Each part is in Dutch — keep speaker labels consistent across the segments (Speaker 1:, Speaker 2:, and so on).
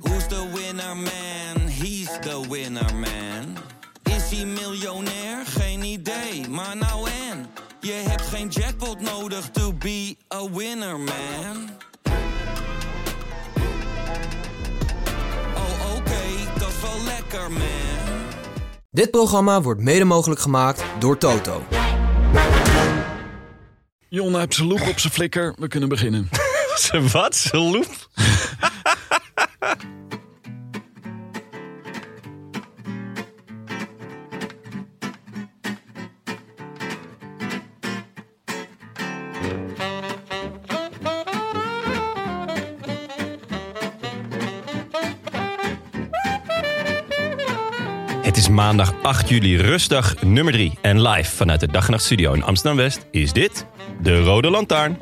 Speaker 1: Who's the winner man? He's the winner man. Is hij miljonair? Geen idee, maar nou en. Je hebt geen jackpot nodig to be a winner man. Oh oké, dat is wel lekker man.
Speaker 2: Dit programma wordt mede mogelijk gemaakt door Toto.
Speaker 3: Jon heeft zijn loop op zijn flikker. We kunnen beginnen.
Speaker 4: Ze wat? Ze loep? Het is maandag 8 juli, rustdag nummer 3. En live vanuit de Dag en Nacht Studio in Amsterdam-West is dit... De Rode Lantaarn.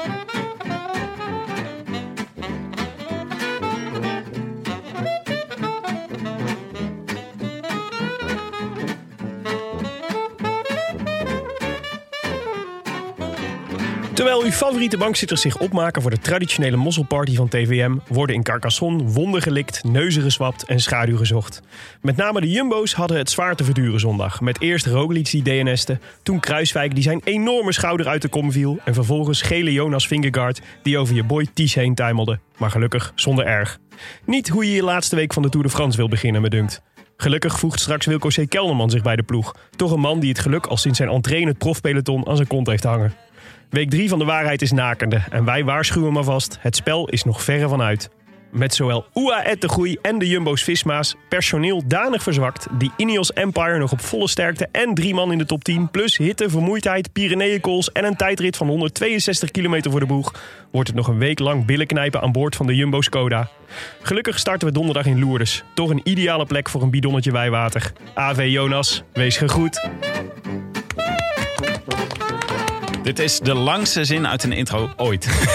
Speaker 5: Terwijl uw favoriete bankzitters zich opmaken voor de traditionele mosselparty van TVM, worden in Carcassonne wonden gelikt, neuzen geswapt en schaduw gezocht. Met name de Jumbo's hadden het zwaar te verduren zondag. Met eerst Roglic die DNS'te, toen Kruiswijk die zijn enorme schouder uit de kom viel en vervolgens gele Jonas Vingegaard die over je boy Ties heen tuimelde. Maar gelukkig zonder erg. Niet hoe je je laatste week van de Tour de France wil beginnen, me dunkt. Gelukkig voegt straks Wilco C. Kelderman zich bij de ploeg. Toch een man die het geluk al sinds zijn entree in het profpeloton aan zijn kont heeft hangen. Week 3 van de waarheid is nakende en wij waarschuwen maar vast, het spel is nog verre van uit. Met zowel UAE de Groei en de Jumbo's Visma's personeel danig verzwakt, die Ineos Empire nog op volle sterkte en drie man in de top 10, plus hitte, vermoeidheid, Pyreneeëncalls en een tijdrit van 162 kilometer voor de boeg, wordt het nog een week lang billen knijpen aan boord van de Jumbo Skoda. Gelukkig starten we donderdag in Lourdes, toch een ideale plek voor een bidonnetje wijwater. AV Jonas, wees gegroet.
Speaker 3: Dit is de langste zin uit een intro ooit.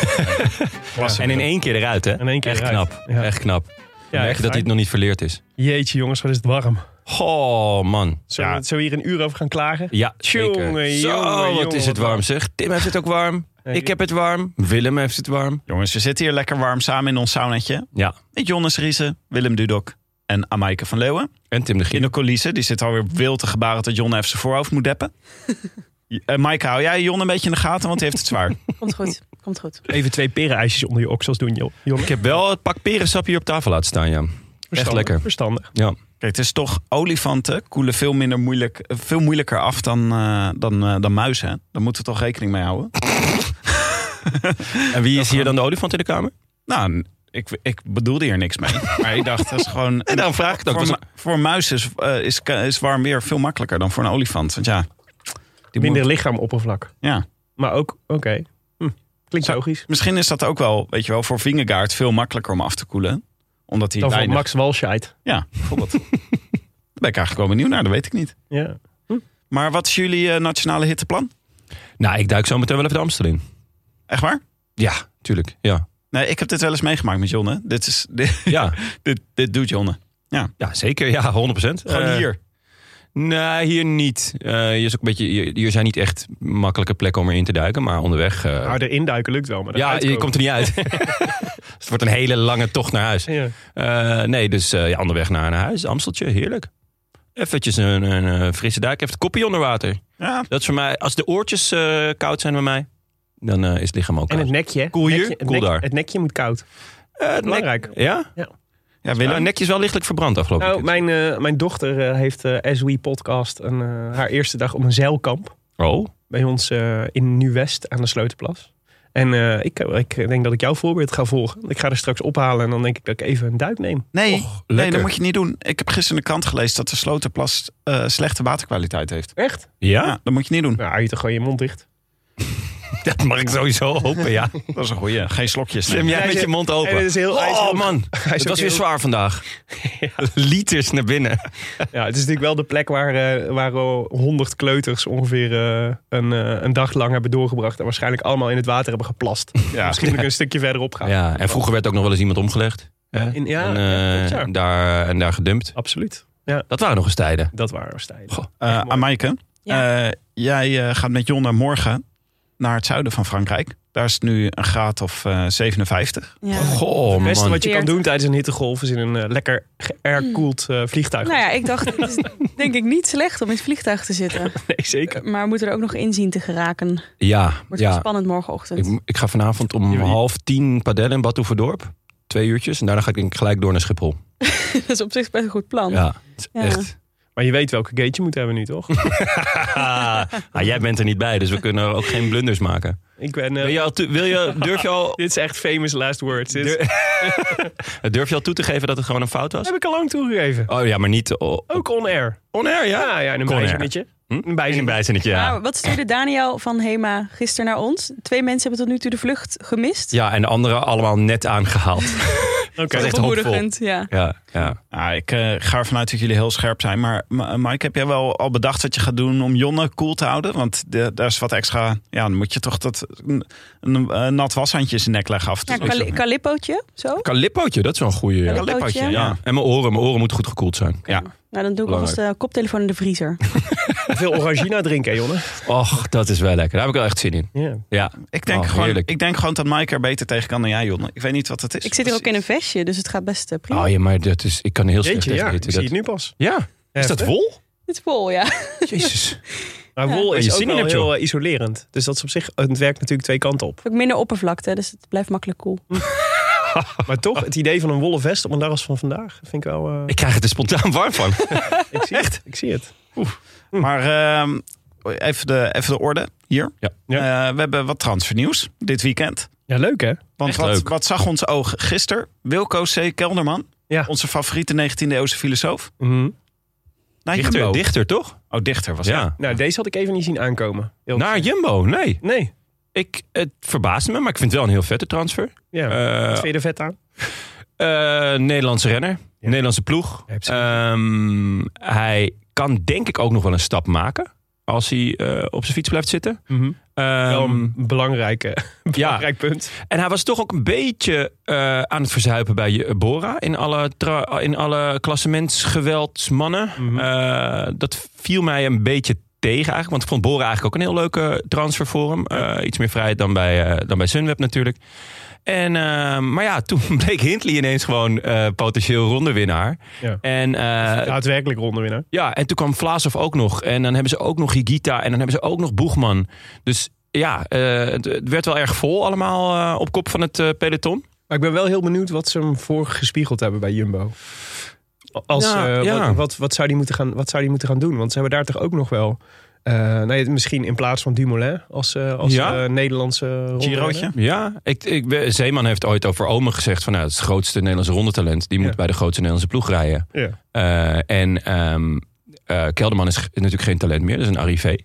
Speaker 4: En in één keer eruit, hè?
Speaker 5: In één keer
Speaker 4: Echt
Speaker 5: eruit.
Speaker 4: knap.
Speaker 5: Ja.
Speaker 4: Echt knap.
Speaker 5: Ja,
Speaker 4: Merk
Speaker 5: echt
Speaker 4: je dat hij
Speaker 5: fijn.
Speaker 4: het nog niet verleerd is.
Speaker 5: Jeetje jongens, wat is het warm.
Speaker 4: Goh, man.
Speaker 5: Zullen,
Speaker 4: Ja,
Speaker 5: we, zullen we hier een uur over gaan klagen?
Speaker 4: ja zeker.
Speaker 5: Tjonge,
Speaker 4: Zo,
Speaker 5: jonge,
Speaker 4: wat
Speaker 5: jonge,
Speaker 4: is het
Speaker 5: wat
Speaker 4: warm, zeg. Tim heeft het ook warm.
Speaker 5: Dank
Speaker 4: Ik
Speaker 5: je.
Speaker 4: heb het warm. Willem heeft het warm.
Speaker 3: Jongens, we zitten hier lekker warm samen in ons saunetje.
Speaker 4: Ja.
Speaker 3: Met Jonas Riese, Willem Dudok en Amaike van Leeuwen.
Speaker 4: En Tim de Gier.
Speaker 3: In de coulissen, die zit alweer wild te gebaren dat Jon even zijn voorhoofd moet deppen. Eh Maaike, hou jij Jon een beetje in de gaten, want die heeft het zwaar.
Speaker 6: Komt goed, komt goed.
Speaker 5: Even twee perenijsjes onder je oksels doen, joh. Jongen.
Speaker 4: Ik heb wel het pak perensap hier op tafel laten staan, ja. Echt
Speaker 5: Verstandig,
Speaker 4: lekker.
Speaker 5: Verstandig.
Speaker 4: Ja.
Speaker 3: Kijk, het is toch olifanten koelen veel, minder moeilijk, eh, veel moeilijker af dan, eh, dan, eh, dan muizen. hè? Daar moeten we toch rekening mee houden.
Speaker 4: En wie is hier dan de olifant in de kamer?
Speaker 3: Nou, n- ik, ik bedoelde hier niks mee. Maar ik dacht, dat is gewoon...
Speaker 4: En daarom vraag ik het ook.
Speaker 3: Voor,
Speaker 4: Het was-
Speaker 3: mu- voor een muis is, eh, is, ka- is warm weer veel makkelijker dan voor een olifant. Want ja, die
Speaker 5: Minder
Speaker 3: moet-
Speaker 5: lichaamoppervlak.
Speaker 3: ja.
Speaker 5: Maar ook, oké. Hm, Klinkt logisch.
Speaker 3: Misschien is dat ook wel, weet je wel, voor Vingegaard veel makkelijker om af te koelen. Omdat hij
Speaker 5: Dan van
Speaker 3: weinig...
Speaker 5: Max Walscheid.
Speaker 3: Ja, bijvoorbeeld. Daar ben ik eigenlijk wel benieuwd naar, dat weet ik niet.
Speaker 5: Ja.
Speaker 3: Maar wat is jullie eh, nationale hitteplan?
Speaker 4: Nou, ik duik zo meteen wel even de Amstel in.
Speaker 3: Echt waar?
Speaker 4: Ja, tuurlijk. Ja,
Speaker 3: Nee, ik heb dit wel eens meegemaakt met Jonne. Dit, is, dit,
Speaker 4: ja.
Speaker 3: dit, dit doet Jonne.
Speaker 4: ja zeker. Ja, 100%.
Speaker 3: Gewoon
Speaker 4: Eh,
Speaker 3: hier.
Speaker 4: Nee, hier niet. Eh, hier, is ook een beetje, hier, hier zijn niet echt makkelijke plekken om erin te duiken, maar onderweg. eh,
Speaker 5: Nou, erin duiken lukt wel, maar
Speaker 4: ja,
Speaker 5: eruit
Speaker 4: je komt er niet uit. Dus het wordt een hele lange tocht naar huis.
Speaker 5: Ja.
Speaker 4: Eh, nee, dus eh, ja, onderweg naar, naar huis. Amsteltje, heerlijk. Eventjes een, een, eh, frisse duik. Even het kopje onder water.
Speaker 3: Ja,
Speaker 4: Dat is voor mij, als de oortjes eh, koud zijn bij mij, dan eh, is het lichaam ook
Speaker 5: En
Speaker 4: koud.
Speaker 5: het nekje.
Speaker 4: Koel hier,
Speaker 5: Nekje- het,
Speaker 4: koel
Speaker 5: nek-
Speaker 4: daar.
Speaker 5: het nekje moet koud.
Speaker 4: Eh, het nek-
Speaker 5: Belangrijk.
Speaker 4: ja?
Speaker 3: ja
Speaker 4: Willem,
Speaker 3: Willem.
Speaker 4: het nekje is wel lichtelijk verbrand afgelopen
Speaker 5: Nou,
Speaker 4: weekend.
Speaker 5: mijn, eh, mijn dochter eh, heeft eh SWE Podcast een, eh, haar eerste dag op een zeilkamp.
Speaker 4: Oh,
Speaker 5: bij ons eh, in Nieuw-West aan de Sleutelplas. En eh, ik, ik denk dat ik jouw voorbeeld ga volgen. Ik ga er straks ophalen en dan denk ik dat ik even een duik neem.
Speaker 3: Nee, nee, dat
Speaker 4: lekker.
Speaker 3: moet je niet doen. Ik heb gisteren in de krant gelezen dat de Sloterplas eh, slechte waterkwaliteit heeft.
Speaker 5: Echt?
Speaker 4: ja?
Speaker 3: Ja, dat moet je niet doen.
Speaker 5: Nou, hou je toch gewoon je mond dicht.
Speaker 4: Dat mag ik sowieso hopen, ja.
Speaker 3: Dat is een goeie. Geen slokjes.
Speaker 4: Slim, jij
Speaker 5: hij
Speaker 4: met
Speaker 5: is-
Speaker 4: je mond open.
Speaker 5: hij is heel- hij is
Speaker 4: oh
Speaker 5: ook-
Speaker 4: man, het
Speaker 5: ook
Speaker 4: was weer
Speaker 5: heel-
Speaker 4: zwaar vandaag. Liters naar binnen.
Speaker 5: Ja, het is natuurlijk wel de plek waar, eh, waar al 100 kleuters ongeveer eh, een, eh, een dag lang hebben doorgebracht. En waarschijnlijk allemaal in het water hebben geplast.
Speaker 3: Ja.
Speaker 5: Misschien moet ik een stukje verderop gaan.
Speaker 4: Ja, en vroeger werd ook nog wel eens iemand omgelegd. hè?
Speaker 5: In- ja,
Speaker 4: en,
Speaker 5: ja,
Speaker 4: eh,
Speaker 5: dat is waar.
Speaker 4: daar, en daar gedumpt.
Speaker 5: Absoluut.
Speaker 4: Dat waren nog eens tijden.
Speaker 5: Dat waren we stijlen.
Speaker 3: Eh, aan Maaike.
Speaker 6: Ja.
Speaker 3: Eh, jij eh, gaat met Jon naar morgen naar het zuiden van Frankrijk. Daar is het nu een graad of eh, 57.
Speaker 6: Ja.
Speaker 4: Goh,
Speaker 5: Het beste
Speaker 4: man.
Speaker 5: wat je kan
Speaker 6: Veert.
Speaker 5: doen tijdens een hittegolf is in een eh, lekker geaircooled eh, vliegtuig.
Speaker 6: Nou ja, ik dacht, het is denk ik niet slecht om in het vliegtuig te zitten.
Speaker 5: Nee, zeker.
Speaker 6: Maar we moeten er ook nog in zien te geraken.
Speaker 4: Ja,
Speaker 6: Wordt
Speaker 4: ja.
Speaker 6: spannend morgenochtend.
Speaker 4: Ik, ik ga vanavond om
Speaker 5: Je- je-
Speaker 4: half tien padellen in Bad Oeverdorp. Twee uurtjes. En daarna ga ik denk ik gelijk door naar Schiphol.
Speaker 6: Dat is op zich best een goed plan.
Speaker 4: Ja, het is
Speaker 6: Ja.
Speaker 4: echt.
Speaker 5: Maar je weet welke gate je moet hebben nu, toch?
Speaker 4: Ah, jij bent er niet bij, dus we kunnen ook geen blunders maken.
Speaker 5: Ik ben... eh,
Speaker 4: Wil je al toe- wil je, durf, je al,
Speaker 5: Dit is echt famous last words. Dit
Speaker 4: Dur- durf je al toe te geven dat het gewoon een fout was?
Speaker 5: heb ik al lang toegegeven.
Speaker 4: Oh ja, maar niet o-
Speaker 5: Ook on air. Ah,
Speaker 4: on air, ja?
Speaker 5: Ja, ja, in een
Speaker 4: Con air.
Speaker 5: bijzinnetje.
Speaker 4: Hm?
Speaker 5: Een bijzinnetje.
Speaker 4: In een bijzinnetje, ja.
Speaker 5: Nou.
Speaker 6: Maar wat stuurde Daniel van Hema gisteren naar ons? Twee mensen hebben tot nu toe de vlucht gemist.
Speaker 4: Ja, en de anderen allemaal net aangehaald.
Speaker 5: Oké.
Speaker 4: Dat is echt hoopvol.
Speaker 6: Bemoedigend, ja.
Speaker 4: Ja, ja.
Speaker 3: Nou, ik eh, ga ervan uit dat jullie heel scherp zijn. Maar Ma- Mike, heb jij wel al bedacht wat je gaat doen om Jonne koel te houden? Want de- daar is wat extra... Ja, dan moet je toch dat een, een, eh, nat washandje in zijn nek leggen af en toe.
Speaker 6: Ja, kali- kalippootje, zo.
Speaker 4: Calippootje, dat is wel een goeie. Ja.
Speaker 6: Calippootje.
Speaker 3: Kalippootje, ja.
Speaker 4: En mijn oren, mijn oren moeten goed gekoeld zijn.
Speaker 3: Ja.
Speaker 6: Nou, dan doe ik alvast de koptelefoon in de vriezer.
Speaker 5: Veel orangina drinken, hè, Jonne.
Speaker 4: Och, dat is wel lekker. Daar heb ik wel echt zin in.
Speaker 5: Ja.
Speaker 4: Ja,
Speaker 3: Ik denk,
Speaker 4: Oh,
Speaker 3: gewoon,
Speaker 4: heerlijk.
Speaker 3: ik denk gewoon dat Mike er beter tegen kan dan jij, Jonne. Ik weet niet wat het is.
Speaker 6: Ik zit hier ook in een vestje, dus het gaat best eh, prima.
Speaker 4: Oh ja, maar dat is, ik kan heel slecht
Speaker 5: Jeetje,
Speaker 4: tegen
Speaker 5: ja. Ik
Speaker 4: hitte.
Speaker 5: zie het
Speaker 4: Dat-
Speaker 5: nu pas.
Speaker 4: Ja, is dat
Speaker 5: Heftig.
Speaker 4: wol?
Speaker 6: Het is vol, ja.
Speaker 4: Jezus.
Speaker 5: Maar
Speaker 6: Ja.
Speaker 5: wol
Speaker 4: En
Speaker 5: is
Speaker 4: je
Speaker 5: ook
Speaker 4: zin in
Speaker 5: wel
Speaker 4: hebt, joh.
Speaker 5: heel eh, isolerend. Dus dat is op zich... Het werkt natuurlijk twee kanten op.
Speaker 6: Ook minder oppervlakte, dus het blijft makkelijk koel.
Speaker 5: Maar
Speaker 4: Oh.
Speaker 5: toch, het idee van een wollen vest op een dag als van vandaag... vind ik wel... eh,
Speaker 4: Ik krijg het er spontaan warm van.
Speaker 5: ik zie echt? Het. Ik zie het.
Speaker 3: Maar ehm, even, de, even de orde hier.
Speaker 4: Ja.
Speaker 3: Eh, we hebben wat transfernieuws dit weekend.
Speaker 5: Ja, leuk hè?
Speaker 3: Want
Speaker 4: Echt
Speaker 3: wat,
Speaker 4: leuk.
Speaker 3: wat zag ons oog gisteren? Wilco C. Kelderman,
Speaker 5: Ja.
Speaker 3: onze favoriete 19e-eeuwse filosoof.
Speaker 5: Mhm.
Speaker 3: Naar
Speaker 4: Dichter,
Speaker 3: Jumbo.
Speaker 4: dichter toch?
Speaker 3: Oh, dichter was hij.
Speaker 4: Ja.
Speaker 5: Nou, deze had ik even niet zien aankomen. Heel-
Speaker 4: Naar Jumbo, nee.
Speaker 5: Nee.
Speaker 4: Ik, het verbaasde me, maar ik vind het wel een heel vette transfer.
Speaker 5: Ja.
Speaker 4: Eh,
Speaker 5: Wat vind je er vet aan?
Speaker 4: eh, Nederlandse renner, Nederlandse ploeg.
Speaker 5: Ja, precies.
Speaker 4: Ehm, hij kan denk ik ook nog wel een stap maken. Als hij eh, op zijn fiets blijft zitten.
Speaker 5: Mhm. Wel
Speaker 4: eh, Ehm,
Speaker 5: een belangrijke,
Speaker 4: ja,
Speaker 5: belangrijk punt.
Speaker 4: en hij was toch ook een beetje eh, aan het verzuipen bij eh, Bora. In alle, tra- in alle klassementsgeweldsmannen.
Speaker 5: Mhm.
Speaker 4: Eh, dat viel mij een beetje tegen eigenlijk. Want ik vond Bora eigenlijk ook een heel leuke transfer voor hem. Eh, iets meer vrijheid dan bij, eh, dan bij Sunweb natuurlijk. En, eh, maar ja, toen bleek Hindley ineens gewoon eh, potentieel rondewinnaar.
Speaker 5: Ja.
Speaker 4: En, eh,
Speaker 5: Daadwerkelijk rondewinnaar.
Speaker 4: ja, en toen kwam Vlaasov ook nog. En dan hebben ze ook nog Higita. En dan hebben ze ook nog Boegman. Dus ja, eh, het, het werd wel erg vol allemaal eh, op kop van het eh, peloton.
Speaker 5: Maar ik ben wel heel benieuwd wat ze hem voor gespiegeld hebben bij Jumbo. Als,
Speaker 4: Ja,
Speaker 5: eh,
Speaker 4: ja.
Speaker 5: Wat, wat, wat, zou die moeten gaan, wat zou die moeten gaan doen? Want ze hebben daar toch ook nog wel... eh, nee, misschien in plaats van Dumoulin als, eh, als
Speaker 4: Ja.
Speaker 5: eh, Nederlandse rondrenner.
Speaker 3: Girootje.
Speaker 4: Ja, ik, ik, ben- Zeeman heeft ooit over Omen gezegd... van nou, het is het grootste Nederlandse rondetalent. Die moet
Speaker 5: Ja.
Speaker 4: bij de grootste Nederlandse ploeg rijden.
Speaker 5: Ja.
Speaker 4: Eh, en ehm, eh, Kelderman is g- natuurlijk geen talent meer. Dat is een arrivé.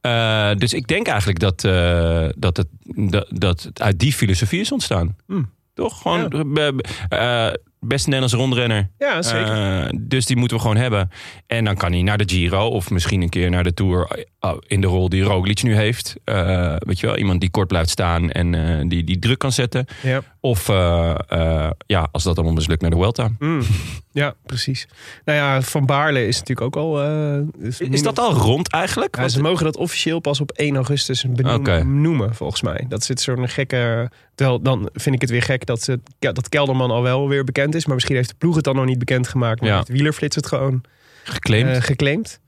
Speaker 4: Eh, dus ik denk eigenlijk dat, eh, dat, het, dat, dat het uit die filosofie is ontstaan.
Speaker 5: Hmm.
Speaker 4: Toch? Gewoon
Speaker 5: Ja.
Speaker 4: be- be- eh, beste Nederlandse rondrenner.
Speaker 5: ja, zeker.
Speaker 4: Eh, dus die moeten we gewoon hebben. En dan kan hij naar de Giro of misschien een keer naar de Tour eh, in de rol die Roglic nu heeft. Eh, weet je wel, iemand die kort blijft staan en eh, die, die druk kan zetten.
Speaker 5: ja.
Speaker 4: Of eh, eh, ja, als dat allemaal mislukt naar de Vuelta.
Speaker 5: Mm. ja, precies. Nou ja, Van Baarle is natuurlijk ook al... eh, is,
Speaker 4: Is dat al rond eigenlijk?
Speaker 5: Ja, ze mogen dat officieel pas op 1 augustus benoemen,
Speaker 4: Oké.
Speaker 5: noemen, volgens mij. Dat zit zo'n gekke... Terwijl dan vind ik het weer gek dat, ze, ja, dat Kelderman al wel weer bekend is. Maar misschien heeft de ploeg het dan nog niet bekendgemaakt. Maar
Speaker 4: Ja.
Speaker 5: heeft Wielerflits het gewoon
Speaker 4: Geclaimd.
Speaker 5: eh geclaimd.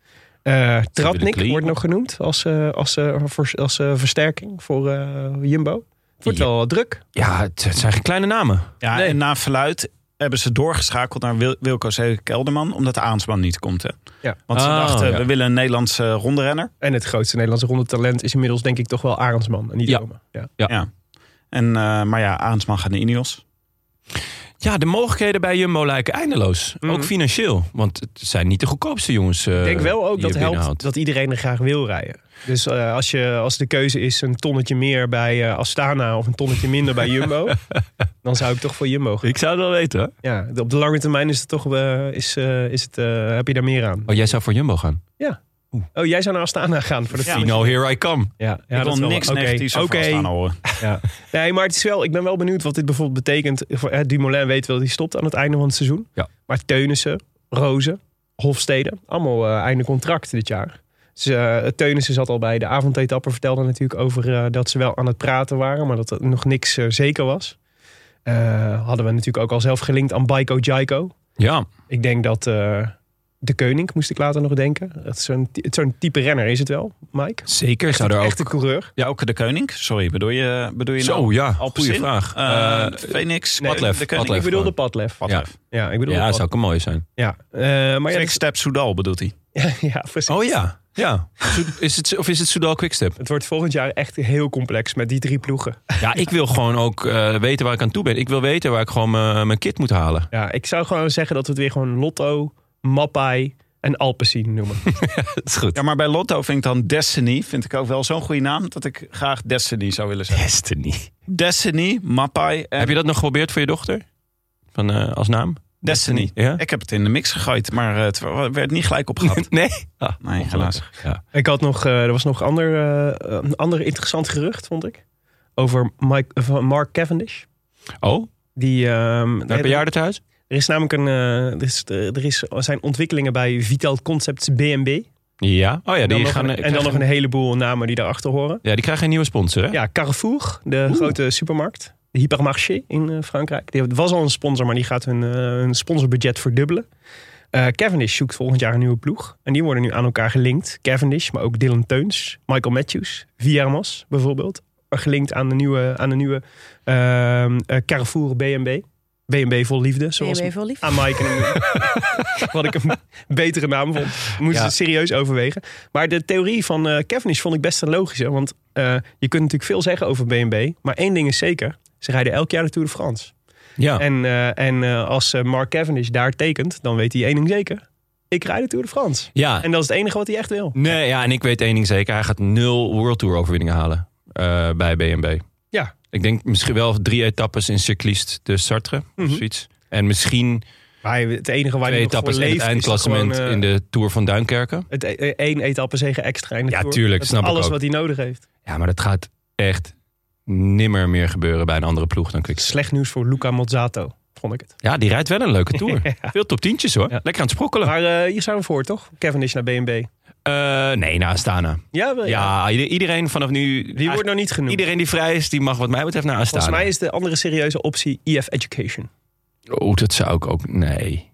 Speaker 5: Eh
Speaker 4: willen
Speaker 5: Tratnik
Speaker 4: claimen.
Speaker 5: wordt nog genoemd als, eh, als, eh, voor- als eh, versterking voor eh, Jumbo. Het wordt
Speaker 4: Ja.
Speaker 5: wel druk.
Speaker 4: ja, het, het zijn geen kleine namen.
Speaker 3: Ja, en na verluid hebben ze doorgeschakeld naar Wil- Wilco C. Kelderman. Omdat de aanspan niet komt. Hè?
Speaker 5: Ja.
Speaker 3: Want ze
Speaker 4: Ah,
Speaker 3: dachten,
Speaker 4: ja.
Speaker 3: we willen een Nederlandse rondrenner.
Speaker 5: En het grootste Nederlandse ronde talent is inmiddels denk ik toch wel Arendsman. En niet
Speaker 4: Ja.
Speaker 5: Oma. Ja.
Speaker 3: En, eh, maar ja, Aansman gaat naar Ineos.
Speaker 4: Ja, de mogelijkheden bij Jumbo lijken eindeloos.
Speaker 5: Mhm.
Speaker 4: Ook financieel. Want het zijn niet de goedkoopste jongens. eh,
Speaker 5: Ik denk wel ook
Speaker 4: die
Speaker 5: dat
Speaker 4: je
Speaker 5: helpt
Speaker 4: binnenhoudt.
Speaker 5: dat iedereen er graag wil rijden. Dus eh, als, je, als de keuze is een tonnetje meer bij eh, Astana of een tonnetje minder bij Jumbo, dan zou ik toch voor Jumbo gaan.
Speaker 4: Ik zou het wel weten. hoor.
Speaker 5: Ja, op de lange termijn is het toch, eh, is, eh, is het, eh, heb je daar meer aan.
Speaker 4: Oh, jij zou voor Jumbo gaan?
Speaker 5: Oh, jij zou naar Astana gaan voor de
Speaker 3: Ja,
Speaker 5: fiets.
Speaker 4: No, here I come.
Speaker 5: Ja, ja,
Speaker 3: ik
Speaker 5: dat
Speaker 3: wil
Speaker 5: is wel-
Speaker 3: niks
Speaker 5: oké,
Speaker 3: negatiefs over
Speaker 5: oké.
Speaker 3: Astana horen.
Speaker 5: Nee, maar het is wel, ik ben wel benieuwd wat dit bijvoorbeeld betekent. Voor, eh, Dumoulin weet wel, die stopt aan het einde van het seizoen.
Speaker 4: Ja.
Speaker 5: Maar Teunissen, Rozen, Hofstede, allemaal eh, einde contract dit jaar. Ze, eh, Teunissen zat al bij de avondetappe, vertelde natuurlijk over eh, dat ze wel aan het praten waren, maar dat er nog niks eh, zeker was. Eh, hadden we natuurlijk ook al zelf gelinkt aan Baiko Jaiko.
Speaker 4: Ja.
Speaker 5: Ik denk dat eh, de koning, moest ik later nog denken. Dat is Zo'n zo'n type renner is het wel, Mike.
Speaker 4: Zeker zou er ook...
Speaker 5: Echte coureur.
Speaker 3: Ja, ook de koning. Sorry, bedoel je, bedoel je nou
Speaker 4: Zo, ja.
Speaker 3: Alpecin?
Speaker 4: Goeie vraag.
Speaker 3: Eh,
Speaker 4: Eh,
Speaker 3: Phoenix,
Speaker 5: nee,
Speaker 3: Padlef,
Speaker 4: Padlef,
Speaker 3: de koning.
Speaker 5: Ik
Speaker 4: Padlef.
Speaker 5: bedoel de Padlef.
Speaker 3: Padlef.
Speaker 5: Ja, ik bedoel de
Speaker 4: ja,
Speaker 5: Padlef.
Speaker 4: zou ook mooi zijn.
Speaker 5: Ja, eh, maar ja,
Speaker 3: Jack
Speaker 5: dat-
Speaker 3: Step Soudal bedoelt hij.
Speaker 5: ja, precies.
Speaker 4: Oh ja. Ja. Is het, of is het Soudal Quickstep?
Speaker 5: Het wordt volgend jaar echt heel complex met die drie ploegen.
Speaker 4: Ja, ik wil gewoon ook eh, weten waar ik aan toe ben. Ik wil weten waar ik gewoon mijn- mijn kit moet halen.
Speaker 5: Ja, ik zou gewoon zeggen dat we het weer gewoon Lotto, Mappai en Alpecin noemen.
Speaker 4: Dat is goed.
Speaker 3: Ja, maar bij Lotto vind ik dan Destiny, vind ik ook wel zo'n goede naam, dat ik graag Destiny zou willen zeggen.
Speaker 4: Destiny.
Speaker 3: Destiny, Mappai en
Speaker 4: Heb je dat nog geprobeerd voor je dochter? Van, eh, als naam?
Speaker 3: Destiny.
Speaker 4: Ja?
Speaker 3: Ik heb het in de mix gegooid, maar eh, het wa- werd niet gelijk opgehaald.
Speaker 4: Nee?
Speaker 3: Nee, helaas.
Speaker 4: Ja.
Speaker 5: ik had nog, eh, er was nog ander, eh, een ander interessant gerucht, vond ik. Over Mike, van Mark Cavendish.
Speaker 4: Oh,
Speaker 5: Die, ehm,
Speaker 4: naar
Speaker 5: er-
Speaker 4: het bejaardentehuis?
Speaker 5: Er is namelijk een, eh, er, is, er is, er zijn ontwikkelingen bij Vital Concepts BNB.
Speaker 4: Ja. Oh ja,
Speaker 5: En dan,
Speaker 4: die,
Speaker 5: nog,
Speaker 4: gaan,
Speaker 5: een,
Speaker 4: eh,
Speaker 5: en dan
Speaker 4: krijgen-
Speaker 5: nog een heleboel namen die daarachter horen.
Speaker 4: ja, die krijgen een nieuwe sponsor, hè?
Speaker 5: Ja, Carrefour, de grote supermarkt. De hypermarché in eh, Frankrijk. Die was al een sponsor, maar die gaat hun, eh, hun sponsorbudget verdubbelen. Eh Cavendish zoekt volgend jaar een nieuwe ploeg. En die worden nu aan elkaar gelinkt. Cavendish, maar ook Dylan Teuns, Michael Matthews, Viermas bijvoorbeeld. Gelinkt aan de nieuwe, aan de nieuwe ehm, eh, Carrefour BNB. BNB vol liefde, zoals
Speaker 6: BNB vol liefde.
Speaker 5: aan Mike en hem- Wat ik een betere naam vond. We moesten
Speaker 4: Ja.
Speaker 5: het serieus overwegen. Maar de theorie van eh Cavendish vond ik best een logische. Want eh, je kunt natuurlijk veel zeggen over BNB. Maar één ding is zeker. Ze rijden elk jaar de Tour de France.
Speaker 4: Ja.
Speaker 5: En, eh, en eh, als eh, Mark Cavendish daar tekent, dan weet hij één ding zeker. Ik rijd de Tour de France.
Speaker 4: ja.
Speaker 5: En dat is het enige wat hij echt wil.
Speaker 4: Nee, ja, en ik weet één ding zeker. Hij gaat nul World Tour overwinningen halen eh, bij BNB.
Speaker 5: Ja.
Speaker 4: Ik denk misschien wel drie etappes in Cycliste de Sartre
Speaker 5: Mhm.
Speaker 4: of zoiets. En misschien
Speaker 5: Maar hij- het enige waar hij
Speaker 4: twee
Speaker 5: nog voor
Speaker 4: etappes in het
Speaker 5: leeft is
Speaker 4: eindklassement
Speaker 5: gewoon, eh,
Speaker 4: in de Tour van Duinkerken.
Speaker 5: Het e- e- één etappe zegen extra in de
Speaker 4: Ja,
Speaker 5: Tour.
Speaker 4: tuurlijk,
Speaker 5: Dat is
Speaker 4: snap ik
Speaker 5: alles
Speaker 4: ook.
Speaker 5: wat hij nodig heeft.
Speaker 4: Ja, maar dat gaat echt nimmer meer gebeuren bij een andere ploeg dan Quickstep.
Speaker 5: Slecht nieuws voor Luca Mozzato, vond ik het.
Speaker 4: Ja, die rijdt wel een leuke Tour. Veel top tientjes hoor.
Speaker 5: Ja.
Speaker 4: Lekker aan het sprokkelen.
Speaker 5: Maar eh, hier zijn we voor, toch? Cavendish naar BNB.
Speaker 4: Eh, nee, naar Astana.
Speaker 5: Oh, Ja, wel, ja.
Speaker 4: Ja, ieder- iedereen vanaf nu...
Speaker 5: die wordt nog niet genoemd.
Speaker 4: Iedereen die vrij is, die mag wat mij betreft naar Astana.
Speaker 5: Volgens mij is de andere serieuze optie EF Education.
Speaker 4: Oh, dat zou ik ook... Nee.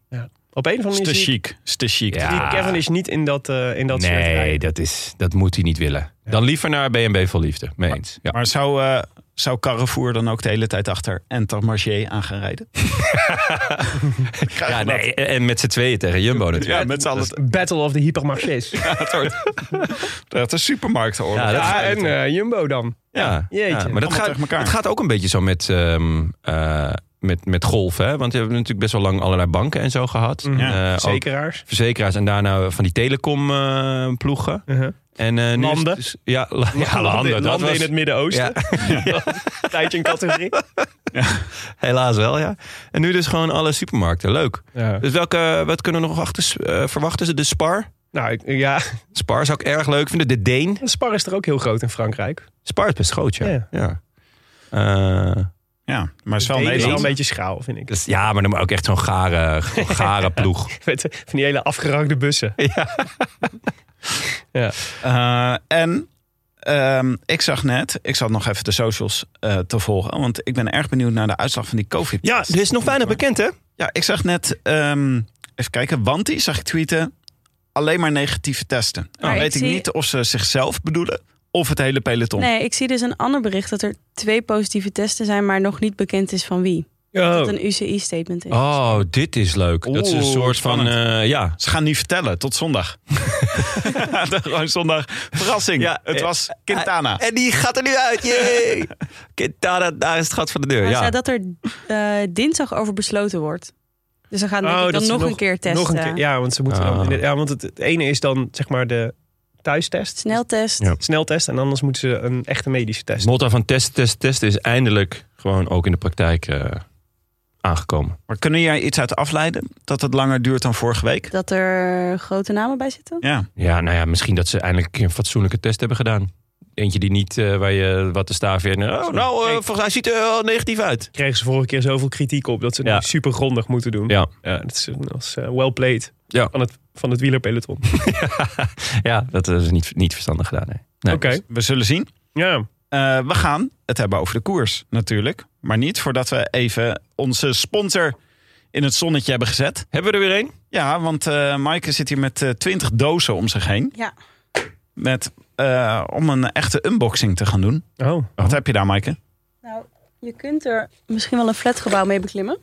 Speaker 5: Op een of andere
Speaker 3: Is te
Speaker 5: manier zie ik
Speaker 3: chic, is te chic.
Speaker 4: Ja.
Speaker 5: die Cavendish niet in dat, eh, in dat soort
Speaker 4: nee,
Speaker 5: rijden.
Speaker 4: dat, is, dat moet hij niet willen. Dan liever naar BNB Vol Liefde. Mee eens. Ja.
Speaker 3: Maar zou, eh, zou Carrefour dan ook de hele tijd achter Entermarché aan gaan rijden?
Speaker 4: Ja, nee, en met z'n tweeën tegen Jumbo natuurlijk.
Speaker 3: Ja, met z'n allen.
Speaker 5: Battle of the Hypermarchés. ja,
Speaker 3: Dat is supermarkten
Speaker 4: Ja, dat-
Speaker 5: en eh, Jumbo dan.
Speaker 4: Ja,
Speaker 5: Jeetje.
Speaker 4: ja, maar dat
Speaker 3: Allemaal
Speaker 4: gaat,
Speaker 3: tegen elkaar.
Speaker 4: het gaat ook een beetje zo met, ehm, eh, met, met golf. Hè? Want we hebben natuurlijk best wel lang allerlei banken en zo gehad.
Speaker 5: Mhm.
Speaker 3: Ja,
Speaker 4: Eh, ook
Speaker 5: Zekeraars.
Speaker 4: verzekeraars en daarna van die telecom eh, ploegen.
Speaker 5: Uh-huh.
Speaker 4: En, eh, nu is het
Speaker 5: Landen.
Speaker 4: dus- ja, la- ja, landen.
Speaker 5: landen
Speaker 4: dat
Speaker 5: landen
Speaker 4: was-
Speaker 5: in het Midden-Oosten. Tijdje een categorie.
Speaker 4: Helaas wel, ja. En nu dus gewoon alle supermarkten. Leuk.
Speaker 5: Ja.
Speaker 4: Dus welke, wat kunnen we nog achter, eh, verwachten? Ze de Spar?
Speaker 5: Nou ik- ja,
Speaker 4: Spar zou ik erg leuk vinden. De Deen.
Speaker 5: Spar is er ook heel groot in Frankrijk.
Speaker 4: Spar is best groot, ja.
Speaker 5: Ja.
Speaker 4: Ja, Eh,
Speaker 3: Ja, maar het is wel
Speaker 5: Deen is wel een
Speaker 3: Nederland.
Speaker 5: beetje schaal, vind ik.
Speaker 4: dus, ja maar dan maar ook echt zo'n gare, gare ploeg.
Speaker 5: Weet je, eh, Van die hele afgerakte bussen.
Speaker 3: Eh, en ehm, ik zag net, ik zat nog even de socials eh, te volgen, want ik ben erg benieuwd naar de uitslag van die covid
Speaker 4: Ja, er is nog weinig bekend, hè?
Speaker 3: Ja, ik zag net, ehm, even kijken, Wanti zag ik tweeten, alleen maar negatieve testen. Dan
Speaker 6: Maar ik
Speaker 3: weet ik
Speaker 6: zie-
Speaker 3: niet of ze zichzelf bedoelen of het hele peloton.
Speaker 6: Nee, ik zie dus een ander bericht dat er twee positieve testen zijn, maar nog niet bekend is van wie. Dat
Speaker 5: Oh.
Speaker 6: een UCI-statement is.
Speaker 4: Oh, dit is leuk. dat is een
Speaker 3: Oeh,
Speaker 4: soort van... eh, ja.
Speaker 3: Ze gaan niet vertellen tot zondag. Gewoon zondag. Verrassing.
Speaker 4: Ja,
Speaker 3: het
Speaker 4: eh,
Speaker 3: was Quintana.
Speaker 4: En die gaat er nu uit. Yay! Quintana, daar is het gat van de deur.
Speaker 6: Maar
Speaker 4: Ja.
Speaker 6: zei dat er eh, dinsdag over besloten wordt. Dus dan gaan denk
Speaker 5: Oh,
Speaker 6: ik
Speaker 5: dat
Speaker 6: dan
Speaker 5: ze
Speaker 6: nog, een keer testen.
Speaker 5: Nog een keer, ja, want ze moeten dan
Speaker 4: Ah.
Speaker 5: in de- ja, want het, het ene is dan zeg maar de thuistest,
Speaker 6: Sneltest.
Speaker 4: Ja.
Speaker 5: sneltest, en anders moeten ze een echte medische
Speaker 4: Het
Speaker 5: test.
Speaker 4: motto van test, test, test is eindelijk gewoon ook in de praktijk eh, aangekomen.
Speaker 3: Maar eh, kunnen jij iets uit afleiden dat het langer duurt dan vorige week?
Speaker 6: Dat er grote namen bij zitten.
Speaker 3: Ja.
Speaker 4: Ja, nou ja, misschien dat ze eindelijk een keer een fatsoenlijke test hebben gedaan. Eentje die niet, eh, waar je wat te staaf in. Oh, nou, eh, volgens mij ziet er wel negatief uit.
Speaker 5: Kregen ze vorige keer zoveel kritiek op dat ze het
Speaker 4: Ja.
Speaker 5: nu super grondig moeten doen.
Speaker 4: Ja.
Speaker 5: dat is, dat is eh, well played
Speaker 4: Ja.
Speaker 5: van het van het wielerpeloton.
Speaker 4: Ja, dat is niet, niet verstandig gedaan. Nee. Nee.
Speaker 5: Oké,
Speaker 3: We zullen zien.
Speaker 5: ja.
Speaker 3: Eh, we gaan het hebben over de koers natuurlijk. Maar niet voordat we even onze sponsor in het zonnetje hebben gezet.
Speaker 4: Hebben we er weer één?
Speaker 3: Ja, want eh Maaike zit hier met twintig dozen om zich heen.
Speaker 6: Ja.
Speaker 3: Met, eh, om een echte unboxing te gaan doen.
Speaker 5: Oh,
Speaker 3: Wat heb je daar, Maaike?
Speaker 6: Nou, je kunt er misschien wel een flatgebouw mee beklimmen.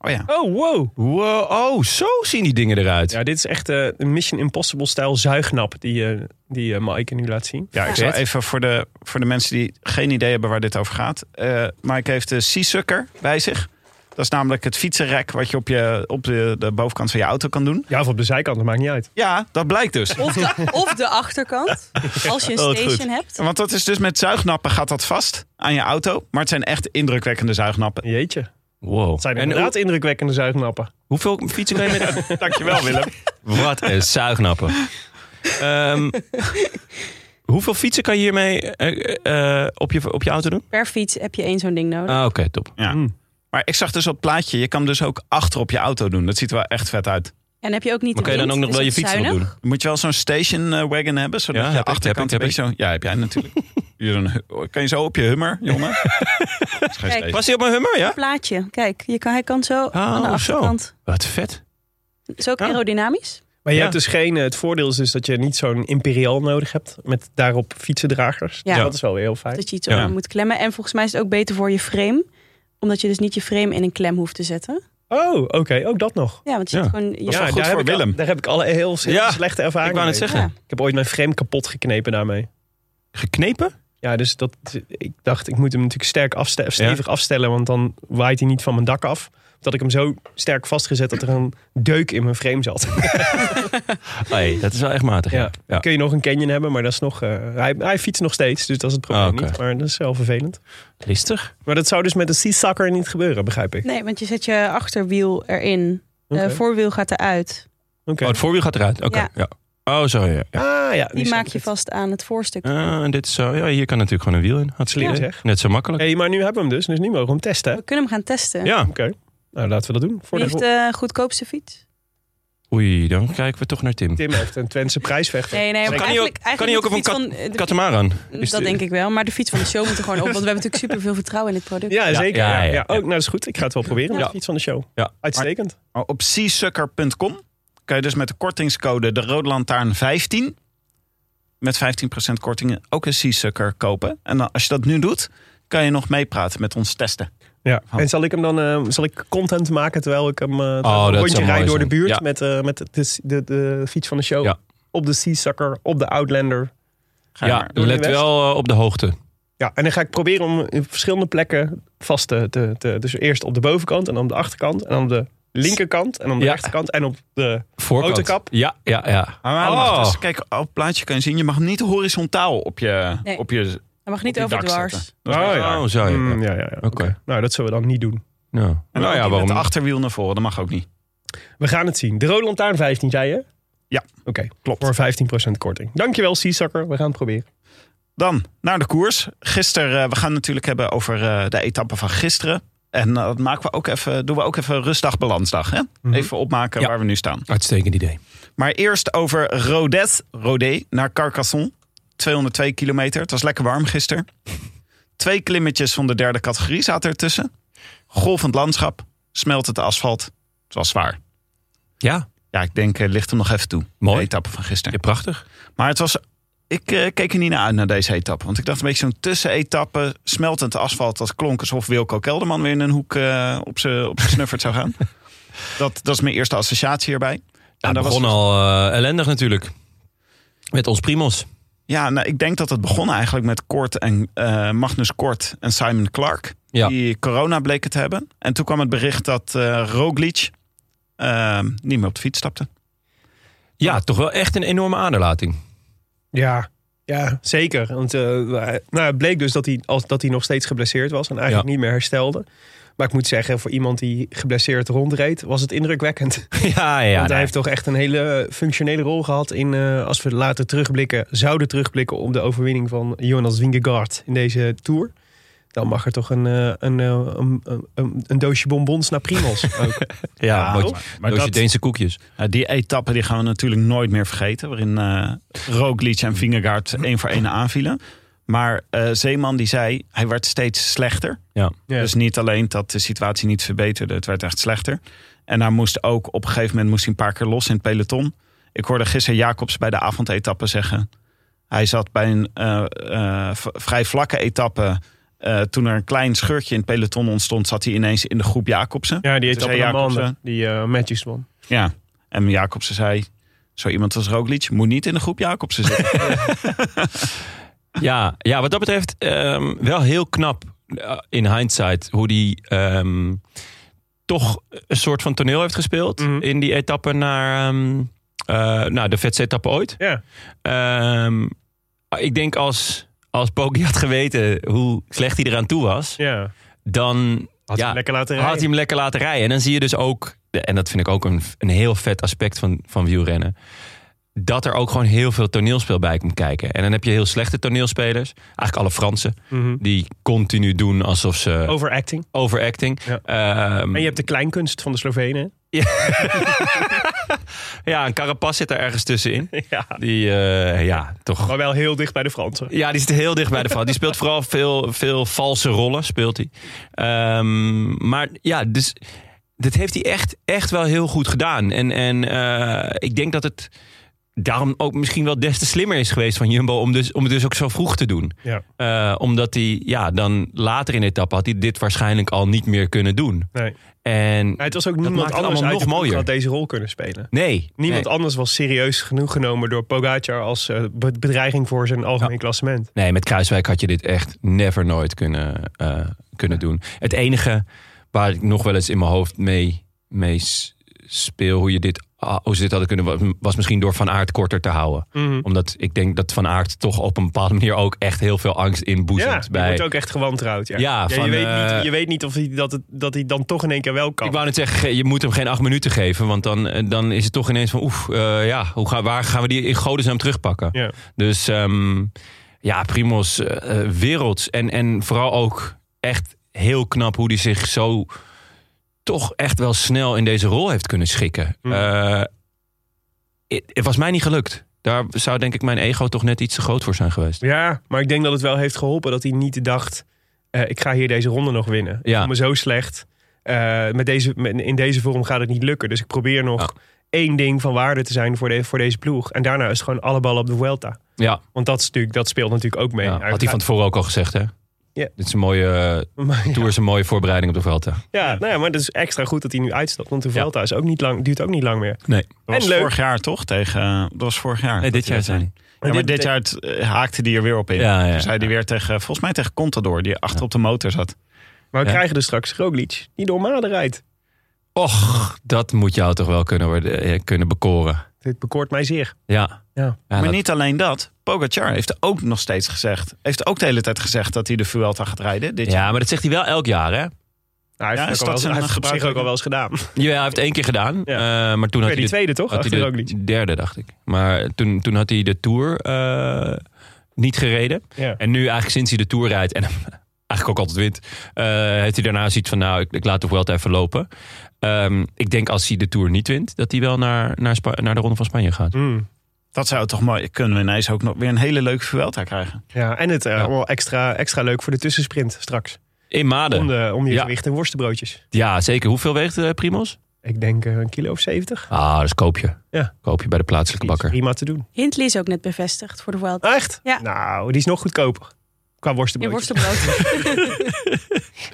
Speaker 3: Oh ja.
Speaker 5: oh wow.
Speaker 4: Wow, oh, zo zien die dingen eruit.
Speaker 5: Ja, dit is echt eh, een Mission Impossible-stijl zuignap die, eh, die eh, Mike nu laat zien.
Speaker 3: Ja, ik zal
Speaker 4: Vet.
Speaker 3: even voor de, voor de mensen die geen idee hebben waar dit over gaat. Eh Mike heeft de Seasucker bij zich. Dat is namelijk het fietsenrek wat je op, je, op de, de bovenkant van je auto kan doen.
Speaker 5: Ja, of op de zijkant, dat maakt niet uit.
Speaker 3: Ja, dat blijkt dus.
Speaker 6: Of de, of de achterkant, als je een
Speaker 3: Oh, wat goed.
Speaker 6: station hebt.
Speaker 3: Want dat is dus met zuignappen gaat dat vast aan je auto. Maar het zijn echt indrukwekkende zuignappen.
Speaker 5: Jeetje. Het
Speaker 4: Wow.
Speaker 5: zijn
Speaker 4: en
Speaker 5: inderdaad
Speaker 4: hoe-
Speaker 5: indrukwekkende zuignappen.
Speaker 4: hoeveel fietsen kan je met
Speaker 3: Dankjewel Willem.
Speaker 4: Wat een zuignappen. Ehm, hoeveel fietsen kan je hiermee eh, eh, op, je, op je auto doen?
Speaker 6: Per fiets heb je één zo'n ding nodig.
Speaker 4: Ah, oké, top.
Speaker 3: Ja. Maar ik zag dus op het plaatje, je kan hem dus ook achter op je auto doen. Dat ziet er wel echt vet uit.
Speaker 6: En heb je ook niet
Speaker 4: Maar
Speaker 6: de
Speaker 4: kan je dan
Speaker 6: wind,
Speaker 4: ook nog
Speaker 6: dus
Speaker 4: wel
Speaker 6: dat
Speaker 4: je
Speaker 6: is
Speaker 4: fiets op
Speaker 6: zuinig.
Speaker 4: doen?
Speaker 3: Dan Moet je wel zo'n station eh, wagon hebben, zodat
Speaker 4: Ja,
Speaker 3: je
Speaker 4: heb ik,
Speaker 3: achterkant
Speaker 4: heb ik,
Speaker 3: een beetje zo... Ja, heb jij natuurlijk. Je zo'n hu- kan je zo op je hummer, jongen? Dat is geen
Speaker 6: Kijk.
Speaker 3: station.
Speaker 4: Was hij op mijn hummer, ja?
Speaker 6: Plaatje, kijk, je kan, hij kan zo aan de
Speaker 4: zo.
Speaker 6: achterkant.
Speaker 4: Wat vet.
Speaker 6: Het is ook
Speaker 4: Ja.
Speaker 6: aerodynamisch.
Speaker 5: Maar je
Speaker 4: Ja.
Speaker 5: hebt dus geen... eh, Het voordeel is dus dat je niet zo'n imperiaal nodig hebt met daarop fietsendragers.
Speaker 6: Ja.
Speaker 5: Dus dat is wel weer heel fijn.
Speaker 6: Dat je iets
Speaker 4: Ja.
Speaker 6: aan moet klemmen. En volgens mij is het ook beter voor je frame. Omdat je dus niet je frame in een klem hoeft te zetten.
Speaker 5: Oh, oké. Ook dat nog.
Speaker 6: Ja, want je
Speaker 4: Ja.
Speaker 6: zit gewoon... Ja,
Speaker 3: wel goed
Speaker 5: daar
Speaker 3: voor
Speaker 5: heb ik al-
Speaker 3: Willem.
Speaker 5: daar heb ik al heel s-
Speaker 4: Ja,
Speaker 5: slechte ervaring
Speaker 4: Ik wou net
Speaker 5: mee.
Speaker 4: zeggen.
Speaker 6: Ja.
Speaker 5: Ik heb ooit mijn frame kapot geknepen daarmee.
Speaker 4: Geknepen?
Speaker 5: Ja, dus dat, ik dacht, ik moet hem natuurlijk sterk afste of stevig afstellen, want dan waait hij niet van mijn dak af. Dat ik hem zo sterk vastgezet dat er een deuk in mijn frame zat.
Speaker 4: Nee, dat is wel echt matig. Ja.
Speaker 5: Ja.
Speaker 4: Ja.
Speaker 5: Kun je nog een canyon hebben, maar dat is nog. eh, hij, hij fietst nog steeds, dus dat is het probleem
Speaker 4: Ah, oké.
Speaker 5: niet. Maar dat is wel vervelend.
Speaker 4: Listig.
Speaker 5: Maar dat zou dus met een seasucker niet gebeuren, begrijp ik.
Speaker 6: Nee, want je zet je achterwiel erin.
Speaker 5: Oké.
Speaker 6: Eh, voorwiel gaat eruit.
Speaker 5: Oké.
Speaker 4: Oh, het voorwiel gaat eruit. Oké.
Speaker 6: Ja.
Speaker 4: Ja. Oh, zo ja. ja.
Speaker 5: Ah ja, nu
Speaker 6: Die
Speaker 5: snap
Speaker 6: maak
Speaker 5: ik
Speaker 6: je
Speaker 5: het.
Speaker 6: vast aan het voorstuk.
Speaker 4: Eh, en dit is zo. Ja, hier kan natuurlijk gewoon een wiel in. Had
Speaker 5: Slim
Speaker 4: slim.
Speaker 5: zeg.
Speaker 4: Net zo makkelijk.
Speaker 5: hey, maar nu hebben we hem dus, dus nu mogen we hem testen. hè?
Speaker 6: We kunnen hem gaan testen.
Speaker 4: Ja.
Speaker 5: Oké, nou laten we dat doen. Voor
Speaker 6: Wie
Speaker 5: de
Speaker 6: heeft de goedkoopste fiets?
Speaker 4: Oei, dan kijken we toch naar
Speaker 6: eh,
Speaker 4: Tim.
Speaker 5: Tim heeft een Twentse prijsvechter.
Speaker 6: Nee, nee.
Speaker 4: hij
Speaker 6: maar
Speaker 4: ook-
Speaker 6: eigenlijk,
Speaker 4: kan hij
Speaker 6: eigenlijk
Speaker 4: ook op
Speaker 6: moet
Speaker 4: een
Speaker 6: de
Speaker 4: kat-
Speaker 6: fiets van, eh, de-
Speaker 4: Katamaran. Is
Speaker 6: dat
Speaker 4: de-
Speaker 6: denk ik wel. Maar de fiets van de show moet er gewoon op. Want we hebben natuurlijk superveel vertrouwen in dit product.
Speaker 5: Ja, zeker. Ja,
Speaker 4: ja,
Speaker 5: ja,
Speaker 4: ja, ja.
Speaker 5: Oh, nou, dat is goed. Ik ga het wel proberen.
Speaker 4: Ja.
Speaker 5: Ja. Iets van de show.
Speaker 4: Ja.
Speaker 5: Uitstekend.
Speaker 3: Maar Oh, Op seasucker.com kan je dus met de kortingscode de Rode Lantaarn 15 met 15% korting ook een Seasucker kopen. En dan, als je dat nu doet, kan je nog meepraten met ons testen.
Speaker 5: Ja. En zal ik hem dan eh, zal ik content maken terwijl ik hem eh,
Speaker 4: Oh, dat
Speaker 5: een
Speaker 4: zou
Speaker 5: rondje
Speaker 4: mooi
Speaker 5: rijd door de
Speaker 4: zijn.
Speaker 5: buurt
Speaker 4: Ja.
Speaker 5: met, eh, met de, de, de fiets van de show.
Speaker 4: Ja.
Speaker 5: Op de Seasucker, op de Outlander.
Speaker 3: Ga je
Speaker 4: Ja,
Speaker 3: maar.
Speaker 5: Doe
Speaker 4: let
Speaker 5: je best.
Speaker 4: wel eh, op de hoogte.
Speaker 5: Ja, en dan ga ik proberen om in verschillende plekken vast te, te, te... Dus eerst op de bovenkant en dan op de achterkant en dan op de linkerkant en op de
Speaker 4: Ja. Oh,
Speaker 5: rechterkant en op de...
Speaker 4: Voorkant.
Speaker 5: Autokap?
Speaker 4: Ja, ja, ja.
Speaker 3: Maar hij
Speaker 4: Oh.
Speaker 3: mag dus- kijk, op het plaatje kan je zien, je mag hem niet horizontaal op je...
Speaker 6: Nee.
Speaker 3: Op je
Speaker 6: Hij mag niet
Speaker 3: op je
Speaker 6: over
Speaker 3: dak
Speaker 6: dwars.
Speaker 3: zetten. Dat is
Speaker 5: Oh,
Speaker 3: wel-
Speaker 5: ja.
Speaker 4: Oh, zo ja.
Speaker 5: Mm,
Speaker 4: ja.
Speaker 5: ja, ja, ja.
Speaker 4: Oké.
Speaker 5: Nou, dat zullen we dan niet doen.
Speaker 4: Nou,
Speaker 3: En
Speaker 4: nou ja, waarom?
Speaker 3: Met de
Speaker 4: niet?
Speaker 3: achterwiel naar voren, dat mag ook niet.
Speaker 5: We gaan het zien. De Rode Lantaarn 15, zei je?
Speaker 3: Ja.
Speaker 5: Oké, klopt. Voor 15% korting. Dankjewel, Seasucker. We gaan het proberen.
Speaker 3: Dan naar de koers. Gisteren, eh, we gaan natuurlijk hebben over eh, de etappe van gisteren. En eh, dat maken we ook even, doen we ook even rustdag balansdag. Hè? Even opmaken
Speaker 4: Mhm. Ja.
Speaker 3: waar we nu staan.
Speaker 4: Uitstekend idee.
Speaker 3: Maar eerst over Rodet, Rodé naar Carcassonne. 202 kilometer. Het was lekker warm gisteren. Twee klimmetjes van de derde categorie zaten ertussen. Golvend landschap, smelt het asfalt. Het was zwaar.
Speaker 4: Ja,
Speaker 3: Ja, ik denk, eh, ligt hem nog even toe.
Speaker 4: Mooi.
Speaker 3: De etappe van gisteren.
Speaker 4: ja prachtig.
Speaker 3: Maar het was. Ik eh, keek er niet naar uit naar deze etappe. Want ik dacht een beetje zo'n tussenetappe. Smeltend asfalt. Dat klonk alsof Wilco Kelderman weer in een hoek eh, op zijn op z'n snuffert zou gaan. Dat, dat is mijn eerste associatie hierbij.
Speaker 4: Ja,
Speaker 3: En
Speaker 4: het
Speaker 3: dat
Speaker 4: begon
Speaker 5: dus-
Speaker 3: was,
Speaker 4: al eh, ellendig natuurlijk. Met ons primos.
Speaker 3: ja nou, ik denk dat het begon eigenlijk met Kort en, eh, Magnus Kort en Simon Clark.
Speaker 4: Ja.
Speaker 3: Die corona bleken te hebben. En toen kwam het bericht dat eh Roglic eh, niet meer op de fiets stapte.
Speaker 4: Ja, toch wel echt een enorme aderlating.
Speaker 5: Ja, ja zeker. Want eh, nou, het bleek dus dat hij, als, dat hij nog steeds geblesseerd was en eigenlijk
Speaker 4: Ja.
Speaker 5: niet meer herstelde. Maar ik moet zeggen, voor iemand die geblesseerd rondreed, was het indrukwekkend.
Speaker 4: ja,
Speaker 5: Want
Speaker 4: ja.
Speaker 5: hij
Speaker 4: nee.
Speaker 5: heeft toch echt een hele functionele rol gehad in, eh, als we later terugblikken, zouden terugblikken op de overwinning van Jonas Wingegaard in deze Tour. Dan mag er toch een, eh, een, eh, een, een, een, een doosje bonbons naar Primos. ook.
Speaker 3: Ja,
Speaker 5: Nou,
Speaker 3: maar, maar
Speaker 4: Doosje
Speaker 3: dat,
Speaker 4: Deense koekjes.
Speaker 3: nou, die etappe die gaan we natuurlijk nooit meer vergeten. Waarin eh Roglic en Vingegaard één voor één aanvielen. Maar eh, Zeeman die zei, hij werd steeds slechter.
Speaker 4: Ja.
Speaker 5: Ja.
Speaker 3: Dus niet alleen dat de situatie niet verbeterde, het werd echt slechter. En daar moest ook op een gegeven moment moest hij een paar keer los in het peloton. Ik hoorde gisteren Jacobs bij de avondetappe zeggen. Hij zat bij een eh, eh, v- vrij vlakke etappe. eh, toen er een klein scheurtje in het peloton ontstond, zat hij ineens in de groep Jacobsen.
Speaker 5: Ja, die
Speaker 3: Toen
Speaker 5: heet
Speaker 3: zei
Speaker 5: Appelman,
Speaker 3: Jacobsen-
Speaker 5: die eh Magics won.
Speaker 3: Ja, en Jacobsen zei, zo iemand als Roglic moet niet in de groep Jacobsen zitten.
Speaker 4: Ja, ja, wat dat betreft ehm, wel heel knap eh, in hindsight hoe die ehm, toch een soort van toneel heeft gespeeld
Speaker 5: Mhm.
Speaker 4: in die etappe naar ehm, eh, nou, de vetste etappe ooit.
Speaker 5: Ja,
Speaker 4: Ehm, ik denk als, als Poggi had geweten hoe slecht hij eraan toe was,
Speaker 5: ja.
Speaker 4: dan
Speaker 5: Had
Speaker 4: ja,
Speaker 5: hij lekker laten
Speaker 4: had hij
Speaker 5: rijden.
Speaker 4: hem lekker laten rijden. En dan zie je dus ook, en dat vind ik ook een, een heel vet aspect van, van wielrennen, dat er ook gewoon heel veel toneelspel bij komt kijken. En dan heb je heel slechte toneelspelers, eigenlijk alle Fransen,
Speaker 5: Mhm.
Speaker 4: die continu doen alsof ze
Speaker 5: Overacting.
Speaker 4: overacting.
Speaker 5: Oh. Ja.
Speaker 4: Ehm,
Speaker 5: En je hebt de kleinkunst van de Slovenen.
Speaker 4: Ja, een carapas zit daar ergens tussenin.
Speaker 5: Ja.
Speaker 4: Die, eh, ja, toch.
Speaker 5: Maar wel heel dicht bij de Fransen.
Speaker 4: Ja, die zit heel dicht bij de fout. Die speelt vooral veel, veel valse rollen, speelt hij. Ehm, maar ja, dus dit heeft hij echt, echt wel heel goed gedaan. En, en eh, ik denk dat het daarom ook misschien wel des te slimmer is geweest van Jumbo... om, dus, om het dus ook zo vroeg te doen.
Speaker 5: Ja.
Speaker 4: Eh, omdat hij, ja, dan later in de etappe had hij dit waarschijnlijk al niet meer kunnen doen.
Speaker 5: Nee.
Speaker 4: En
Speaker 5: Maar het was ook
Speaker 4: maakt
Speaker 5: niemand
Speaker 4: het
Speaker 5: anders
Speaker 4: allemaal
Speaker 5: uit
Speaker 4: nog
Speaker 5: de ploeg
Speaker 4: mooier.
Speaker 5: had deze rol kunnen spelen.
Speaker 4: nee,
Speaker 5: Niemand
Speaker 4: nee.
Speaker 5: anders was serieus genoeg genomen door Pogacar als eh, be- bedreiging voor zijn algemeen klassement.
Speaker 4: Nee, met Kruiswijk had je dit echt never nooit kunnen, eh, kunnen doen. Het enige waar ik nog wel eens in mijn hoofd mee, mee s- speel... hoe, je dit, ah, hoe ze dit hadden kunnen... wa- was misschien door Van Aert korter te houden.
Speaker 5: Mm.
Speaker 4: Omdat ik denk dat Van Aard toch op een bepaalde manier... ook echt heel veel angst
Speaker 5: Ja,
Speaker 4: inboezemt
Speaker 5: je
Speaker 4: bij...
Speaker 5: wordt ook echt gewantrouwd. Ja,
Speaker 4: Ja, van,
Speaker 5: je, weet
Speaker 4: eh,
Speaker 5: niet, je weet niet of hij dat, het, dat hij dan toch in één keer wel kan.
Speaker 4: Ik wou net zeggen, ge- je moet hem geen acht minuten geven. Want dan, eh, dan is het toch ineens van... oef, eh, ja, hoe ga, waar gaan we die in godesnaam terugpakken?
Speaker 5: Ja.
Speaker 4: Dus ehm, ja, Primos, eh, eh, werelds. En, en vooral ook echt heel knap hoe hij zich zo toch echt wel snel in deze rol heeft kunnen schikken.
Speaker 5: Mm.
Speaker 4: Eh, het- het was mij niet gelukt. Daar zou denk ik mijn ego toch net iets te groot voor zijn geweest.
Speaker 5: Ja, maar ik denk dat het wel heeft geholpen dat hij niet dacht: eh, ik ga hier deze ronde nog winnen. Ik
Speaker 4: Ja.
Speaker 5: voel me zo slecht. Eh, met deze, met- in deze vorm gaat het niet lukken. Dus ik probeer nog één ding van waarde te zijn voor, de, voor deze ploeg. En daarna is het gewoon alle ballen op de Vuelta.
Speaker 4: Ja,
Speaker 5: Want dat, is natuurlijk, dat speelt natuurlijk ook mee.
Speaker 4: ja, had hij van tevoren ook al gezegd, hè?
Speaker 5: Ja.
Speaker 4: Dit is een mooie eh,
Speaker 5: Maar-
Speaker 4: tour, is een mooie voorbereiding op de Vuelta.
Speaker 5: ja, nou ja, maar dat is extra goed dat hij nu uitstapt. Want de Vuelta is ook niet lang, duurt ook niet lang meer.
Speaker 4: Nee,
Speaker 3: Dat was
Speaker 5: En leuk.
Speaker 3: vorig jaar toch? Tegen, eh, dat was vorig jaar.
Speaker 4: dit jaar zijn.
Speaker 3: zijn. Ja, maar dit jaar het, eh, haakte hij er weer op in.
Speaker 4: Ja, ja.
Speaker 3: Toen zei hij weer tegen, volgens mij tegen Contador, die achter op de motor zat.
Speaker 5: Maar we
Speaker 4: Ja.
Speaker 5: krijgen dus straks Roglic, die door Maden rijdt.
Speaker 4: Och, dat moet jou toch wel kunnen, worden, eh, kunnen bekoren.
Speaker 5: Dit bekoort mij zeer. Nou,
Speaker 4: Ja.
Speaker 5: Ja.
Speaker 4: dat-
Speaker 3: maar niet alleen dat. Pogacar heeft ook nog steeds gezegd. Heeft ook de hele tijd gezegd dat hij de Vuelta gaat rijden. Dit jaar.
Speaker 4: ja, maar dat zegt hij wel elk jaar, hè?
Speaker 5: Nou, hij
Speaker 3: Ja,
Speaker 5: heeft,
Speaker 3: is
Speaker 5: het ook
Speaker 3: dat
Speaker 5: al wel-
Speaker 3: zijn
Speaker 5: hij heeft het op zich
Speaker 3: gebruikelijke-
Speaker 5: ook al wel eens gedaan.
Speaker 4: Ja, hij heeft het één keer gedaan.
Speaker 5: Ja.
Speaker 4: eh, maar
Speaker 5: Bij
Speaker 4: toen had hij
Speaker 5: die
Speaker 4: de,
Speaker 5: tweede toch?
Speaker 4: had hij
Speaker 5: Achter
Speaker 4: de
Speaker 5: Roglic.
Speaker 4: derde, dacht ik. Maar toen, toen had hij de Tour eh, niet gereden.
Speaker 5: Ja.
Speaker 4: En nu eigenlijk sinds hij de Tour rijdt... en eigenlijk ook altijd wint... eh, heeft hij daarna zoiets van... nou, ik, ik laat toch wel even lopen. Ehm, ik denk als hij de Tour niet wint... dat hij wel naar, naar, Spa- naar de Ronde van Spanje gaat.
Speaker 5: Hmm.
Speaker 3: Dat zou toch mooi. Kunnen we ineens ook nog weer een hele leuke Vuelta krijgen.
Speaker 5: Ja, en het eh, allemaal extra, extra leuk voor de tussensprint straks.
Speaker 4: In Maden.
Speaker 5: Om, de, om je
Speaker 4: Ah, Ja.
Speaker 5: gewicht en worstenbroodjes.
Speaker 4: Ja, zeker. Hoeveel weegt eh, Primoz?
Speaker 5: Ik denk eh, een kilo of zeventig.
Speaker 4: Ah, dat is koop je.
Speaker 5: Ja.
Speaker 4: Koop je bij de plaatselijke bakker.
Speaker 5: Prima te doen.
Speaker 6: Hindley is ook net bevestigd voor de Vuelta.
Speaker 5: Ah, echt?
Speaker 6: Ja.
Speaker 5: Nou, die is nog goedkoper. Qua
Speaker 6: Je
Speaker 5: worstenbroodjes.
Speaker 6: worstenbrood.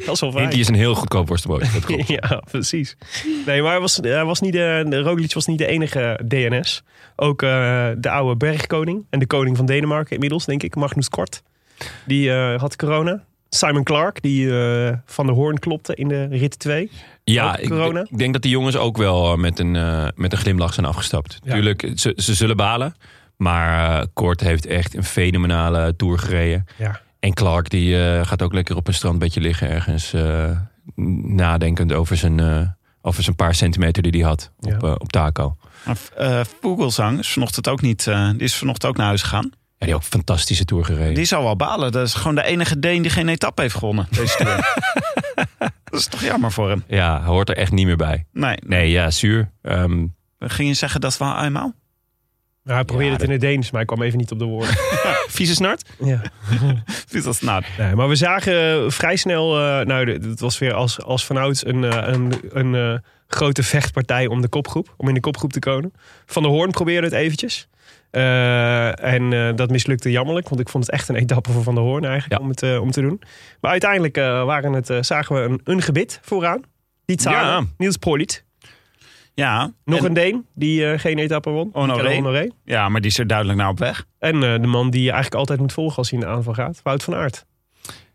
Speaker 5: dat is wel fijn.
Speaker 4: Hinti is een heel goedkoop worstenbroodje. dat klopt.
Speaker 5: Ja, precies. Nee, maar hij was, hij was niet de, de Roglic was niet de enige DNS. Ook eh, de oude bergkoning en de koning van Denemarken inmiddels, denk ik, Magnus Kort. Die eh, had corona. Simon Clark, die eh, van de hoorn klopte in de rit 2.
Speaker 4: Ja,
Speaker 5: Ook
Speaker 4: ik,
Speaker 5: corona?
Speaker 4: ik denk dat die jongens ook wel eh, met een, eh, met een glimlach zijn afgestapt.
Speaker 5: Ja.
Speaker 4: Tuurlijk, ze, ze zullen balen. Maar eh, Kort heeft echt een fenomenale tour gereden.
Speaker 5: Ja.
Speaker 4: En Clark die eh, gaat ook lekker op een strandbedje liggen ergens. eh, nadenkend over zijn, eh, over zijn paar centimeter die hij had op,
Speaker 5: Ja.
Speaker 4: eh, op Taco.
Speaker 3: Maar, eh, Vogelsang is vanochtend ook niet. eh, die is vanochtend ook naar huis gegaan.
Speaker 4: Ja, die heeft ook een fantastische tour gereden.
Speaker 3: Die zou wel balen. Dat is gewoon de enige Deen die geen etappe heeft gewonnen. Deze tour. dat is toch jammer voor hem.
Speaker 4: Ja, hij hoort er echt niet meer bij.
Speaker 3: Nee,
Speaker 4: Nee, ja, zuur. Ehm,
Speaker 3: ging je zeggen dat wel eenmaal?
Speaker 5: Nou, hij probeerde
Speaker 4: Ja,
Speaker 5: het in het Deens, maar ik kwam even niet op de woorden.
Speaker 4: vieze snart?
Speaker 5: ja.
Speaker 3: Dit was nou,
Speaker 5: Nee, maar we zagen eh, vrij snel, eh, nou, dit- het was weer als, als vanouds een, eh, een, een eh, grote vechtpartij om de kopgroep, om in de kopgroep te komen. Van der Hoorn probeerde het eventjes. Eh, en eh, dat mislukte jammerlijk, want ik vond het echt een etappe voor Van der Hoorn eigenlijk
Speaker 4: Ja.
Speaker 5: om het eh, om te doen. Maar uiteindelijk eh, waren het, eh, zagen we een, een gebit vooraan. Die Tsaren,
Speaker 4: Ja.
Speaker 5: Niels Poliet.
Speaker 3: ja,
Speaker 5: Nog
Speaker 3: en-
Speaker 5: een Deen die eh, geen etappe won.
Speaker 3: Honoré.
Speaker 5: Michele Honoré.
Speaker 3: ja, maar die is er duidelijk naar op weg.
Speaker 5: En eh, de man die je eigenlijk altijd moet volgen als hij in de aanval gaat, Wout van Aert.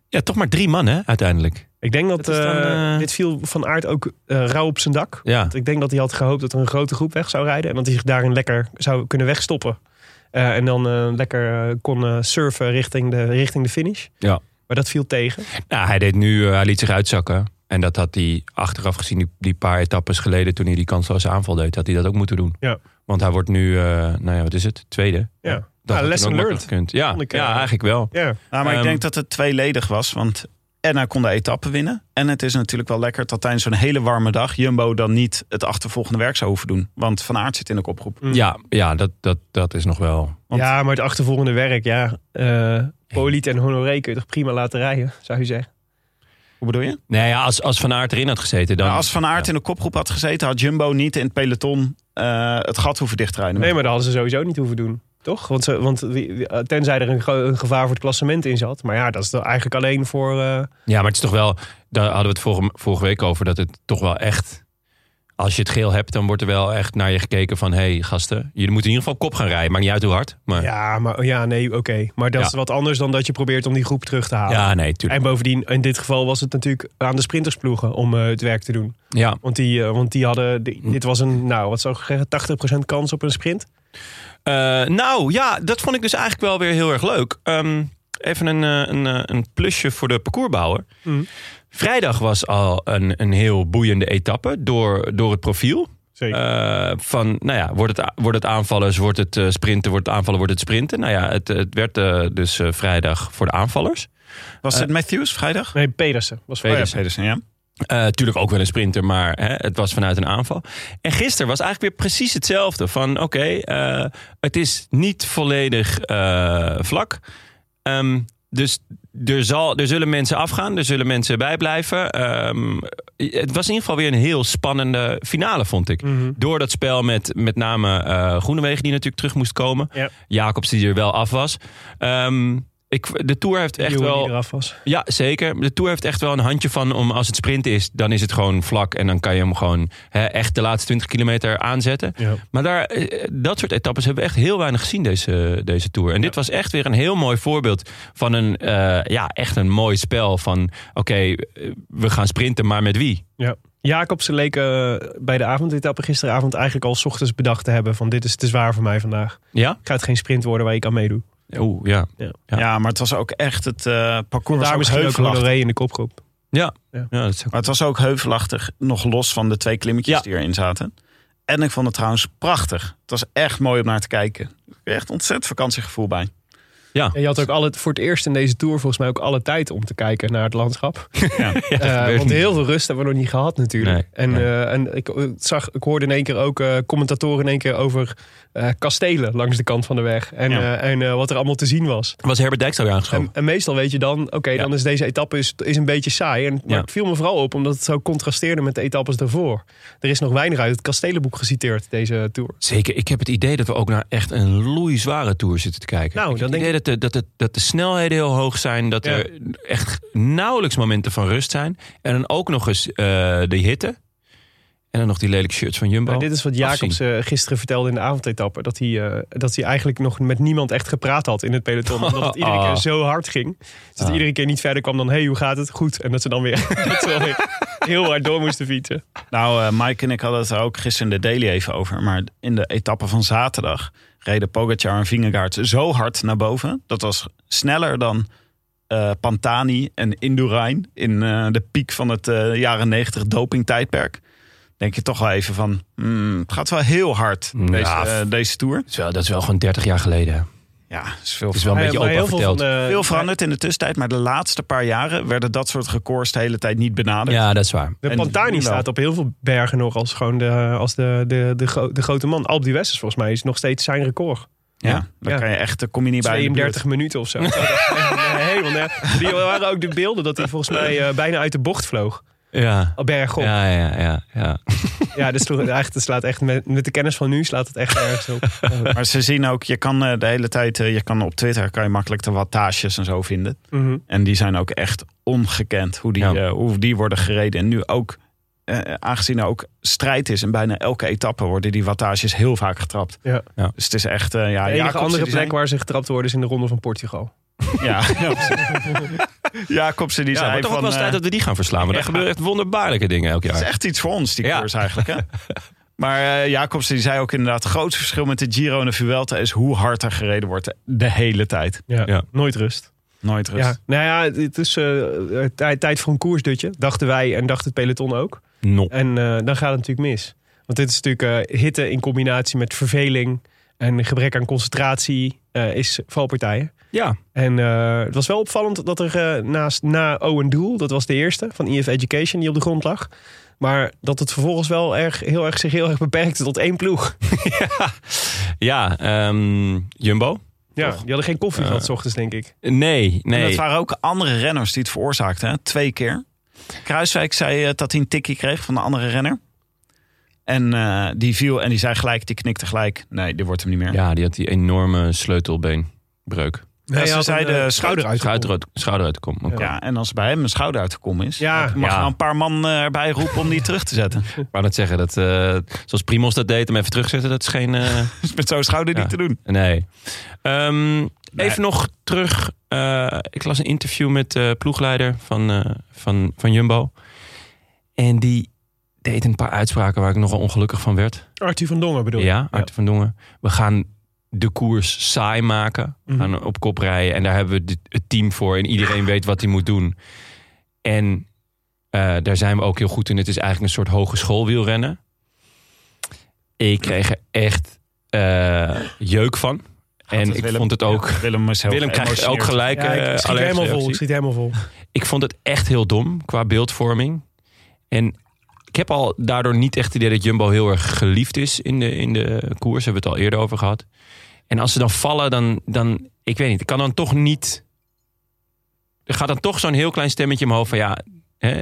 Speaker 4: Ja, toch maar drie man, hè, uiteindelijk.
Speaker 5: Ik denk dat,
Speaker 4: Dat is dan,
Speaker 5: eh,
Speaker 4: eh,
Speaker 5: dit viel van aard ook eh, rauw op zijn dak.
Speaker 4: Ja.
Speaker 5: Want ik denk dat hij had gehoopt dat er een grote groep weg zou rijden. En dat hij zich daarin lekker zou kunnen wegstoppen. Eh, en dan eh, lekker eh, kon eh, surfen richting de, richting de finish.
Speaker 4: Ja.
Speaker 5: Maar dat viel tegen.
Speaker 4: Nou, hij deed nu, eh, hij liet zich uitzakken. En dat had hij achteraf gezien, die, die paar etappes geleden, toen hij die kansloze aanval deed, had hij dat ook moeten doen.
Speaker 5: Ja.
Speaker 4: Want hij wordt nu, eh, nou ja, wat is het? Tweede.
Speaker 5: Ja.
Speaker 4: Dat
Speaker 5: Ja,
Speaker 4: had hij
Speaker 5: lesson
Speaker 4: ook makkelijk
Speaker 5: learned.
Speaker 4: gekund. Ja,
Speaker 5: Vond ik, eh,
Speaker 4: ja, eigenlijk wel.
Speaker 5: Ja.
Speaker 3: Nou, maar ik
Speaker 4: Ehm.
Speaker 3: denk dat het tweeledig was, want en hij kon de etappe winnen. En het is natuurlijk wel lekker dat tijdens zo'n hele warme dag Jumbo dan niet het achtervolgende werk zou hoeven doen. Want Van Aert zit in de kopgroep.
Speaker 5: Hm.
Speaker 4: Ja, ja dat, dat, dat is nog wel.
Speaker 3: Want-
Speaker 5: ja, maar het achtervolgende werk, ja. eh Poliet en Honoré kun je toch prima laten rijden, zou je zeggen.
Speaker 3: Hoe bedoel je?
Speaker 4: Nee, ja, als, als Van Aert erin had gezeten, dan.
Speaker 3: Nou, als Van Aert in de kopgroep had gezeten, had Jumbo niet in het peloton eh, het gat hoeven dichtrijden.
Speaker 5: Nee, maar dat hadden ze sowieso niet hoeven doen. Toch? Want, ze, want wie- wie- eh, tenzij er een, ge- een gevaar voor het klassement in zat. Maar ja, dat is dan eigenlijk alleen voor... eh,
Speaker 4: Ja, maar het is toch wel. Daar hadden we het vorige, vorige week over, dat het toch wel echt. Als je het geel hebt, dan wordt er wel echt naar je gekeken van... hé, hey, gasten, jullie moeten in ieder geval kop gaan rijden. Maakt niet uit hoe hard, maar... Ja,
Speaker 5: Ja, maar ja, nee, oké. Maar dat
Speaker 4: Ja.
Speaker 5: is wat anders dan dat je probeert om die groep terug te halen.
Speaker 4: nee, tuurlijk.
Speaker 5: En bovendien, in dit geval was het natuurlijk aan de sprintersploegen om eh, het werk te doen.
Speaker 4: Ja.
Speaker 5: Want die, eh, want die hadden, die-
Speaker 4: Hm.
Speaker 5: dit was een, nou, wat zou ik zeggen, 80% kans op een sprint.
Speaker 4: Eh, nou ja, dat vond ik dus eigenlijk wel weer heel erg leuk. Ehm, even een, eh, een, eh, een plusje voor de parcoursbouwer.
Speaker 5: Mm.
Speaker 4: Vrijdag was al een, een heel boeiende etappe door, door het profiel.
Speaker 5: Zeker.
Speaker 4: Eh, van, nou ja, wordt het, a- wordt het aanvallers, wordt het eh, sprinten, wordt het aanvallen, wordt het sprinten. Nou ja, het, het werd eh, dus eh, vrijdag voor de aanvallers.
Speaker 3: was het Matthews vrijdag?
Speaker 5: nee, Pedersen was
Speaker 3: Oh ja,
Speaker 5: vrijdag.
Speaker 4: Pedersen.
Speaker 3: Pedersen, ja.
Speaker 4: Eh, tuurlijk ook wel een sprinter, maar hè, het was vanuit een aanval. En gisteren was eigenlijk weer precies hetzelfde. Van oké, eh, het is niet volledig eh, vlak. Ehm, dus er, zal, er zullen mensen afgaan, er zullen mensen bijblijven. Ehm, het was in ieder geval weer een heel spannende finale, vond ik.
Speaker 5: Mhm.
Speaker 4: Door dat spel met met name eh Groenewegen die natuurlijk terug moest komen.
Speaker 5: Ja.
Speaker 4: Jacobs die er wel af was. Ehm, ik, de Tour heeft echt
Speaker 5: Eeuwen die
Speaker 4: wel...
Speaker 5: eraf was.
Speaker 4: Ja, zeker. De Tour heeft echt wel een handje van om als het sprint is, dan is het gewoon vlak en dan kan je hem gewoon hè, echt de laatste 20 kilometer aanzetten.
Speaker 5: Ja.
Speaker 4: Maar daar, eh, dat soort etappes hebben we echt heel weinig gezien deze, deze Tour. En dit was echt weer een heel mooi voorbeeld van een, eh, ja, echt een mooi spel van, oké, eh, we gaan sprinten, maar met wie?
Speaker 5: Ja. Jacobsen leek eh, bij de avondetappe gisteravond eigenlijk al 's ochtends bedacht te hebben van dit is te zwaar voor mij vandaag.
Speaker 4: Ja?
Speaker 5: Gaat geen sprint worden waar ik aan meedoe.
Speaker 4: Oeh, ja.
Speaker 3: ja.
Speaker 4: Ja.
Speaker 3: maar het was ook echt het eh, parcours was
Speaker 5: Daar
Speaker 3: ook
Speaker 5: misschien ook
Speaker 3: heuvelachtig.
Speaker 5: Honoré in de kopgroep.
Speaker 4: Ja.
Speaker 5: Ja.
Speaker 4: ja. dat is ook...
Speaker 3: Maar het was ook heuvelachtig, nog los van de twee klimmetjes
Speaker 4: Ja.
Speaker 3: die erin zaten. En ik vond het trouwens prachtig. Het was echt mooi om naar te kijken. Echt ontzettend vakantiegevoel bij.
Speaker 5: En je had ook al het, voor het eerst in deze Tour volgens mij ook alle tijd om te kijken naar het landschap.
Speaker 4: Ja, dat
Speaker 5: Eh,
Speaker 4: gebeurt
Speaker 5: want
Speaker 4: niet.
Speaker 5: heel veel rust hebben we nog niet gehad natuurlijk.
Speaker 4: Nee,
Speaker 5: en
Speaker 4: nee.
Speaker 5: eh, en ik, eh, zag, ik hoorde in één keer ook eh, commentatoren in één keer over eh, kastelen langs de kant van de weg. En,
Speaker 3: Ja.
Speaker 5: eh, en eh, wat er allemaal te zien was.
Speaker 4: Was Herbert Dijkstra weer aangeschoven?
Speaker 5: En, en meestal weet je dan, oké,
Speaker 4: Oh. Ja.
Speaker 5: dan is deze etappe is, is een beetje saai. En, maar
Speaker 4: Ja.
Speaker 5: het viel me vooral op omdat het zo contrasteerde met de etappes daarvoor. Er is nog weinig uit het kastelenboek geciteerd deze Tour.
Speaker 4: Zeker. Ik heb het idee dat we ook naar echt een loeizware tour zitten te kijken.
Speaker 5: Nou, dan
Speaker 4: ik heb het
Speaker 5: denk
Speaker 4: idee dat de, dat, de, dat de snelheden heel hoog zijn. Dat
Speaker 5: Ja.
Speaker 4: er echt nauwelijks momenten van rust zijn. En dan ook nog eens eh de hitte. En dan nog die lelijke shirts van Jumbo.
Speaker 5: Maar dit is wat Jacobs eh, gisteren vertelde in de avondetappe. Dat hij, eh, dat hij eigenlijk nog met niemand echt gepraat had in het peloton. Omdat het iedere keer
Speaker 4: Ah.
Speaker 5: zo hard ging. Dus dat hij
Speaker 4: Ah.
Speaker 5: iedere keer niet verder kwam dan... hey, hoe gaat het? Goed. En dat ze dan weer, dat ze wel weer heel hard door moesten fietsen.
Speaker 3: Nou, eh, Mike en ik hadden het er ook gisteren in de daily even over. Maar in de etappe van zaterdag reden Pogacar en Vingegaard zo hard naar boven. Dat was sneller dan eh, Pantani en Indurain in eh, de piek van het eh, jaren 90 dopingtijdperk. Denk je toch wel even van, hmm, het gaat wel heel hard
Speaker 4: Ja,
Speaker 3: deze, eh, deze tour.
Speaker 4: Dat is wel- dat is wel gewoon 30 jaar geleden.
Speaker 3: Ja, er is veel
Speaker 4: is wel een beetje
Speaker 5: Eh, Maar
Speaker 4: opa
Speaker 5: heel veel van
Speaker 4: verteld.
Speaker 5: de-
Speaker 3: Veel veranderd in de tussentijd, maar de laatste paar jaren werden dat soort records de hele tijd niet benaderd.
Speaker 4: Ja, dat is waar.
Speaker 5: De
Speaker 3: En
Speaker 5: Pantani
Speaker 3: nu wel.
Speaker 5: staat op heel veel bergen nog als, gewoon de, als de, de, de, gro- de grote man. Alp die West is volgens mij is nog steeds zijn record.
Speaker 3: Ja, dan
Speaker 5: Ja.
Speaker 3: kan je echt, daar kom je niet bij. in de buurt.
Speaker 5: 32 minuten of zo. Dat was echt, eh, helemaal nergens. Die waren ook de beelden dat hij volgens mij eh, bijna uit de bocht vloog.
Speaker 4: Ja.
Speaker 5: Al Bergop. Ja,
Speaker 4: Ja, ja, ja, ja.
Speaker 5: dat, sloeg- echt, dat slaat echt met, met de kennis van nu slaat het echt ergens op.
Speaker 3: Maar ze zien ook, je kan eh, de hele tijd, eh, je kan op Twitter kan je makkelijk de wattages en zo vinden.
Speaker 5: Mhm.
Speaker 3: En die zijn ook echt ongekend hoe die,
Speaker 4: Ja.
Speaker 3: eh, hoe die worden gereden. En nu ook, eh, aangezien er ook strijd is en bijna elke etappe worden die wattages heel vaak getrapt.
Speaker 5: Ja.
Speaker 4: Ja.
Speaker 3: Dus het is echt, eh, ja,
Speaker 5: De enige
Speaker 3: Jacobsen
Speaker 5: andere
Speaker 3: die
Speaker 5: plek
Speaker 3: zijn-
Speaker 5: waar ze getrapt worden is dus in de ronde van Portugal.
Speaker 3: Ja, ja, precies. Jacobsen die zei
Speaker 4: Ja, het wordt toch ook
Speaker 3: van,
Speaker 4: wel eens
Speaker 3: eh,
Speaker 4: tijd dat we die gaan verslaan. Want daar
Speaker 3: Ja.
Speaker 4: gebeuren echt wonderbaarlijke dingen elk
Speaker 3: het is
Speaker 4: jaar.
Speaker 3: echt iets voor ons, die
Speaker 4: Ja.
Speaker 3: koers eigenlijk. Hè? Maar eh, Jacobsen die zei ook inderdaad, het grootste verschil met de Giro en de Vuelta is hoe hard er gereden wordt de hele tijd.
Speaker 4: Ja.
Speaker 5: Nooit rust.
Speaker 3: Nooit rust.
Speaker 5: Ja, nou ja, het is eh, tij- tijd voor een koersdutje, dachten wij en dacht het peloton ook.
Speaker 4: No.
Speaker 5: En eh, dan gaat het natuurlijk mis. Want dit is natuurlijk eh, hitte in combinatie met verveling en gebrek aan concentratie eh, is valpartijen.
Speaker 4: Ja,
Speaker 5: En eh, het was wel opvallend dat er eh, naast na Owen Doel, dat was de eerste van EF Education die op de grond lag. Maar dat het vervolgens wel erg, heel erg, zich heel erg beperkte tot één ploeg.
Speaker 4: ja ehm, Jumbo?
Speaker 5: Ja, die hadden geen koffie gehad 's ochtends, denk ik.
Speaker 4: Nee,
Speaker 3: En
Speaker 4: nee.
Speaker 3: dat waren ook andere renners die het veroorzaakten. Hè? Twee keer. Kruiswijk zei eh, dat hij een tikkie kreeg van de andere renner. En eh, die viel en die zei gelijk, die knikte gelijk. Nee, dit wordt hem niet meer.
Speaker 4: Ja, die had die enorme sleutelbeenbreuk.
Speaker 5: Nee,
Speaker 3: ze
Speaker 5: hij had
Speaker 3: zei
Speaker 5: een, eh,
Speaker 3: de
Speaker 5: schouder uit.
Speaker 4: Schouder uit, schouder uit te komen. Oké.
Speaker 3: Ja, en als bij hem een schouder uit de kom is,
Speaker 5: Ja.
Speaker 3: dan mag
Speaker 4: Ja.
Speaker 3: je een paar man eh, erbij roepen om die terug te zetten.
Speaker 4: Ik wou net zeggen, dat, eh, zoals Primos dat deed, hem even terugzetten, dat is geen... eh,
Speaker 3: Dus met zo'n schouder
Speaker 4: Ja.
Speaker 3: niet te doen.
Speaker 4: nee. Ehm, Even nog terug. eh, ik las een interview met de ploegleider van, eh, van, van Jumbo. En die deed een paar uitspraken waar ik nogal ongelukkig van werd.
Speaker 5: Arthur van Dongen bedoel je?
Speaker 4: Ja, Arthur van Dongen. We gaan de koers saai maken. We
Speaker 5: Mhm.
Speaker 4: gaan op kop rijden. En daar hebben we dit- het team voor. En iedereen weet wat hij moet doen. En eh, daar zijn we ook heel goed in. Het is eigenlijk een soort hogeschoolwielrennen. Ik kreeg er echt eh, jeuk van.
Speaker 3: Gaat
Speaker 4: En
Speaker 3: het
Speaker 4: ik
Speaker 3: Willem?
Speaker 4: vond het ook...
Speaker 3: Ja, Willem is heel
Speaker 4: Willem krijgt ook
Speaker 3: geëmotioneerd.
Speaker 4: gelijk.
Speaker 5: Ja,
Speaker 4: eh,
Speaker 5: ik schiet
Speaker 4: allergische
Speaker 5: helemaal vol.
Speaker 4: reactie.
Speaker 5: Ik schiet helemaal vol.
Speaker 4: Ik vond het echt heel dom qua beeldvorming. En ik heb al daardoor niet echt het idee dat Jumbo heel erg geliefd is in de, in de koers. Hebben we het al eerder over gehad. En als ze dan vallen, dan, dan ik weet niet, ik kan dan toch niet... Er gaat dan toch zo'n heel klein stemmetje omhoog van ja, hè,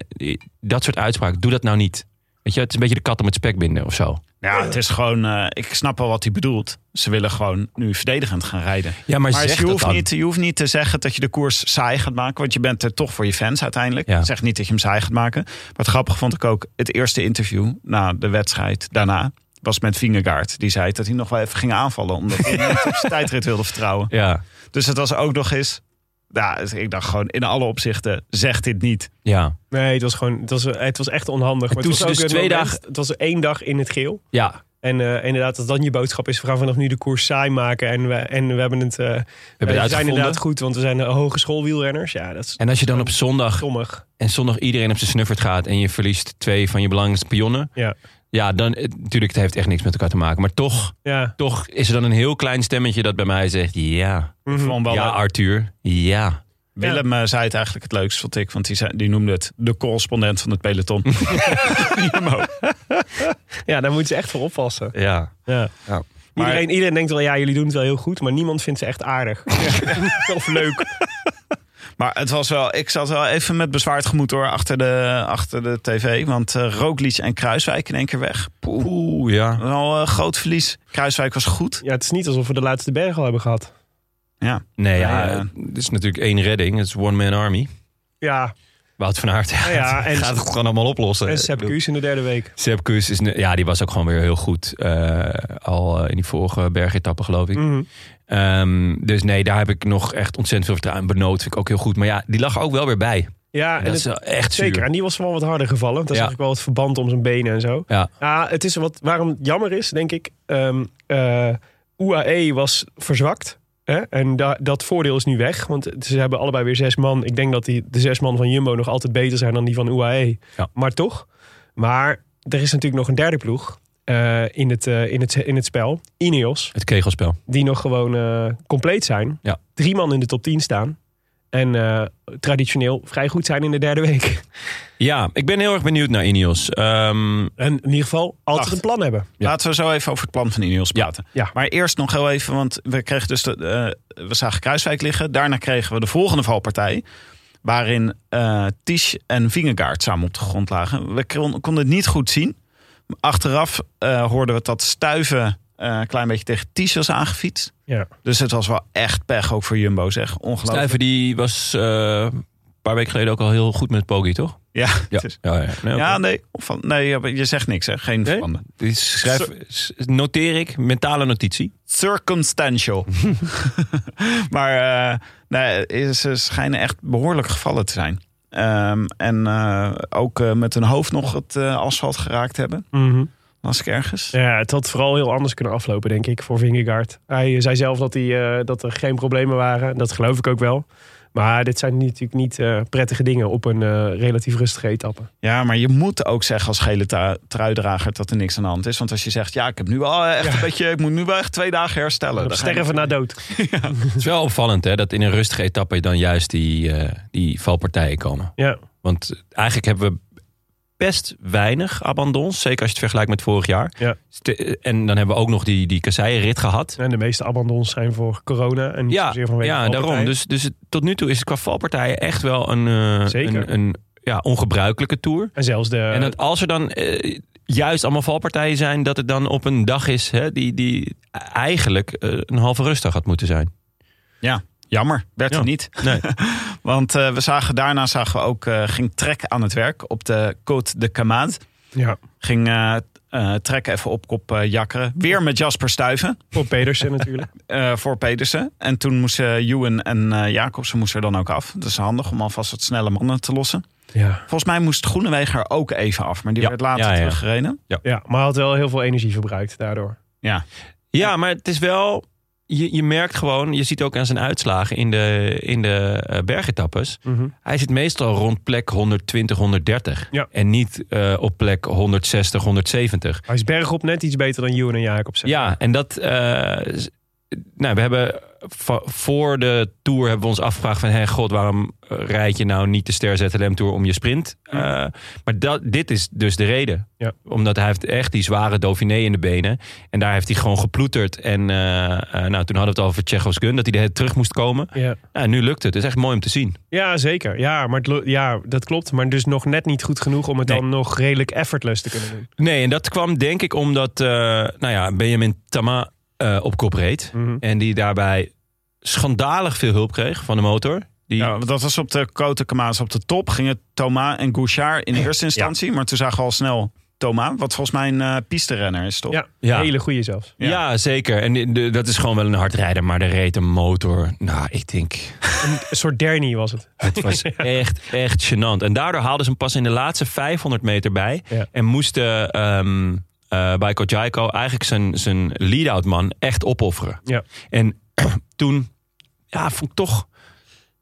Speaker 4: dat soort uitspraken, doe dat nou niet. Weet je, het is een beetje de kat om het spek binden of zo.
Speaker 3: Ja, het is gewoon, eh, ik snap wel wat hij bedoelt. Ze willen gewoon nu verdedigend gaan rijden.
Speaker 4: Ja, maar,
Speaker 3: Maar
Speaker 4: zeg
Speaker 3: je
Speaker 4: dat
Speaker 3: hoeft,
Speaker 4: dan.
Speaker 3: niet, je hoeft niet te zeggen dat je de koers saai gaat maken. Want je bent er toch voor je fans uiteindelijk.
Speaker 4: Ja.
Speaker 3: Zeg niet dat je hem saai gaat maken. Maar het grappige vond ik ook het eerste interview na de wedstrijd daarna. Was met Vingegaard. Die zei dat hij nog wel even ging aanvallen. Omdat hij niet op zijn tijdrit wilde vertrouwen.
Speaker 4: Ja,
Speaker 3: Dus het was ook nog eens. Ja, ik dacht gewoon in alle opzichten. Zeg dit niet.
Speaker 4: ja,
Speaker 5: Nee, het was gewoon, het was, eh, het was echt onhandig. Maar
Speaker 4: toen
Speaker 5: het was
Speaker 4: ze dus
Speaker 5: ook een
Speaker 4: twee
Speaker 5: moment-
Speaker 4: dagen-
Speaker 5: Het was één dag in het geel.
Speaker 4: ja.
Speaker 5: En eh, inderdaad, als dan je boodschap is, we gaan vanaf nu de koers saai maken. En we, en we hebben het, eh, we
Speaker 4: het
Speaker 5: zijn
Speaker 4: uitgevonden.
Speaker 5: inderdaad goed, want we zijn de hogeschoolwielrenners. Ja, dat is
Speaker 4: En als je dan op zondag
Speaker 5: dommig.
Speaker 4: en zondag iedereen op zijn snuffert gaat en je verliest twee van je belangrijkste pionnen.
Speaker 5: Ja.
Speaker 4: Ja, dan eh, natuurlijk, het heeft echt niks met elkaar te maken. Maar toch,
Speaker 5: Ja.
Speaker 4: toch is er dan een heel klein stemmetje dat bij mij zegt: Ja,
Speaker 5: Mhm.
Speaker 3: Van wel-
Speaker 4: ja, Arthur, ja.
Speaker 3: Willem eh, zei het eigenlijk het leukst, vond ik. Want die, zei, die noemde het de correspondent van het peloton.
Speaker 5: ja, daar moeten ze echt voor oppassen.
Speaker 4: ja.
Speaker 5: Ja.
Speaker 4: Ja.
Speaker 5: Iedereen, iedereen denkt wel, ja, jullie doen het wel heel goed, maar niemand vindt ze echt aardig. of leuk.
Speaker 3: Maar het was wel, ik zat wel even met bezwaard gemoed hoor, achter de, achter de tv. Want eh Roglic en Kruiswijk in één keer weg. Poeh,
Speaker 4: Oeh, ja.
Speaker 3: wel een groot verlies. Kruiswijk was goed.
Speaker 5: Ja, het is niet alsof we de laatste berg al hebben gehad.
Speaker 3: Ja,
Speaker 4: Nee, ja.
Speaker 3: Ja.
Speaker 4: Het is natuurlijk één redding. Het is One Man Army.
Speaker 5: Ja,
Speaker 4: Wout van Aert
Speaker 5: Nou ja, en-
Speaker 4: gaat het gewoon allemaal oplossen.
Speaker 5: en Sepp
Speaker 4: Ik bedoel,
Speaker 5: Kuss in de derde week.
Speaker 4: Sepp Kuss is, ne- ja, die was ook gewoon weer heel goed. eh, al eh, in die vorige bergetappe, geloof ik.
Speaker 5: Mhm.
Speaker 4: Ehm, dus nee, daar heb ik nog echt ontzettend veel vertrouwen in. Benoot vind ik ook heel goed. Maar ja, die lag ook wel weer bij.
Speaker 5: Ja,
Speaker 4: En
Speaker 5: en
Speaker 4: dat
Speaker 5: het-
Speaker 4: is wel echt zuur.
Speaker 5: Zeker, en die was wel wat harder gevallen. Daar
Speaker 4: Ja.
Speaker 5: zag ik wel het verband om zijn benen en zo.
Speaker 4: Ja.
Speaker 5: het is wat, waarom het jammer is, denk ik. ehm eh, UAE was verzwakt. Hè? En da- dat voordeel is nu weg. Want ze hebben allebei weer zes man. Ik denk dat die, de zes man van Jumbo E. nog altijd beter zijn dan die van UAE.
Speaker 4: Ja.
Speaker 5: Maar toch. Maar er is natuurlijk nog een derde ploeg. eh, in, het, eh, in, het, in het spel. Ineos.
Speaker 4: Het kegelspel.
Speaker 5: die nog gewoon eh, compleet zijn.
Speaker 4: Ja.
Speaker 5: Drie man in de top 10 staan. En eh, traditioneel vrij goed zijn in de derde week.
Speaker 4: Ja, ik ben heel erg benieuwd naar Ineos. Ehm,
Speaker 5: En in ieder geval altijd
Speaker 3: Acht.
Speaker 5: een plan hebben.
Speaker 4: Ja.
Speaker 3: Laten we zo even over het plan van Ineos praten.
Speaker 5: Ja.
Speaker 3: Maar eerst nog heel even, want we kregen dus de, eh, we zagen Kruiswijk liggen. Daarna kregen we de volgende valpartij. Waarin eh Tisch en Vingegaard samen op de grond lagen. We kon- konden het niet goed zien. Achteraf eh, hoorden we dat Stuiven eh, een klein beetje tegen Tisch was aangefietst.
Speaker 5: Ja.
Speaker 3: Dus het was wel echt pech ook voor Jumbo zeg. Ongelooflijk.
Speaker 4: Stuyven die was eh, een paar weken geleden ook al heel goed met Poggi, toch?
Speaker 3: Ja,
Speaker 4: Ja,
Speaker 3: het is-
Speaker 4: ja, ja. Nee,
Speaker 3: ja
Speaker 4: oké.
Speaker 3: nee, van, nee, je zegt niks hè. Geen
Speaker 4: Nee?
Speaker 3: verbanden.
Speaker 4: Dus Schrijf, s- noteer ik, mentale notitie.
Speaker 3: circumstantial. maar eh, nee, ze schijnen echt behoorlijk gevallen te zijn. Ehm, en eh, ook eh, met hun hoofd nog het eh, asfalt geraakt hebben.
Speaker 4: Mhm.
Speaker 3: Las ik ergens.
Speaker 5: ja, het had vooral heel anders kunnen aflopen, denk ik, voor Vingegaard. Hij eh, zei zelf dat, hij, eh, dat er geen problemen waren. Dat geloof ik ook wel. Maar dit zijn niet- natuurlijk niet eh, prettige dingen op een eh, relatief rustige etappe.
Speaker 3: Ja, maar je moet ook zeggen als gele tra- truidrager dat er niks aan de hand is. Want als je zegt, ja, ik heb nu wel echt een beetje, ik moet nu wel echt twee dagen herstellen. Dan ga je-
Speaker 5: Sterven na dood.
Speaker 4: Het is wel opvallend hè, dat in een rustige etappe dan juist die, eh, die valpartijen komen.
Speaker 5: Ja.
Speaker 4: Want eigenlijk hebben we best weinig abandons. Zeker als je het vergelijkt met vorig jaar.
Speaker 5: Ja.
Speaker 4: Ste- En dan hebben we ook nog die, die kasseienrit gehad.
Speaker 5: En de meeste abandons zijn voor corona en niet
Speaker 4: Ja,
Speaker 5: zozeer vanwege
Speaker 4: ja
Speaker 5: valpartijen.
Speaker 4: daarom. Dus, dus het- tot nu toe is het qua valpartijen echt wel een, eh,
Speaker 5: Zeker.
Speaker 4: een, een ja, ongebruikelijke tour.
Speaker 5: En zelfs de...
Speaker 4: Dus- en dat als er dan eh, juist allemaal valpartijen zijn, dat het dan op een dag is hè, die, die eigenlijk eh, een halve rustdag had moeten zijn.
Speaker 3: Jammer, werd
Speaker 4: Ja.
Speaker 3: er niet.
Speaker 4: Nee.
Speaker 3: Want eh, we zagen, daarna zagen we ook, eh, ging Trek aan het werk op de Côte de Camaat.
Speaker 5: ja,
Speaker 3: Ging eh eh, Trek even op kop eh, jakkeren. Weer met Jasper Stuiven
Speaker 5: voor Pedersen natuurlijk.
Speaker 3: eh, voor Pedersen. En toen moesten Juwen en eh Jacobsen moesten er dan ook af. Dat is handig om alvast wat snelle mannen te lossen.
Speaker 5: Ja.
Speaker 3: Volgens mij moest Groenewegen er ook even af. Maar die
Speaker 4: Ja,
Speaker 3: werd later
Speaker 4: ja, ja.
Speaker 3: teruggereden.
Speaker 5: Ja, maar hij had wel heel veel energie verbruikt daardoor.
Speaker 4: Ja, maar het is wel. Je, je merkt gewoon, je ziet ook aan zijn uitslagen in de, in de eh, bergetappes. Hij zit meestal rond plek 120, 130.
Speaker 5: Ja.
Speaker 4: En niet eh, op plek 160, 170.
Speaker 5: Hij is bergop net iets beter dan Juwen en Jacobsen.
Speaker 4: Ja, en dat. eh, s- nou, we hebben va- voor de tour hebben we ons afgevraagd van... Hey, god, waarom eh, rijd je nou niet de Ster ZLM Tour om je sprint? Eh, maar dat, dit is dus de reden.
Speaker 5: Ja.
Speaker 4: Omdat hij heeft echt die zware Dauphiné in de benen. En daar heeft hij gewoon geploeterd. En eh, eh, nou, toen hadden we het al over Tsjechos Gun, dat hij de hele tijd terug moest komen.
Speaker 5: Ja,
Speaker 4: Nou, nu lukt het. Het is echt mooi om te zien.
Speaker 5: ja zeker. Ja, maar het lo- ja, dat klopt. Maar dus nog net niet goed genoeg om het
Speaker 4: Nee.
Speaker 5: dan nog redelijk effortless te kunnen doen.
Speaker 4: Nee, en dat kwam denk ik omdat eh, nou ja, Benjamin Tama eh, op kop reed.
Speaker 5: Mhm.
Speaker 4: En die daarbij schandalig veel hulp kreeg van de motor. Die,
Speaker 5: Oh,
Speaker 3: Ja, want dat was op de Côte de Camaat. Op de top gingen Thomas en Gouchard in eerste instantie. Maar toen zagen we al snel Thomas. Wat volgens mij een eh pisterenner is, toch?
Speaker 5: Ja,
Speaker 4: Ja.
Speaker 5: hele goede zelfs.
Speaker 4: Ja. zeker. En de- de- dat is gewoon wel een hardrijder, maar er reed een motor. Nou, ik denk,
Speaker 5: Een soort Derny was het.
Speaker 4: het was echt, echt gênant. En daardoor haalden ze hem pas in de laatste 500 meter bij.
Speaker 5: Ja.
Speaker 4: En moesten ehm eh Baiko Jaiko eigenlijk zijn, zijn lead-out man echt opofferen.
Speaker 5: Ja.
Speaker 4: En toen, ja, vond ik toch,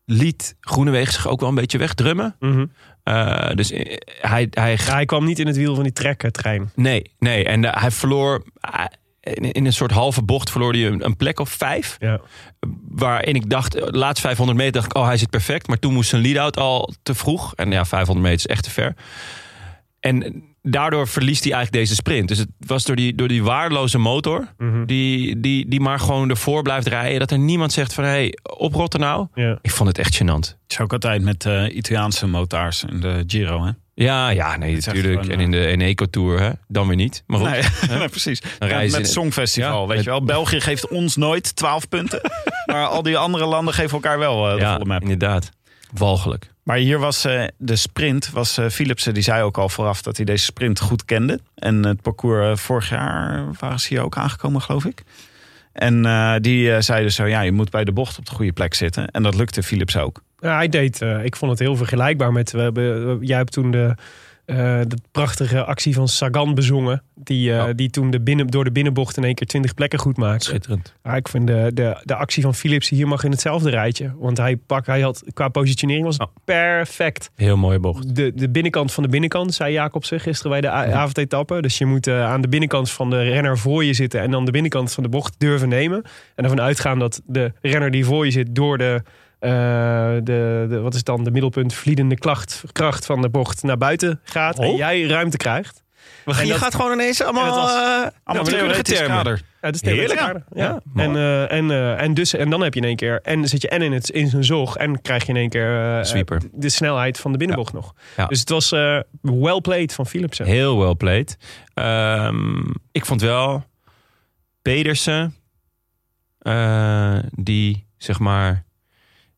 Speaker 4: liet Groenewegen zich ook wel een beetje wegdrummen.
Speaker 5: Mhm.
Speaker 4: Eh, dus eh, hij, hij
Speaker 5: Ja, hij kwam niet in het wiel van die trekkentrein.
Speaker 4: Nee, nee. En eh, hij verloor. ah, in in een soort halve bocht verloor hij een, een plek of vijf.
Speaker 5: Ja.
Speaker 4: Waarin ik dacht, eh, laatst 500 meter dacht ik, oh hij zit perfect. Maar toen moest zijn lead-out al te vroeg. En ja, 500 meter is echt te ver. En daardoor verliest hij eigenlijk deze sprint. Dus het was door die, door die waardeloze motor.
Speaker 5: Mhm.
Speaker 4: die, die, die maar gewoon ervoor blijft rijden. Dat er niemand zegt van, hé, hey, oprotten nou.
Speaker 5: Ja.
Speaker 4: Ik vond het echt gênant.
Speaker 3: Is ook altijd met eh, Italiaanse motaars in de Giro, hè?
Speaker 4: Ja, ja, nee,
Speaker 3: is echt
Speaker 4: natuurlijk.
Speaker 3: gewoon, eh,
Speaker 4: en in de Eneco Tour, hè? dan weer niet. Maar goed.
Speaker 3: Nee, nee, precies.
Speaker 4: reizen
Speaker 3: met
Speaker 4: in
Speaker 3: het
Speaker 4: het-
Speaker 3: Songfestival,
Speaker 4: Ja,
Speaker 3: weet
Speaker 4: met-
Speaker 3: je wel. België geeft ons nooit 12 punten. maar al die andere landen geven elkaar wel eh, de volle
Speaker 4: ja,
Speaker 3: map.
Speaker 4: inderdaad. Walgelijk.
Speaker 3: Maar hier was eh, de sprint, was eh, Philipsen, die zei ook al vooraf dat hij deze sprint goed kende. En het parcours eh, vorig jaar waren ze hier ook aangekomen, geloof ik. En eh, die eh, zei dus zo, ja, je moet bij de bocht op de goede plek zitten. En dat lukte Philips ook.
Speaker 5: Ja, hij deed, eh, ik vond het heel vergelijkbaar met, we hebben, jij hebt toen de eh, de prachtige actie van Sagan bezongen. Die, eh,
Speaker 4: Ja.
Speaker 5: die toen de binnen, door de binnenbocht in één keer 20 plekken goed maakte.
Speaker 4: Schitterend.
Speaker 5: Ja, ik vind de, de, de actie van Philips hier mag in hetzelfde rijtje. Want hij, pak, hij had qua positionering
Speaker 4: Oh.
Speaker 5: was het perfect.
Speaker 4: Heel mooie bocht.
Speaker 5: De, de binnenkant van de binnenkant, zei Jacob zich gisteren bij de A- avondetappe. Dus je moet eh, aan de binnenkant van de renner voor je zitten en dan de binnenkant van de bocht durven nemen. En ervan uitgaan dat de renner die voor je zit door de, eh, de, de wat is het dan, de middelpunt vliedende klacht, kracht van de bocht naar buiten gaat. En
Speaker 4: Oh.
Speaker 5: jij ruimte krijgt.
Speaker 4: je
Speaker 5: dat-
Speaker 4: gaat gewoon ineens allemaal...
Speaker 5: en dat was-
Speaker 4: eh,
Speaker 3: Allemaal
Speaker 4: nou,
Speaker 3: theoretisch
Speaker 4: willekeurige termen.
Speaker 3: kader.
Speaker 5: Ja, dat is
Speaker 4: Heerlijk,
Speaker 5: theoretisch
Speaker 4: ja.
Speaker 5: aardig. Ja.
Speaker 4: Ja,
Speaker 5: en,
Speaker 4: mooi.
Speaker 5: eh, en, eh, en, dus, en dan heb je in één keer. En zit je en in, het, in zijn zog. En krijg je in één keer. eh,
Speaker 4: Sweeper.
Speaker 5: eh, De snelheid van de binnenbocht nog.
Speaker 4: Ja.
Speaker 5: Dus het was eh, well played van Philips.
Speaker 4: Heel well played. Ehm, ik vond wel Pedersen, eh, die zeg maar...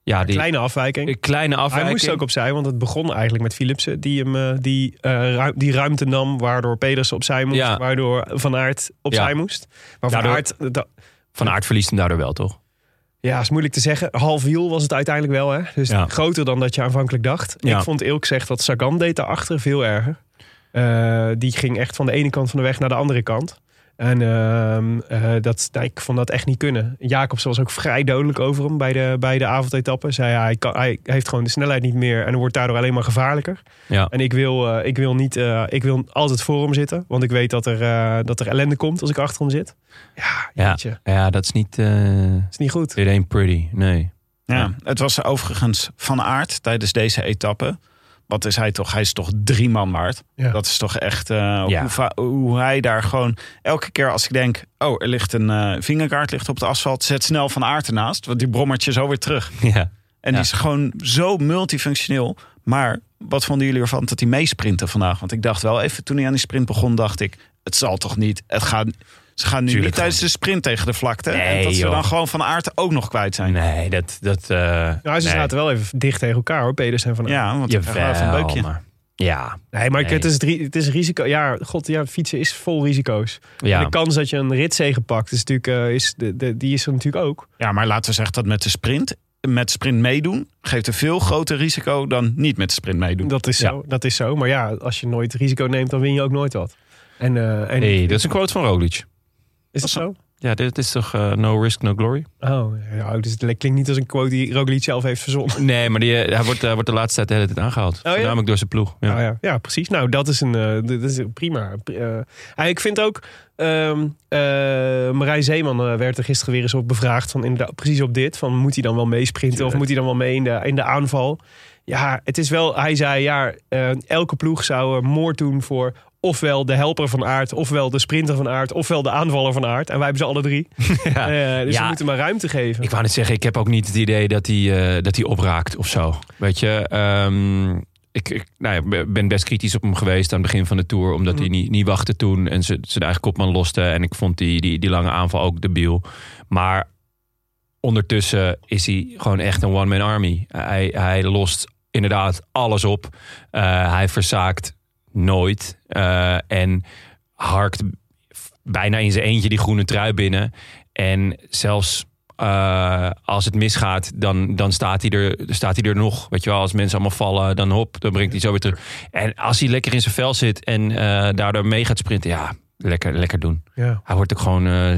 Speaker 4: Ja, die
Speaker 5: Kleine afwijking.
Speaker 4: een kleine
Speaker 5: Hij
Speaker 4: afwijking.
Speaker 5: moest ook opzij, want het begon eigenlijk met Philipsen. Die, hem, eh, die, eh, ru- die ruimte nam, waardoor Pedersen opzij moest.
Speaker 4: Ja.
Speaker 5: Waardoor Van Aert opzij
Speaker 4: Ja.
Speaker 5: moest. Maar Van
Speaker 4: Daardoor-
Speaker 5: Aert, da-
Speaker 4: Van Aert verliest hem daardoor wel, toch?
Speaker 5: ja, is moeilijk te zeggen. Half wiel was het uiteindelijk wel, hè? Dus
Speaker 4: Ja.
Speaker 5: groter dan dat je aanvankelijk dacht.
Speaker 4: Ja.
Speaker 5: Ik vond eerlijk gezegd dat Sagan deed daarachter veel erger. Eh, die ging echt van de ene kant van de weg naar de andere kant. En ehm, eh, dat, nou, ik vond dat echt niet kunnen. Jacobs was ook vrij dodelijk over hem bij de, bij de avondetappe. Zei hij, kan, hij heeft gewoon de snelheid niet meer en wordt daardoor alleen maar gevaarlijker.
Speaker 4: Ja.
Speaker 5: En ik wil, eh, ik wil, niet, eh, ik wil altijd voor hem zitten. Want ik weet dat er, eh, dat er ellende komt als ik achter hem zit. Ja,
Speaker 4: Ja.
Speaker 5: jeetje, dat
Speaker 4: Ja, dat is niet... eh
Speaker 5: is niet goed.
Speaker 4: it ain't pretty, nee.
Speaker 3: Ja, het was overigens van aard tijdens deze etappe. Wat is hij toch? Hij is toch drie man waard.
Speaker 5: Ja.
Speaker 3: Dat is toch echt eh,
Speaker 4: Ja.
Speaker 3: hoe, va- hoe hij daar gewoon elke keer als ik denk, oh, er ligt een eh vingerkaart ligt op het asfalt, zet snel van aard ernaast, want die brommert je zo weer terug.
Speaker 4: Ja.
Speaker 3: En
Speaker 4: Ja.
Speaker 3: die is gewoon zo multifunctioneel. Maar wat vonden jullie ervan dat hij meesprintte vandaag? Want ik dacht wel even, toen hij aan die sprint begon, dacht ik, het zal toch niet. Het gaat, ze gaan nu
Speaker 4: Tuurlijk
Speaker 3: niet tijdens de sprint tegen de vlakte. en
Speaker 4: Nee,
Speaker 3: dat ze
Speaker 4: joh.
Speaker 3: dan gewoon van aard ook nog kwijt zijn.
Speaker 4: Nee, dat... dat eh,
Speaker 5: Nou, ze
Speaker 4: nee.
Speaker 5: zaten wel even dicht tegen elkaar hoor, Pedersen en Van Aert.
Speaker 3: Ja, want ik
Speaker 4: Jawel,
Speaker 3: krijg wel even een beukje.
Speaker 4: maar- Ja,
Speaker 5: Nee, maar
Speaker 4: Nee.
Speaker 5: Het, is, drie- het is risico. Ja, god, ja, fietsen is vol risico's. En
Speaker 4: ja.
Speaker 5: de kans dat je een ritzegen pakt, is natuurlijk, eh, is de, de- die is er natuurlijk ook.
Speaker 3: Ja, maar laten we zeggen dat met de sprint, met sprint meedoen, geeft een veel groter risico dan niet met de sprint meedoen.
Speaker 5: Dat is,
Speaker 4: Ja.
Speaker 5: zo, dat is zo. Maar ja, als je nooit risico neemt, dan win je ook nooit wat. En, eh, en
Speaker 4: Hey, dat is een quote van Roglic.
Speaker 5: is dat zo?
Speaker 4: Ja, dit is toch eh, no risk, no glory?
Speaker 5: Oh, ja, dus het klinkt niet als een quote die Roglic zelf heeft verzonnen.
Speaker 4: Nee, maar die, eh, hij wordt, eh, wordt de laatste tijd de hele tijd aangehaald.
Speaker 5: Oh, ja?
Speaker 4: Voornamelijk door zijn ploeg. Ja.
Speaker 5: Ja. ja, ja, precies. Nou, dat is een, eh, dat is een prima. eh, eh, ik vind ook, ehm eh, Marij Zeeman eh, werd er gisteren weer eens op bevraagd. Van inderdaad, precies op dit. Van moet hij dan wel meesprinten of
Speaker 4: Tuurlijk.
Speaker 5: moet hij dan wel mee in de, in de aanval? Ja, het is wel, hij zei ja, eh, elke ploeg zou eh, moord doen voor ofwel de helper van aard, ofwel de sprinter van aard, ofwel de aanvaller van aard. En wij hebben ze alle drie.
Speaker 4: Ja.
Speaker 5: Eh, dus
Speaker 4: Ja.
Speaker 5: we moeten maar ruimte geven.
Speaker 4: Ik wou net zeggen, ik heb ook niet het idee dat hij, eh, dat hij opraakt of zo. Weet je, ehm, ik, ik nou ja, be- ben best kritisch op hem geweest aan het begin van de Tour. Omdat
Speaker 5: Mhm.
Speaker 4: hij niet, niet wachtte toen en ze- zijn eigen kopman loste. En ik vond die, die, die lange aanval ook debiel. Maar ondertussen is hij gewoon echt een one-man army. Hij, hij lost inderdaad alles op. Eh, hij verzaakt nooit. Eh, en harkt bijna in zijn eentje die groene trui binnen. En zelfs eh, als het misgaat, dan, dan staat, hij er, staat hij er nog. Weet je wel, als mensen allemaal vallen, dan hop, dan brengt hij zo weer terug. En als hij lekker in zijn vel zit en eh, daardoor mee gaat sprinten, ja, lekker, lekker doen.
Speaker 5: Ja.
Speaker 4: Hij wordt ook gewoon eh,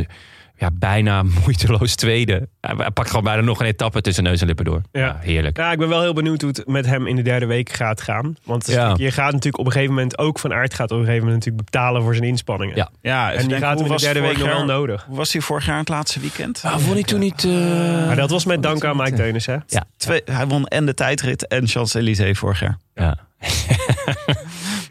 Speaker 4: ja, bijna moeiteloos tweede. Hij, hij pakt gewoon bijna nog een etappe tussen neus en lippen door.
Speaker 5: Ja.
Speaker 4: heerlijk.
Speaker 5: Ja, ik ben wel heel benieuwd hoe het met hem in de derde week gaat gaan. Want
Speaker 4: Ja.
Speaker 5: je gaat natuurlijk op een gegeven moment ook van aard gaat op een gegeven moment natuurlijk betalen voor zijn inspanningen.
Speaker 4: Ja.
Speaker 3: Ja, dus
Speaker 5: En die gaat hem in de derde week nog wel nodig.
Speaker 3: Hoe was hij vorig jaar het laatste weekend?
Speaker 4: Ah, vond ik toen niet... eh,
Speaker 5: Maar dat was met
Speaker 4: vond ik
Speaker 5: dank aan
Speaker 4: toen
Speaker 5: Mike
Speaker 4: niet,
Speaker 5: Teunis, hè?
Speaker 4: eh, Ja,
Speaker 3: Twee, hij won en de tijdrit en Champs-Élysées vorig jaar.
Speaker 4: ja.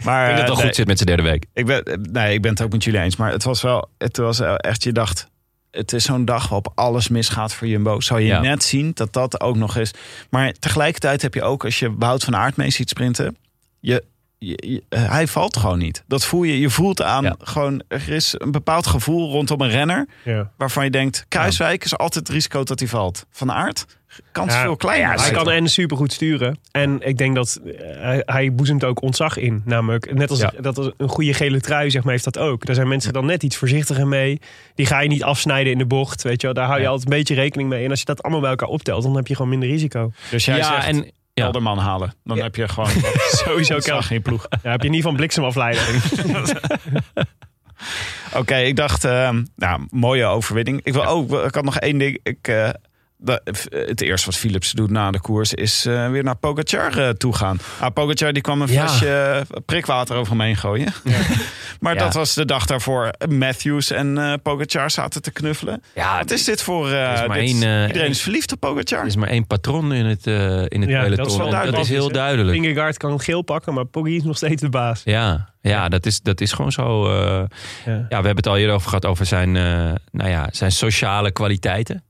Speaker 3: Maar
Speaker 4: Ik
Speaker 3: eh,
Speaker 4: denk dat het wel
Speaker 3: nee,
Speaker 4: goed zit met zijn derde week.
Speaker 3: ik ben, eh, nee, ik ben het ook met jullie eens. Maar het was wel, het was wel echt, je dacht, het is zo'n dag waarop alles misgaat voor Jumbo. Zou je
Speaker 4: Ja.
Speaker 3: net zien dat dat ook nog is. Maar tegelijkertijd heb je ook, als je Wout van Aert mee ziet sprinten, je, je- je- eh, hij valt gewoon niet. Dat voel je, je voelt aan,
Speaker 4: Ja.
Speaker 3: gewoon, er is een bepaald gevoel rondom een renner.
Speaker 5: Ja.
Speaker 3: waarvan je denkt, Kruiswijk is altijd het risico dat hij valt. Van Aert, kans
Speaker 5: Ja,
Speaker 3: veel kleiner.
Speaker 5: Hij
Speaker 3: lijkt
Speaker 5: kan
Speaker 3: het.
Speaker 5: en supergoed sturen. En ik denk dat eh, hij, hij boezemt ook ontzag in. Namelijk, net als
Speaker 4: Ja.
Speaker 5: dat als een goede gele trui, zeg maar, heeft dat ook. Daar zijn mensen dan net iets voorzichtiger mee. Die ga je niet afsnijden in de bocht. Weet je wel. Daar hou je
Speaker 4: Ja.
Speaker 5: altijd een beetje rekening mee. En als je dat allemaal bij elkaar optelt, dan heb je gewoon minder risico.
Speaker 3: Dus jij
Speaker 4: ja,
Speaker 3: zegt,
Speaker 4: en Ja.
Speaker 3: Alderman halen. Dan heb je gewoon sowieso kracht in je ploeg.
Speaker 5: Ja, heb je niet van bliksemafleiding.
Speaker 3: Oké, ik dacht, ehm, nou, mooie overwinning. Ik, wil, oh, ik had nog één ding. Ik, eh, da- f- het eerste wat Philips doet na de koers is eh, weer naar Pogacar eh, toe gaan. Ah, Pogacar die kwam een
Speaker 4: Ja.
Speaker 3: flesje eh, prikwater over hem heen gooien. maar
Speaker 4: Ja.
Speaker 3: dat was de dag daarvoor. Matthews en eh, Pogacar zaten te knuffelen.
Speaker 4: Ja,
Speaker 3: Wat is dit voor... eh,
Speaker 4: is maar
Speaker 3: dit-
Speaker 4: één, eh,
Speaker 3: iedereen
Speaker 4: één-
Speaker 3: is verliefd op Pogacar.
Speaker 4: Er is maar één patroon in het, eh, in het
Speaker 5: Ja, dat is
Speaker 4: peloton.
Speaker 5: wel
Speaker 4: En
Speaker 5: duidelijk.
Speaker 4: is heel duidelijk.
Speaker 5: Vingegaard kan geel pakken, maar Poggi is nog steeds de baas.
Speaker 4: Ja, ja dat, is, dat is gewoon zo. eh,
Speaker 5: Ja.
Speaker 4: Ja, we hebben het al eerder over gehad over zijn, eh, nou ja, zijn sociale kwaliteiten.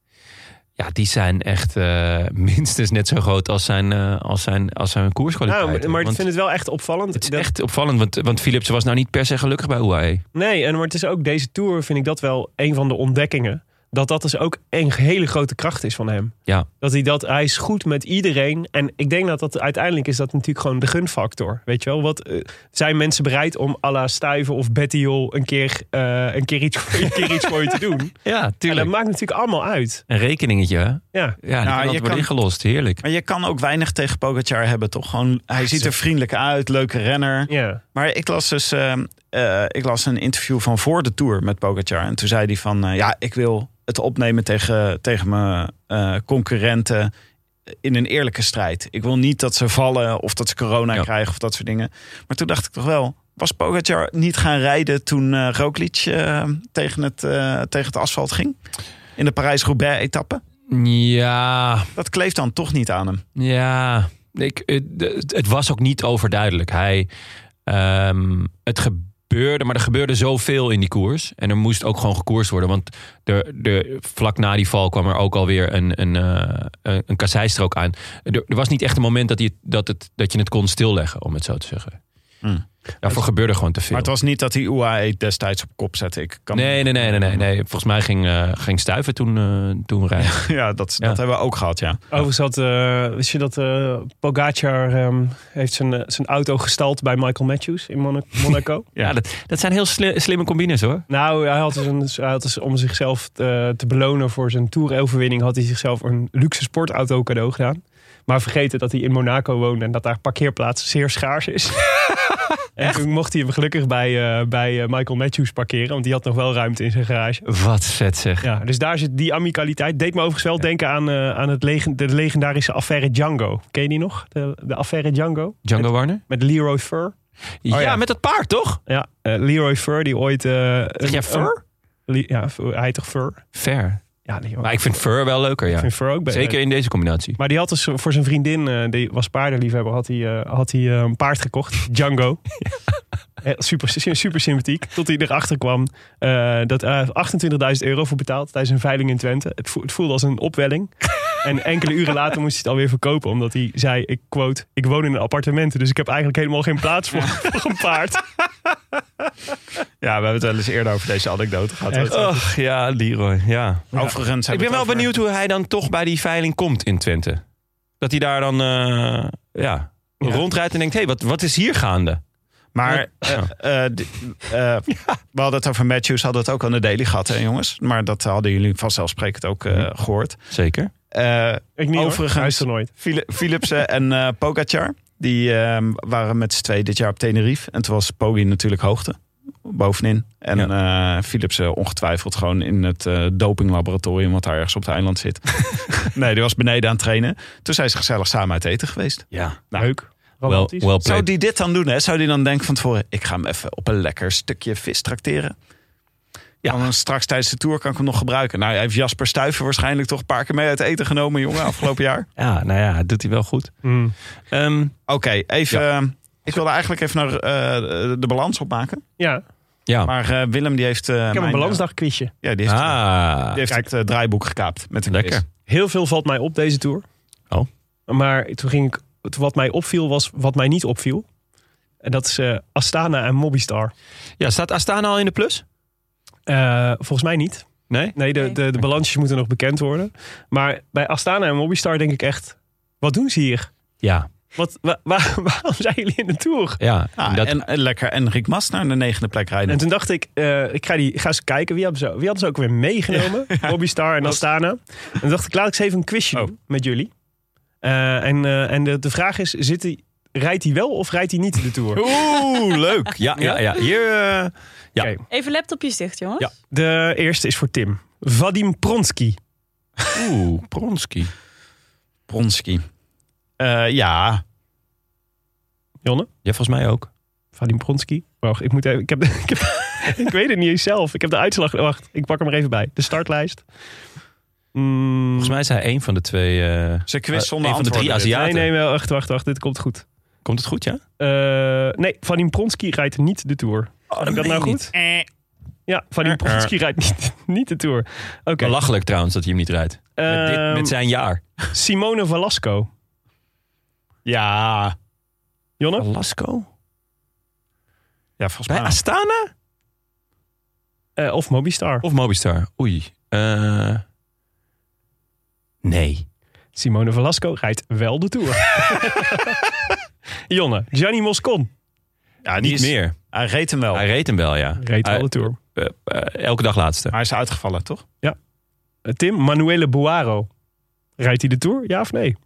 Speaker 4: Ja, die zijn echt eh, minstens net zo groot als zijn, eh, als zijn, als zijn
Speaker 5: Nou,
Speaker 4: koerskwaliteiten.
Speaker 5: maar- maar ik
Speaker 4: Want
Speaker 5: vind het wel echt opvallend.
Speaker 4: het is
Speaker 5: dat-
Speaker 4: echt opvallend, want, want Philips was nou niet per se gelukkig bij E. UAE.
Speaker 5: Nee, en maar het is ook deze tour, vind ik dat wel een van de ontdekkingen. Dat dat dus ook een hele grote kracht is van hem.
Speaker 4: Ja.
Speaker 5: Dat hij dat, hij is goed met iedereen. En ik denk dat dat uiteindelijk is dat natuurlijk gewoon de gunfactor. Weet je wel, wat eh, zijn mensen bereid om à la Stuyven of Bettiol een keer, eh, een keer, iets, een keer iets voor je te doen?
Speaker 4: Ja,
Speaker 5: En dat maakt natuurlijk allemaal uit.
Speaker 4: Een rekeningetje, hè? Ja,
Speaker 5: Ja.
Speaker 4: die kan
Speaker 3: je
Speaker 4: altijd worden
Speaker 3: kan-
Speaker 4: ingelost. Heerlijk.
Speaker 3: Maar je kan ook weinig tegen Pogacar hebben, toch? Gewoon, hij ziet er vriendelijk uit, leuke renner.
Speaker 5: Ja.
Speaker 3: Maar ik las dus ehm, eh, ik las een interview van voor de tour met Pogacar. En toen zei hij van, eh, ja, ik wil het opnemen tegen, tegen mijn eh, concurrenten in een eerlijke strijd. Ik wil niet dat ze vallen of dat ze corona
Speaker 4: Ja.
Speaker 3: krijgen of dat soort dingen. Maar toen dacht ik toch wel, was Pogacar niet gaan rijden toen eh Roglic eh, tegen, het, eh, tegen het asfalt ging? In de Parijs-Roubaix-etappe?
Speaker 4: Ja,
Speaker 3: Dat kleeft dan toch niet aan hem.
Speaker 4: Ja, ik, het, het- het was ook niet overduidelijk. Hij, ehm, het gebeurde, maar er gebeurde zoveel in die koers. En er moest ook gewoon gekoerst worden. Want de, de, vlak na die val kwam er ook alweer een, een, eh, een, een kasseistrook aan. Er, er was niet echt een moment dat, hij, het- dat, het, dat je het kon stilleggen, om het zo te zeggen.
Speaker 3: Hmm.
Speaker 4: Daarvoor gebeurde gewoon te veel.
Speaker 3: Maar het was niet dat hij UAE destijds op kop zette. Ik kan
Speaker 4: Nee, nee, nee, nee, nee, nee. Volgens mij ging, eh ging Stuiven toen, eh, toen rijden.
Speaker 3: Ja, dat, dat hebben we ook gehad, ja.
Speaker 5: Overigens had, eh, wist je dat eh Pogacar ehm, heeft zijn, eh, zijn auto gestald bij Michael Matthews in Monaco? Monaco?
Speaker 4: Ja, dat, dat zijn heel sli- slimme combines hoor.
Speaker 5: Nou, hij had dus, een, hij had dus om zichzelf eh, te belonen voor zijn toeroverwinning... had hij zichzelf een luxe sportauto cadeau gedaan. Maar vergeten dat hij in Monaco woonde en dat daar parkeerplaats zeer schaars is. en toen mocht hij hem gelukkig bij, eh, bij eh, Michael Matthews parkeren... want die had nog wel ruimte in zijn garage.
Speaker 4: Wat vet zeg.
Speaker 5: Ja, dus daar zit die amicaliteit. Deed me overigens wel denken aan, eh, aan het legen- de legendarische affaire Django. Ken je die nog? De, de affaire Django?
Speaker 4: Django
Speaker 5: Met,
Speaker 4: Warner?
Speaker 5: met Leroy Fur.
Speaker 4: Oh ja,
Speaker 5: ja.
Speaker 4: met dat paard toch?
Speaker 5: Ja, eh, Leroy Fur die ooit... eh
Speaker 4: Zeg jij
Speaker 5: een-
Speaker 4: fur?
Speaker 5: een- Li- ja, Fur, hij heet toch Fur?
Speaker 4: Fair.
Speaker 5: Ja, die
Speaker 4: Maar ik vind fur wel leuker, ja.
Speaker 5: vind Fur ook beter.
Speaker 4: Zeker in deze combinatie.
Speaker 5: Maar die had dus voor zijn vriendin, eh, die was paardenliefhebber, had hij, eh, had hij eh, een paard gekocht. Django. Eh, Super, super sympathiek. Tot hij erachter kwam eh, dat eh 28.000 euro voor betaald tijdens een veiling in Twente. Het, voel- het voelde als een opwelling. En enkele uren later moest hij het alweer verkopen. Omdat hij zei, ik quote, ik woon in een appartement. Dus ik heb eigenlijk helemaal geen plaats voor, voor een paard.
Speaker 3: Ja, we hebben het wel eens eerder over deze anekdote gehad.
Speaker 5: Echt?
Speaker 3: Oh,
Speaker 4: Och, ja, Leroy. Ja.
Speaker 3: Overigens
Speaker 4: Oh. Ik
Speaker 3: hebben
Speaker 4: ben
Speaker 3: we
Speaker 4: wel
Speaker 3: het over-
Speaker 4: benieuwd hoe hij dan toch bij die veiling komt in Twente. Dat hij daar dan eh, ja, rondrijdt en denkt, hé, hey, wat, wat is hier gaande?
Speaker 3: Maar
Speaker 4: Ja.
Speaker 3: eh, eh, di- eh, we hadden het over Matthews, hadden het ook aan de daily gehad, hè jongens? Maar dat hadden jullie vanzelfsprekend ook eh,
Speaker 4: Hm.
Speaker 3: gehoord.
Speaker 4: Zeker.
Speaker 3: Eh,
Speaker 5: Ik niet
Speaker 3: Overigens-
Speaker 5: Overigens. hoor, Hij is er nooit.
Speaker 3: Phili- Philipsen en eh Pogacar, die eh, waren met z'n twee dit jaar op Tenerife. En toen was Poggi natuurlijk hoogte, bovenin. En eh, Philipsen ongetwijfeld gewoon in het eh, dopinglaboratorium... wat daar ergens op het eiland zit. nee, die was beneden aan het trainen. Toen zijn ze gezellig samen uit eten geweest. Nou,
Speaker 4: Ja.
Speaker 5: Leuk.
Speaker 4: Wel
Speaker 5: Romantisch.
Speaker 4: well
Speaker 3: Zou
Speaker 4: played.
Speaker 3: die dit dan doen? Hè? Zou die dan denken van tevoren... ik ga hem even op een lekker stukje vis tracteren? Ja. Dan straks tijdens de tour kan ik hem nog gebruiken. Nou, hij heeft Jasper Stuyven waarschijnlijk toch een paar keer mee uit eten genomen, jongen, afgelopen jaar.
Speaker 4: Ja, nou ja, dat doet hij wel goed.
Speaker 5: Mm.
Speaker 4: Ehm,
Speaker 3: Oké, even... eh, ik wilde eigenlijk even naar eh, de balans opmaken.
Speaker 5: Ja,
Speaker 4: ja.
Speaker 3: Maar eh, Willem die heeft... eh,
Speaker 5: ik heb
Speaker 3: mijn,
Speaker 5: een
Speaker 3: eh,
Speaker 5: balansdagquizje.
Speaker 3: Ja, die heeft,
Speaker 4: ah,
Speaker 3: die heeft het eh, draaiboek gekaapt met een
Speaker 4: lekker.
Speaker 3: quiz.
Speaker 5: Heel veel valt mij op deze tour.
Speaker 4: Oh.
Speaker 5: Maar toen ging ik, het- wat mij opviel was wat mij niet opviel. En dat is eh, Astana en Mobistar.
Speaker 4: Ja, staat Astana al in de plus?
Speaker 5: Eh, volgens mij niet.
Speaker 4: Nee?
Speaker 5: Nee, de,
Speaker 6: Nee.
Speaker 5: de, de balansjes moeten nog bekend worden. Maar bij Astana en Mobistar denk ik echt, wat doen ze hier?
Speaker 4: Ja.
Speaker 5: Wat, wa- wa- waarom zijn jullie in de tour?
Speaker 4: Ja,
Speaker 3: Ah,
Speaker 4: dat,
Speaker 3: en, en lekker Enrik Mas naar de negende plek rijden.
Speaker 5: En toen dacht ik, eh, ik ga, die, ga eens kijken. Wie hadden ze, wie hadden ze ook weer meegenomen? Mobistar en Astana. En toen dacht ik, laat ik eens even een quizje
Speaker 3: Oh.
Speaker 5: doen met jullie. Eh, en eh, en de, de vraag is, zit hij, rijdt hij wel of rijdt hij niet de Tour?
Speaker 4: Oeh, leuk. Ja, ja, ja. Hier, eh, ja.
Speaker 5: Oké.
Speaker 6: Even laptopjes dicht, jongens.
Speaker 4: Ja.
Speaker 5: De eerste is voor Tim. Vadim Pronsky.
Speaker 4: Oeh, Pronsky.
Speaker 3: Pronsky. Eh, ja,
Speaker 5: Jonne?
Speaker 4: Ja, volgens mij ook.
Speaker 5: Vadim Pronsky. Wacht, ik moet even... Ik, heb, ik, heb, ik weet het niet eens zelf. Ik heb de uitslag... Wacht, ik pak hem er even bij. De startlijst. Mm,
Speaker 4: Volgens mij is hij één van de twee. eh,
Speaker 3: ze quiz
Speaker 4: eh,
Speaker 3: zonder
Speaker 4: een van de drie
Speaker 3: antwoorden dit.
Speaker 4: Aziaten.
Speaker 5: nee, nee, wel, wacht, wacht, wacht. Dit komt goed.
Speaker 4: Komt het goed, ja?
Speaker 5: Eh, nee, Vadim Pronsky rijdt niet de Tour.
Speaker 4: Oh,
Speaker 5: dat nou goed? Ja,
Speaker 4: Eh,
Speaker 5: Vadim Pronsky rijdt niet, niet de Tour. Oké.
Speaker 4: Belachelijk trouwens dat hij hem niet rijdt. Met, dit,
Speaker 5: Ehm,
Speaker 4: met zijn jaar.
Speaker 5: Simone Velasco.
Speaker 3: Ja,
Speaker 5: Jonne?
Speaker 4: Velasco?
Speaker 3: ja volgens
Speaker 4: Bij
Speaker 3: mij.
Speaker 4: Astana?
Speaker 5: Eh, of Mobistar.
Speaker 4: Of Mobistar? Oei. Eh, nee.
Speaker 5: Simone Velasco rijdt wel de Tour. Jonne, Gianni Moscon
Speaker 3: Ja, die
Speaker 4: Niet
Speaker 3: is-
Speaker 4: meer.
Speaker 3: Hij reed hem wel.
Speaker 4: Hij reed hem wel, ja.
Speaker 5: reed wel
Speaker 4: Hij-
Speaker 5: de Tour.
Speaker 4: eh, eh, elke dag laatste.
Speaker 3: Hij is uitgevallen, toch?
Speaker 5: Eh, Tim, Manuele Boaro. Rijdt hij de Tour, ja of nee?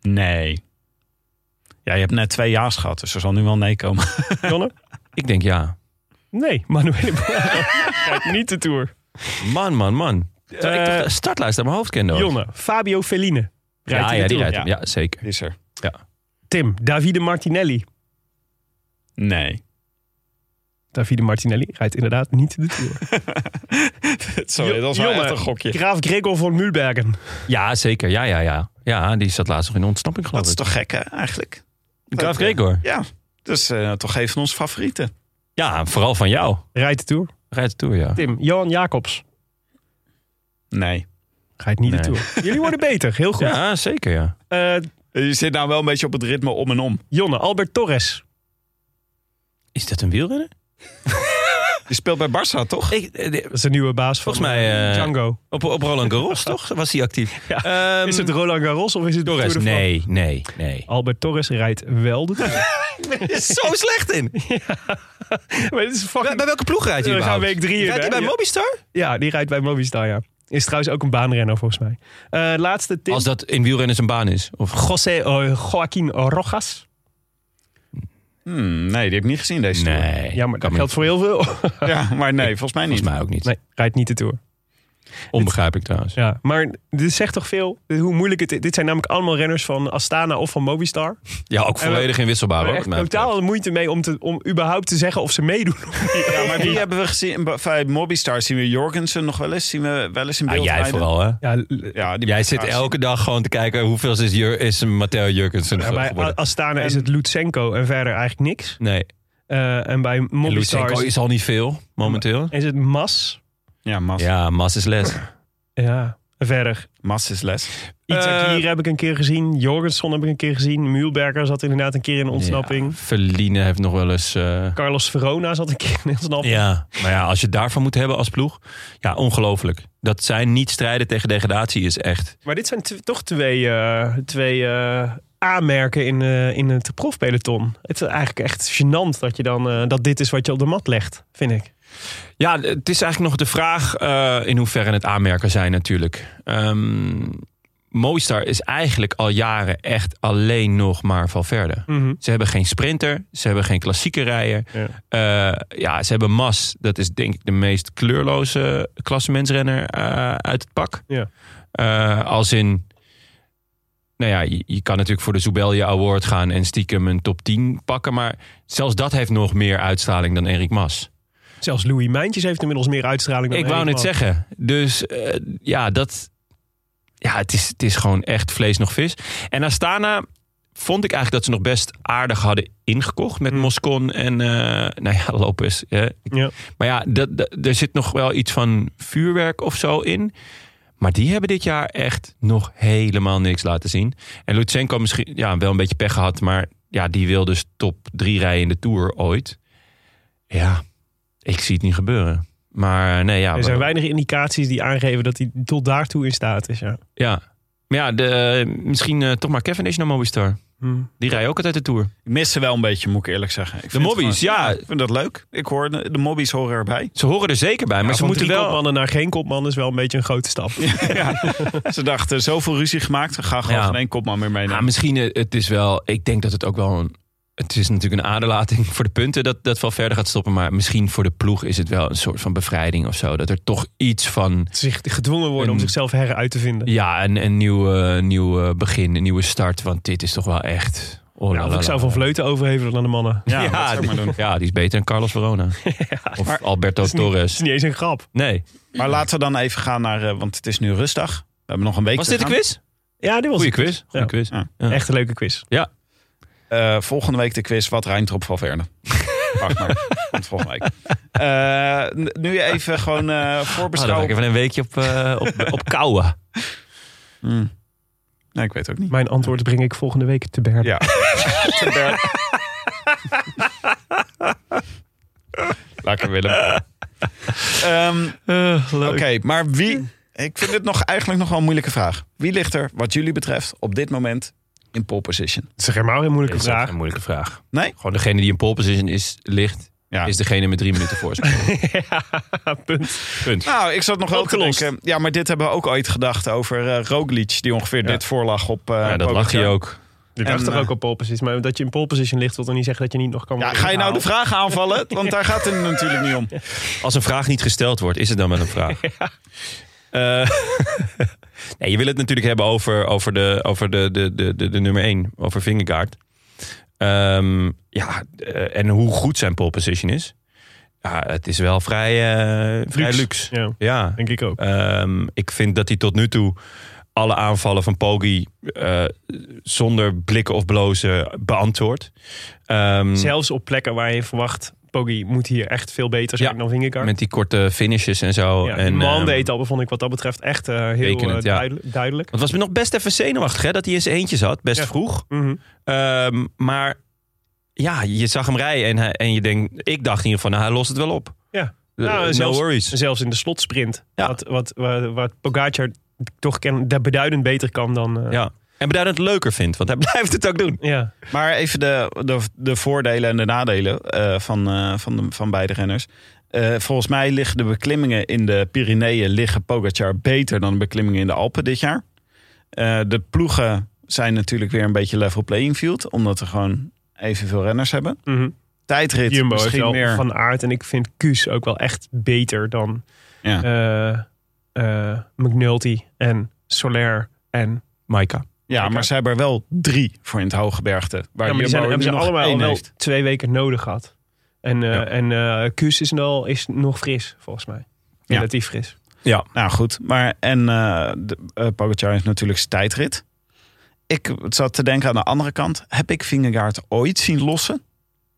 Speaker 3: Nee. Ja, je hebt net twee ja's gehad, dus er zal nu wel nee komen.
Speaker 5: Jonne?
Speaker 4: Ik denk ja.
Speaker 5: Nee, Manuele Boaro rijdt niet de Tour.
Speaker 4: Man, man, man. Terwijl ik
Speaker 5: Eh,
Speaker 4: toch de startlijst uit mijn hoofd kende. hoor.
Speaker 5: Jonne, Fabio Felline. Rijdt
Speaker 4: ja,
Speaker 5: hij
Speaker 4: ja,
Speaker 5: de
Speaker 4: die
Speaker 5: Tour?
Speaker 4: rijdt hem. Ja, zeker.
Speaker 3: Is er?
Speaker 5: Tim, Davide Martinelli.
Speaker 3: Nee.
Speaker 5: Davide Martinelli rijdt inderdaad niet de Tour.
Speaker 3: Sorry, dat was wel
Speaker 5: Jonne,
Speaker 3: echt een gokje.
Speaker 5: Graaf Gregor van Mulbergen.
Speaker 4: Ja, zeker. Ja, ja, ja. Ja, die zat laatst nog in ontsnapping, geloof
Speaker 3: Dat is
Speaker 4: ik.
Speaker 3: toch gek, hè, eigenlijk?
Speaker 4: Graaf Gregor.
Speaker 3: Ja, dat is eh, toch een van onze favorieten.
Speaker 4: Ja, vooral van jou.
Speaker 5: Rijdt de Tour.
Speaker 4: Rijdt de Tour, ja.
Speaker 5: Tim, Johan Jacobs.
Speaker 3: Nee.
Speaker 5: Rijdt niet de
Speaker 4: Nee.
Speaker 5: Tour. Jullie worden beter, heel goed.
Speaker 4: Ja, zeker, ja.
Speaker 5: Eh,
Speaker 3: Je zit nou wel een beetje op het ritme om en om.
Speaker 5: Jonne, Albert Torres.
Speaker 4: Is dat een wielrenner?
Speaker 3: Je speelt bij Barça, toch?
Speaker 4: Ik, eh, de-
Speaker 5: Dat is de nieuwe baas van
Speaker 4: Volgens mij,
Speaker 5: eh,
Speaker 4: eh,
Speaker 5: Django.
Speaker 4: op, op Roland Garros, toch? Was hij actief? Ehm,
Speaker 5: Is het Roland Garros of is het
Speaker 4: Torres?
Speaker 5: Tour de France?
Speaker 4: Nee, nee, nee.
Speaker 5: Albert Torres rijdt wel de Tour.
Speaker 4: is zo slecht in.
Speaker 5: maar dit is
Speaker 4: Bij,
Speaker 5: fucking...
Speaker 4: bij welke ploeg rijdt hij
Speaker 5: We gaan
Speaker 4: überhaupt?
Speaker 5: week drie in,
Speaker 4: Rijdt hij
Speaker 5: hè?
Speaker 4: bij
Speaker 5: Ja.
Speaker 4: Mobistar?
Speaker 5: Ja, die rijdt bij Movistar, ja. Is trouwens ook een baanrenner volgens mij. Eh, laatste tip.
Speaker 4: Als dat in wielrennen zijn baan is. Of
Speaker 5: José eh, Joaquín Rojas.
Speaker 3: Hmm, nee, die heb ik niet gezien deze tour.
Speaker 4: Nee.
Speaker 5: Ja, maar
Speaker 4: kan
Speaker 5: dat
Speaker 4: me
Speaker 5: geldt voor heel veel.
Speaker 3: Ja, maar nee, volgens mij niet.
Speaker 4: volgens mij ook niet.
Speaker 5: nee, rijdt niet de Tour.
Speaker 4: Onbegrijpelijk trouwens.
Speaker 5: Ja, maar dit zegt toch veel hoe moeilijk het is. Dit zijn namelijk allemaal renners van Astana of van Movistar.
Speaker 4: Ja, ook
Speaker 5: En we-
Speaker 4: volledig inwisselbaar
Speaker 5: We
Speaker 4: hoor.
Speaker 5: hebben
Speaker 4: wat
Speaker 5: echt
Speaker 4: mij betreft.
Speaker 5: totaal moeite mee om, te, om überhaupt te zeggen of ze meedoen.
Speaker 3: Ja, maar die hebben we gezien. Bij Mobistar zien we Jorgensen nog wel eens. Zien we wel eens in
Speaker 4: Ah,
Speaker 3: beeld.
Speaker 4: jij
Speaker 3: rijden.
Speaker 4: vooral hè?
Speaker 5: Ja, l-
Speaker 3: Ja, die
Speaker 4: Jij zit
Speaker 3: Ja,
Speaker 4: elke dag gewoon te kijken hoeveel is, Jur is een Matteo Jurgensen
Speaker 5: ja, bij
Speaker 4: geworden.
Speaker 5: Astana is het Lutsenko en verder eigenlijk niks.
Speaker 4: Nee,
Speaker 5: Eh, en bij
Speaker 4: En
Speaker 5: Movistar
Speaker 4: Lutsenko
Speaker 5: is,
Speaker 4: is al niet veel momenteel.
Speaker 5: is het Mas.
Speaker 3: Ja, Mas,
Speaker 4: Ja, Mas is les.
Speaker 5: Ja, en verder.
Speaker 3: Mas is les.
Speaker 4: Eh,
Speaker 5: Itzakir heb ik een keer gezien. Jorgensen heb ik een keer gezien. Mühlberger zat inderdaad een keer in ontsnapping.
Speaker 4: Ja, Verline heeft nog wel eens... eh,
Speaker 5: Carlos Verona zat een keer in ontsnapping.
Speaker 4: ja, maar ja, als je het daarvan moet hebben als ploeg. Ja, ongelooflijk. Dat zij niet strijden tegen degradatie is echt...
Speaker 5: Maar dit zijn tw- toch twee, eh, twee eh, aanmerken in, eh, in het profpeloton. Het is eigenlijk echt gênant dat, je dan, eh, dat dit is wat je op de mat legt, vind ik.
Speaker 4: Ja, het is eigenlijk nog de vraag eh, in hoeverre het aanmerken zijn natuurlijk. Ehm Movistar is eigenlijk al jaren echt alleen nog maar Valverde.
Speaker 5: Mhm.
Speaker 4: Ze hebben geen sprinter, ze hebben geen klassieke rijder. Eh, ja, ze hebben Mas, dat is denk ik de meest kleurloze klassementsrenner eh, uit het pak.
Speaker 5: Ja.
Speaker 4: Eh, als in, nou ja, je, je kan natuurlijk voor de Zubelja Award gaan en stiekem een top 10 pakken. Maar zelfs dat heeft nog meer uitstraling dan Erik Mas.
Speaker 5: Zelfs Louis Mijntjes heeft inmiddels meer uitstraling dan
Speaker 4: Ik wou
Speaker 5: Henk
Speaker 4: net
Speaker 5: Mas.
Speaker 4: zeggen. Dus eh, ja, dat. Ja, het is, het is gewoon echt vlees nog vis. En Astana vond ik eigenlijk dat ze nog best aardig hadden ingekocht met
Speaker 5: Mm.
Speaker 4: Moscon en eh nou ja, Lopez. hè.
Speaker 5: Ja.
Speaker 4: Maar ja, dat, dat- er zit nog wel iets van vuurwerk of zo in. Maar die hebben dit jaar echt nog helemaal niks laten zien. En Lutsenko misschien ja, wel een beetje pech gehad. Maar ja, die wil dus top drie rijden in de Tour ooit. Ja, ik zie het niet gebeuren. Maar eh, nee, ja.
Speaker 5: er zijn
Speaker 4: maar-
Speaker 5: weinig indicaties die aangeven dat hij tot daartoe in staat is. Ja.
Speaker 4: ja. Maar ja, de, misschien eh, toch maar Cavendish naar Mobistar.
Speaker 5: Hmm.
Speaker 4: Die rijden ook altijd de Tour.
Speaker 3: Ik mis ze wel een beetje, moet ik eerlijk zeggen. Ik vind het
Speaker 4: De mobbies,
Speaker 3: gewoon-
Speaker 4: ja.
Speaker 3: Ik vind dat leuk. Ik hoor, de, de mobbies horen erbij.
Speaker 4: Ze horen er zeker bij, maar ze
Speaker 5: van
Speaker 4: moeten
Speaker 5: drie
Speaker 4: wel...
Speaker 5: kopmannen naar geen kopman is wel een beetje een grote stap.
Speaker 3: Ze dachten, zoveel ruzie gemaakt, we gaan gewoon
Speaker 4: Ja.
Speaker 3: geen één kopman meer
Speaker 4: Ja,
Speaker 3: meenemen.
Speaker 4: misschien eh, het is wel... Ik denk dat het ook wel een... Het is natuurlijk een aderlating voor de punten dat dat wel verder gaat stoppen. Maar misschien voor de ploeg is het wel een soort van bevrijding of zo. Dat er toch iets van...
Speaker 5: Zich gedwongen worden om
Speaker 4: En-
Speaker 5: zichzelf heruit te vinden.
Speaker 4: Ja, een, een nieuw, eh, nieuw eh, begin, een nieuwe start. Want dit is toch wel echt... Oh,
Speaker 5: Nou,
Speaker 4: la,
Speaker 5: of
Speaker 4: la,
Speaker 5: ik zou
Speaker 4: la.
Speaker 5: van Vleuten overhevelen aan de mannen.
Speaker 3: Ja, dat zou ik maar
Speaker 4: die,
Speaker 3: doen.
Speaker 4: ja, die is beter dan Carlos Verona. Of Alberto
Speaker 5: is niet- Het
Speaker 4: Torres.
Speaker 5: is niet eens een grap.
Speaker 4: Nee.
Speaker 3: Maar laten we dan even gaan naar, eh, want het is nu rustdag. We hebben nog een week
Speaker 4: Was
Speaker 3: te
Speaker 4: dit een
Speaker 3: gaan.
Speaker 4: quiz?
Speaker 5: Ja, dit was
Speaker 4: Goeie
Speaker 5: een
Speaker 4: quiz. Goeie
Speaker 5: Ja.
Speaker 4: quiz.
Speaker 3: Ja.
Speaker 5: Echt een leuke quiz.
Speaker 3: Eh, volgende week de quiz, wat rijmt er op Valverde? Wacht maar, komt volgende week. Eh, n- nu even gewoon eh
Speaker 4: Ah, dan ga ik
Speaker 3: voorbeschouwen.
Speaker 4: even een weekje op, eh op, op kouwen.
Speaker 3: Hmm. Nee, ik weet het ook niet.
Speaker 5: Mijn antwoord breng ik volgende week te berden.
Speaker 3: Ja. Te Bern. Lekker Willem. Ehm,
Speaker 5: Eh,
Speaker 3: Oké, maar wie... Ik vind dit nog, eigenlijk nog wel een moeilijke vraag. Wie ligt er, wat jullie betreft, op dit moment in pole position?
Speaker 5: Het is toch helemaal geen moeilijke
Speaker 4: is echt
Speaker 5: vraag.
Speaker 4: een moeilijke vraag.
Speaker 3: Nee?
Speaker 4: Gewoon degene die in pole position is, ligt,
Speaker 3: Ja.
Speaker 4: is degene met drie minuten voorsprong.
Speaker 5: Ja, punt.
Speaker 4: Punt.
Speaker 3: Nou, ik zat nog wel te
Speaker 5: Opgelost.
Speaker 3: denken. Ja, maar dit hebben we ook ooit gedacht over eh Roglic, die ongeveer dit voorlag op. eh,
Speaker 4: ja, dat lag
Speaker 3: Pogacar.
Speaker 4: hij ook.
Speaker 5: Ik
Speaker 3: En,
Speaker 5: dacht toch
Speaker 3: eh,
Speaker 5: ook op pole position. Maar dat je in pole position ligt, wil dan niet zeggen dat je niet nog kan
Speaker 3: Ja,
Speaker 5: worden
Speaker 3: ga je nou de
Speaker 5: gehaald.
Speaker 3: vragen aanvallen? Want daar gaat het natuurlijk niet om.
Speaker 4: Als een vraag niet gesteld wordt, is het dan wel een vraag? Eh, nee, je wil het natuurlijk hebben over, over, de, over de, de, de, de, de nummer 1, over Vingegaard. Ehm, ja, eh, en hoe goed zijn pole position is. Ja, het is wel vrij, eh, vrij luxe.
Speaker 5: Ja,
Speaker 4: Ja,
Speaker 5: denk ik ook.
Speaker 4: Ehm, ik vind dat hij tot nu toe alle aanvallen van Poggi eh, zonder blikken of blozen beantwoordt. Ehm,
Speaker 5: Zelfs op plekken waar je verwacht, Poggi moet hier echt veel beter zijn
Speaker 4: Ja,
Speaker 5: dan Vingegaard.
Speaker 4: met die korte finishes en zo.
Speaker 5: ja, die
Speaker 4: en,
Speaker 5: man
Speaker 4: ehm,
Speaker 5: de etappe vond ik wat dat betreft echt eh, heel eh,
Speaker 4: tekenend, ja.
Speaker 5: duidelijk. duidelijk.
Speaker 4: want het was me nog best even zenuwachtig hè, dat hij in zijn eentje zat, best
Speaker 5: Ja.
Speaker 4: vroeg.
Speaker 5: Mhm.
Speaker 4: Ehm, maar ja, je zag hem rijden en, hij, en je denkt, ik dacht in ieder geval, nou, hij lost het wel op.
Speaker 5: Ja.
Speaker 4: Eh,
Speaker 5: Nou,
Speaker 4: no
Speaker 5: zelfs-
Speaker 4: worries.
Speaker 5: Zelfs in de slotsprint.
Speaker 4: Ja.
Speaker 5: Wat, wat, wat, wat Pogacar toch ken, dat beduidend beter kan dan... eh,
Speaker 4: Ja. En beduidend leuker vindt, want hij blijft het ook doen.
Speaker 5: ja.
Speaker 3: Maar even de, de, de voordelen en de nadelen eh, van, eh, van, de, van beide renners. Eh, volgens mij liggen de beklimmingen in de Pyreneeën liggen Pogacar beter dan de beklimmingen in de Alpen dit jaar. Eh, de ploegen zijn natuurlijk weer een beetje level playing field, omdat er gewoon evenveel renners hebben.
Speaker 5: Mhm.
Speaker 3: Tijdrit
Speaker 5: Jumbo heeft
Speaker 3: misschien
Speaker 5: wel
Speaker 3: meer.
Speaker 5: van aard. En ik vind Kuus ook wel echt beter dan
Speaker 3: Ja.
Speaker 5: eh, eh, McNulty en Soler. En,
Speaker 4: Maika.
Speaker 3: Ja, maar
Speaker 5: Kijk.
Speaker 3: ze hebben er wel drie voor in het hoge bergte. Waar
Speaker 5: ja, maar die zijn, hebben ze allemaal al
Speaker 3: wel.
Speaker 5: wel twee weken nodig gehad. En, eh
Speaker 4: Ja.
Speaker 5: en eh, Kuus is, nou, is nog fris, volgens mij.
Speaker 3: Ja.
Speaker 5: Relatief fris.
Speaker 3: Nou goed, maar en eh de, eh, Pogacar is natuurlijk zijn tijdrit. Ik zat te denken aan de andere kant. Heb ik Vingegaard ooit zien lossen?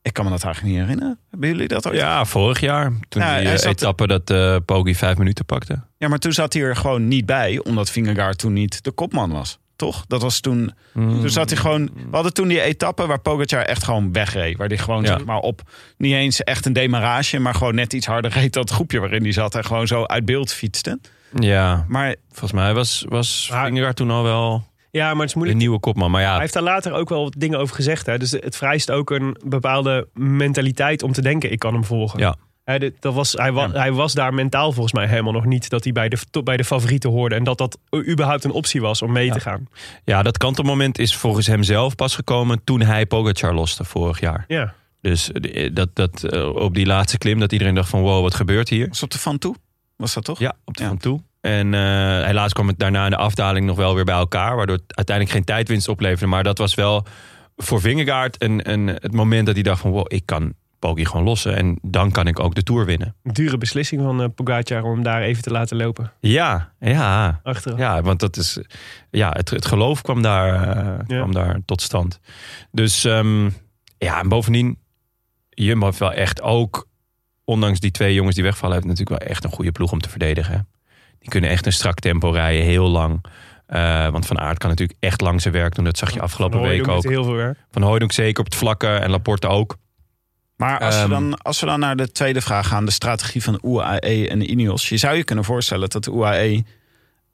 Speaker 3: Ik kan me dat eigenlijk niet herinneren. Hebben jullie dat ooit?
Speaker 4: Ja, vorig jaar. Toen
Speaker 3: Ja,
Speaker 4: die
Speaker 3: hij
Speaker 4: eh,
Speaker 3: zat-
Speaker 4: etappe dat eh Poggi vijf minuten pakte.
Speaker 3: Ja, maar toen zat hij er gewoon niet bij, omdat Vingegaard toen niet de kopman was. Toch? Dat was toen.
Speaker 4: Mm.
Speaker 3: Toen zat hij gewoon. We hadden toen die etappe waar Pogacar echt gewoon wegreed. Waar hij gewoon
Speaker 4: Ja.
Speaker 3: zeg maar op niet eens echt een demarage, maar gewoon net iets harder reed dan het groepje waarin hij zat en gewoon zo uit beeld fietste.
Speaker 4: Ja,
Speaker 3: Maar
Speaker 4: volgens mij was, was
Speaker 5: Maar-
Speaker 4: Vingegaard toen al wel
Speaker 5: Ja, maar het is
Speaker 4: de
Speaker 5: moeilijk.
Speaker 4: nieuwe kopman. Maar
Speaker 5: Hij
Speaker 4: ja,
Speaker 5: heeft daar later ook wel wat dingen over gezegd. Hè? Dus het vereist ook een bepaalde mentaliteit om te denken, ik kan hem volgen.
Speaker 4: Ja.
Speaker 5: Hè, dit- dat was, hij, wa-
Speaker 3: Ja.
Speaker 5: hij was daar mentaal volgens mij helemaal nog niet. Dat hij bij de, tot bij de favorieten hoorde. En dat dat überhaupt een optie was om mee te gaan.
Speaker 4: ja, dat kantelmoment is volgens hemzelf pas gekomen toen hij Pogacar loste vorig jaar.
Speaker 5: Ja.
Speaker 4: Dus eh, dat, dat, eh, op die laatste klim dat iedereen dacht van wow, wat gebeurt hier?
Speaker 3: was op de van toe? Was dat toch?
Speaker 4: Ja, op de
Speaker 3: Ja.
Speaker 4: van toe. En eh, helaas kwam het daarna in de afdaling nog wel weer bij elkaar. Waardoor het uiteindelijk geen tijdwinst opleverde. Maar dat was wel voor Vingegaard een, een, het moment dat hij dacht van... wow, ik kan Poggi gewoon lossen. En dan kan ik ook de Tour winnen.
Speaker 5: Een dure beslissing van eh, Pogacar om hem daar even te laten lopen.
Speaker 4: Ja, ja.
Speaker 5: Achteraf.
Speaker 4: Ja, want dat is, ja, het, het geloof kwam daar, eh,
Speaker 5: Ja.
Speaker 4: kwam daar tot stand. Dus ehm, ja, en bovendien, Jumbo heeft wel echt ook, ondanks die twee jongens die wegvallen, heeft natuurlijk wel echt een goede ploeg om te verdedigen. hè. Die kunnen echt een strak tempo rijden, heel lang. Eh, want Van Aert kan natuurlijk echt lang zijn werk doen. Dat zag je afgelopen
Speaker 5: Van Hooijdonk
Speaker 4: week ook.
Speaker 5: heeft heel veel werk.
Speaker 4: Van Hooydonk zeker op het vlakke en Laporte ook.
Speaker 3: Maar als, we
Speaker 4: Ehm,
Speaker 3: dan, als we dan naar de tweede vraag gaan, de strategie E van UAE en Ineos. Je zou je kunnen voorstellen dat de UAE E,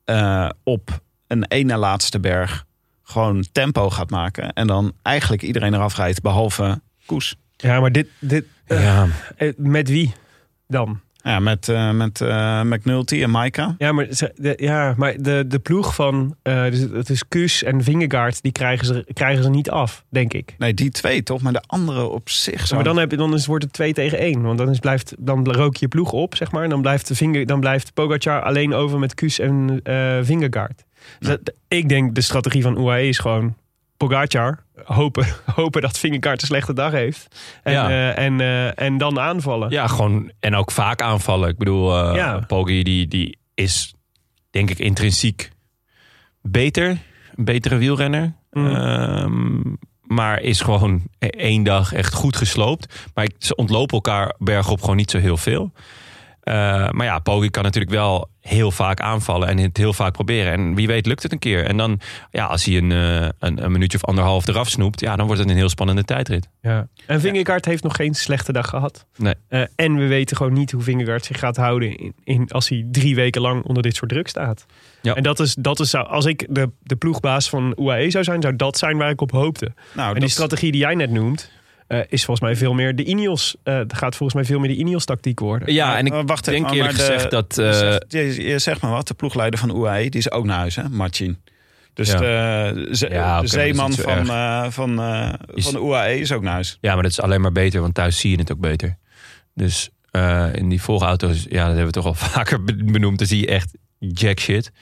Speaker 3: eh, op eh, een één na laatste berg gewoon tempo gaat maken. En dan eigenlijk iedereen eraf rijdt, behalve Koes.
Speaker 5: Ja, maar dit, dit
Speaker 4: Ja.
Speaker 5: eh, met wie dan?
Speaker 3: Ja, met, eh, met eh, McNulty en Maika.
Speaker 5: Ja, maar, ze- de, ja, maar de, de ploeg van, eh, dus het is Kus en Vingegaard, die krijgen ze, krijgen ze niet af, denk ik.
Speaker 3: Nee, die twee toch? Maar de andere op zich zo.
Speaker 5: Maar dan, heb, je- dan is, wordt het 2 tegen 1. Want dan, is, blijft, dan rook je ploeg op, zeg maar. En dan blijft, de Vinge- dan blijft Pogacar alleen over met Kus en eh Vingegaard. Dus dat- ik denk de strategie van UAE is gewoon... Pogacar, hopen, hopen dat Vingegaard een slechte dag heeft. En,
Speaker 4: Ja.
Speaker 5: eh, en, eh, en dan aanvallen.
Speaker 4: Ja, gewoon en ook vaak aanvallen. Ik bedoel, eh
Speaker 5: Ja.
Speaker 4: Poggi die, die is denk ik intrinsiek beter. Een betere wielrenner.
Speaker 3: Mhm.
Speaker 5: Mm.
Speaker 4: Ehm, maar is gewoon e- één dag echt goed gesloopt. Maar ik- ze ontlopen elkaar bergop gewoon niet zo heel veel. Eh, maar ja, Poggi kan natuurlijk wel heel vaak aanvallen en het heel vaak proberen. En wie weet lukt het een keer. En dan, ja, als hij een, eh, een, een minuutje of anderhalf eraf snoept, ja, dan wordt het een heel spannende tijdrit.
Speaker 5: Ja. En Vingegaard heeft nog geen slechte dag gehad.
Speaker 4: Nee.
Speaker 5: Eh, en we weten gewoon niet hoe Vingegaard zich gaat houden in, in, als hij drie weken lang onder dit soort druk staat.
Speaker 4: Ja.
Speaker 5: En dat is, dat is, zou- als ik de, de ploegbaas van UAE zou zijn, zou dat zijn waar ik op hoopte.
Speaker 3: nou,
Speaker 5: en die
Speaker 3: dat-
Speaker 5: strategie die jij net noemt, eh, is volgens mij veel meer de Ineos. eh, dat gaat volgens mij veel meer de Ineos-tactiek worden.
Speaker 4: Ja, Ah, en
Speaker 3: en
Speaker 4: ik
Speaker 3: ik Eh, wacht even,
Speaker 4: denk
Speaker 3: denk maar
Speaker 4: eerlijk
Speaker 3: eerlijk de-
Speaker 4: gezegd
Speaker 3: gezegd
Speaker 4: dat... eh,
Speaker 3: Je zegt- je, je zegt maar wat, de ploegleider van UAE, die is ook naar huis, hè, Martin. Dus
Speaker 4: Ja.
Speaker 3: de, ze-
Speaker 4: Ja, oké, maar dat
Speaker 3: de
Speaker 4: is
Speaker 3: zeeman
Speaker 4: niet zo
Speaker 3: van,
Speaker 4: erg.
Speaker 3: eh, van, eh,
Speaker 4: Is-
Speaker 3: van de UAE is ook naar huis.
Speaker 4: Ja, maar dat is alleen maar beter, want thuis zie je het ook beter. Dus eh, in die volgauto's, ja, dat hebben we toch al vaker be- benoemd. Dan zie je echt jack shit.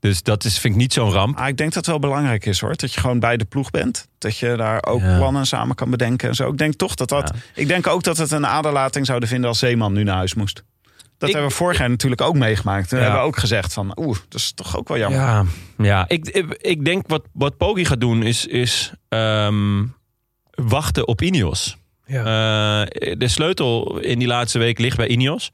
Speaker 4: Dus dat is, vind ik niet zo'n ramp.
Speaker 3: Ah, ik denk dat het wel belangrijk is hoor. Dat je gewoon bij de ploeg bent. Dat je daar ook
Speaker 4: Ja.
Speaker 3: plannen samen kan bedenken en zo. Ik denk toch dat dat.
Speaker 4: Ja.
Speaker 3: Ik denk ook dat het een aderlating zouden vinden als Zeeman nu naar huis moest. Dat
Speaker 4: Ik-
Speaker 3: hebben we vorig jaar natuurlijk ook meegemaakt. Toen
Speaker 4: Ja.
Speaker 3: hebben we ook gezegd van oeh, dat is toch ook wel jammer.
Speaker 4: Ja, ja. Ik, ik, ik denk wat, wat Poggi gaat doen is, is ehm, wachten op Ineos. Eh, de sleutel in die laatste week ligt bij Ineos.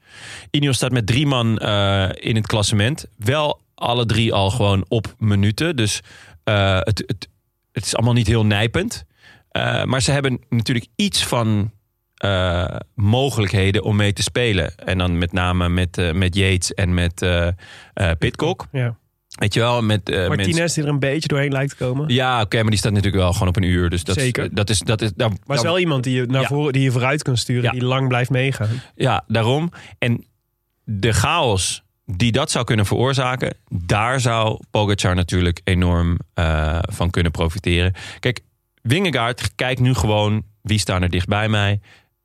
Speaker 4: Ineos staat met drie man eh, in het klassement. Wel alle drie al gewoon op minuten. Dus eh, het, het, het is allemaal niet heel nijpend. Eh, maar ze hebben natuurlijk iets van eh, mogelijkheden om mee te spelen. En dan met name met, eh, met Yates en met eh eh, Pidcock.
Speaker 5: Ja.
Speaker 4: Weet je wel, met eh, mensen-
Speaker 5: Martinez die er een beetje doorheen lijkt te komen.
Speaker 4: Ja, oké, maar die staat natuurlijk wel gewoon op een uur. Dus dat Is,
Speaker 5: Zeker.
Speaker 4: dat is, dat is, daar,
Speaker 5: Maar is
Speaker 4: daar-
Speaker 5: wel iemand die je, naar
Speaker 4: Ja.
Speaker 5: voren, die je vooruit kan sturen,
Speaker 4: Ja.
Speaker 5: die lang blijft meegaan.
Speaker 4: Ja, daarom. En de chaos die dat zou kunnen veroorzaken, daar zou Pogacar natuurlijk enorm eh, van kunnen profiteren. Kijk, Wingegaard kijkt nu gewoon wie staan er dicht bij mij,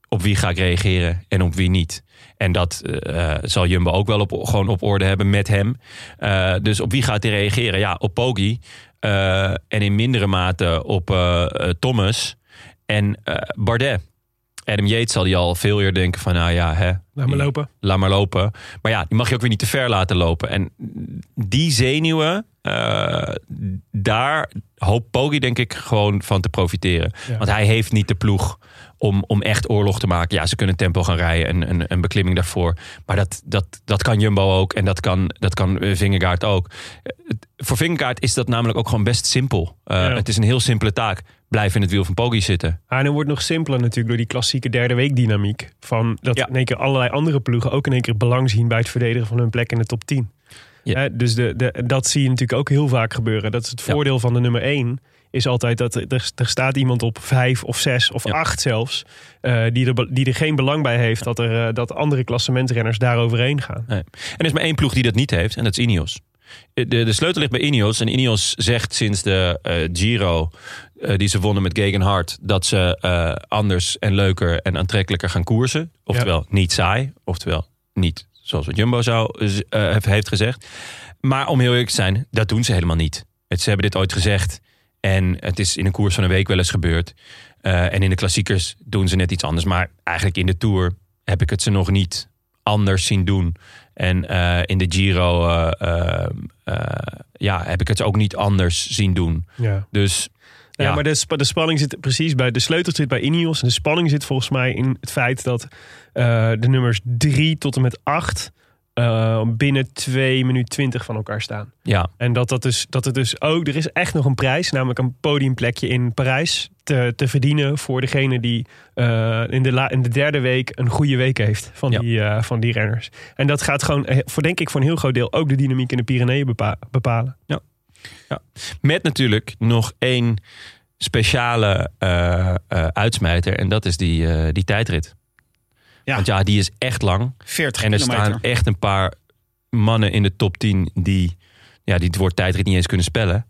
Speaker 4: op wie ga ik reageren en op wie niet. En dat eh, eh, zal Jumbo ook wel op, gewoon op orde hebben met hem. Eh, dus op wie gaat hij reageren? Ja, op Poggi eh, en in mindere mate op eh, eh, Thomas en eh, Bardet. Adam Yates zal die al veel eerder denken van, nou ja, hè,
Speaker 5: Laat maar
Speaker 4: die-
Speaker 5: lopen.
Speaker 4: laat maar lopen. Maar ja, die mag je ook weer niet te ver laten lopen. En die zenuwen, eh, daar hoopt Poggi denk ik gewoon van te profiteren.
Speaker 5: Ja.
Speaker 4: Want hij heeft niet de ploeg om, om echt oorlog te maken. Ja, ze kunnen tempo gaan rijden en een, een beklimming daarvoor. Maar dat, dat, dat kan Jumbo ook en dat kan, dat kan eh, Vingegaard ook. Eh, het- Voor Vingegaard is dat namelijk ook gewoon best simpel. Eh,
Speaker 5: Ja.
Speaker 4: Het is een heel simpele taak. Blijf in het wiel van Poggi zitten.
Speaker 5: Ah, en het wordt nog simpeler natuurlijk door die klassieke derde week dynamiek. Van dat
Speaker 4: Ja.
Speaker 5: in één keer allerlei andere ploegen ook in één keer belang zien bij het verdedigen van hun plek in de top 10.
Speaker 4: Ja.
Speaker 5: Hè, dus de, de, dat zie je natuurlijk ook heel vaak gebeuren. Dat is het
Speaker 4: Ja.
Speaker 5: voordeel van de nummer 1. Is altijd dat er- er, er staat iemand op vijf of zes of
Speaker 4: Ja.
Speaker 5: acht zelfs. eh, die, er, be- die er geen belang bij heeft dat, er, eh, dat andere klassementrenners daar overheen gaan.
Speaker 4: En er is maar één ploeg die dat niet heeft en dat is Ineos. Eh, De, de sleutel ligt bij Ineos. En Ineos zegt sinds de eh, Giro eh, die ze wonnen met Gegenhard... dat ze eh, anders en leuker en aantrekkelijker gaan koersen. Oftewel niet saai. Oftewel niet zoals wat Jumbo zou, eh, heeft gezegd. Maar om heel eerlijk te zijn, dat doen ze helemaal niet. Het, ze hebben dit ooit gezegd. En het is in een koers van een week wel eens gebeurd. Eh, en in de klassiekers doen ze net iets anders. Maar eigenlijk in de Tour heb ik het ze nog niet anders zien doen. En eh, in de Giro eh, eh, eh, ja, heb ik het ze ook niet anders zien doen.
Speaker 5: Ja.
Speaker 4: Dus
Speaker 5: Ja,
Speaker 4: Ja.
Speaker 5: maar de, sp- de spanning zit precies bij. De sleutel zit bij Ineos. En de spanning zit volgens mij in het feit dat eh, de nummers 3 tot en met 8 binnen 2 minuut 20 van elkaar staan.
Speaker 4: ja,
Speaker 5: En dat, dat, dus, dat het dus ook. Er is echt nog een prijs, namelijk een podiumplekje in Parijs. te, te verdienen voor degene die eh, in, de la, in de derde week een goede week heeft van,
Speaker 4: Ja.
Speaker 5: die, eh, van die renners. En dat gaat gewoon, eh, voor, denk ik, voor een heel groot deel ook de dynamiek in de Pyreneeën bepa- bepalen.
Speaker 4: Met natuurlijk nog één speciale eh, eh, uitsmijter. En dat is die, eh, die tijdrit.
Speaker 3: Ja.
Speaker 4: Want ja, die is echt lang.
Speaker 3: 40
Speaker 4: En er
Speaker 3: kilometer.
Speaker 4: staan echt een paar mannen in de top 10 die, ja, die het woord tijdrit niet eens kunnen spellen.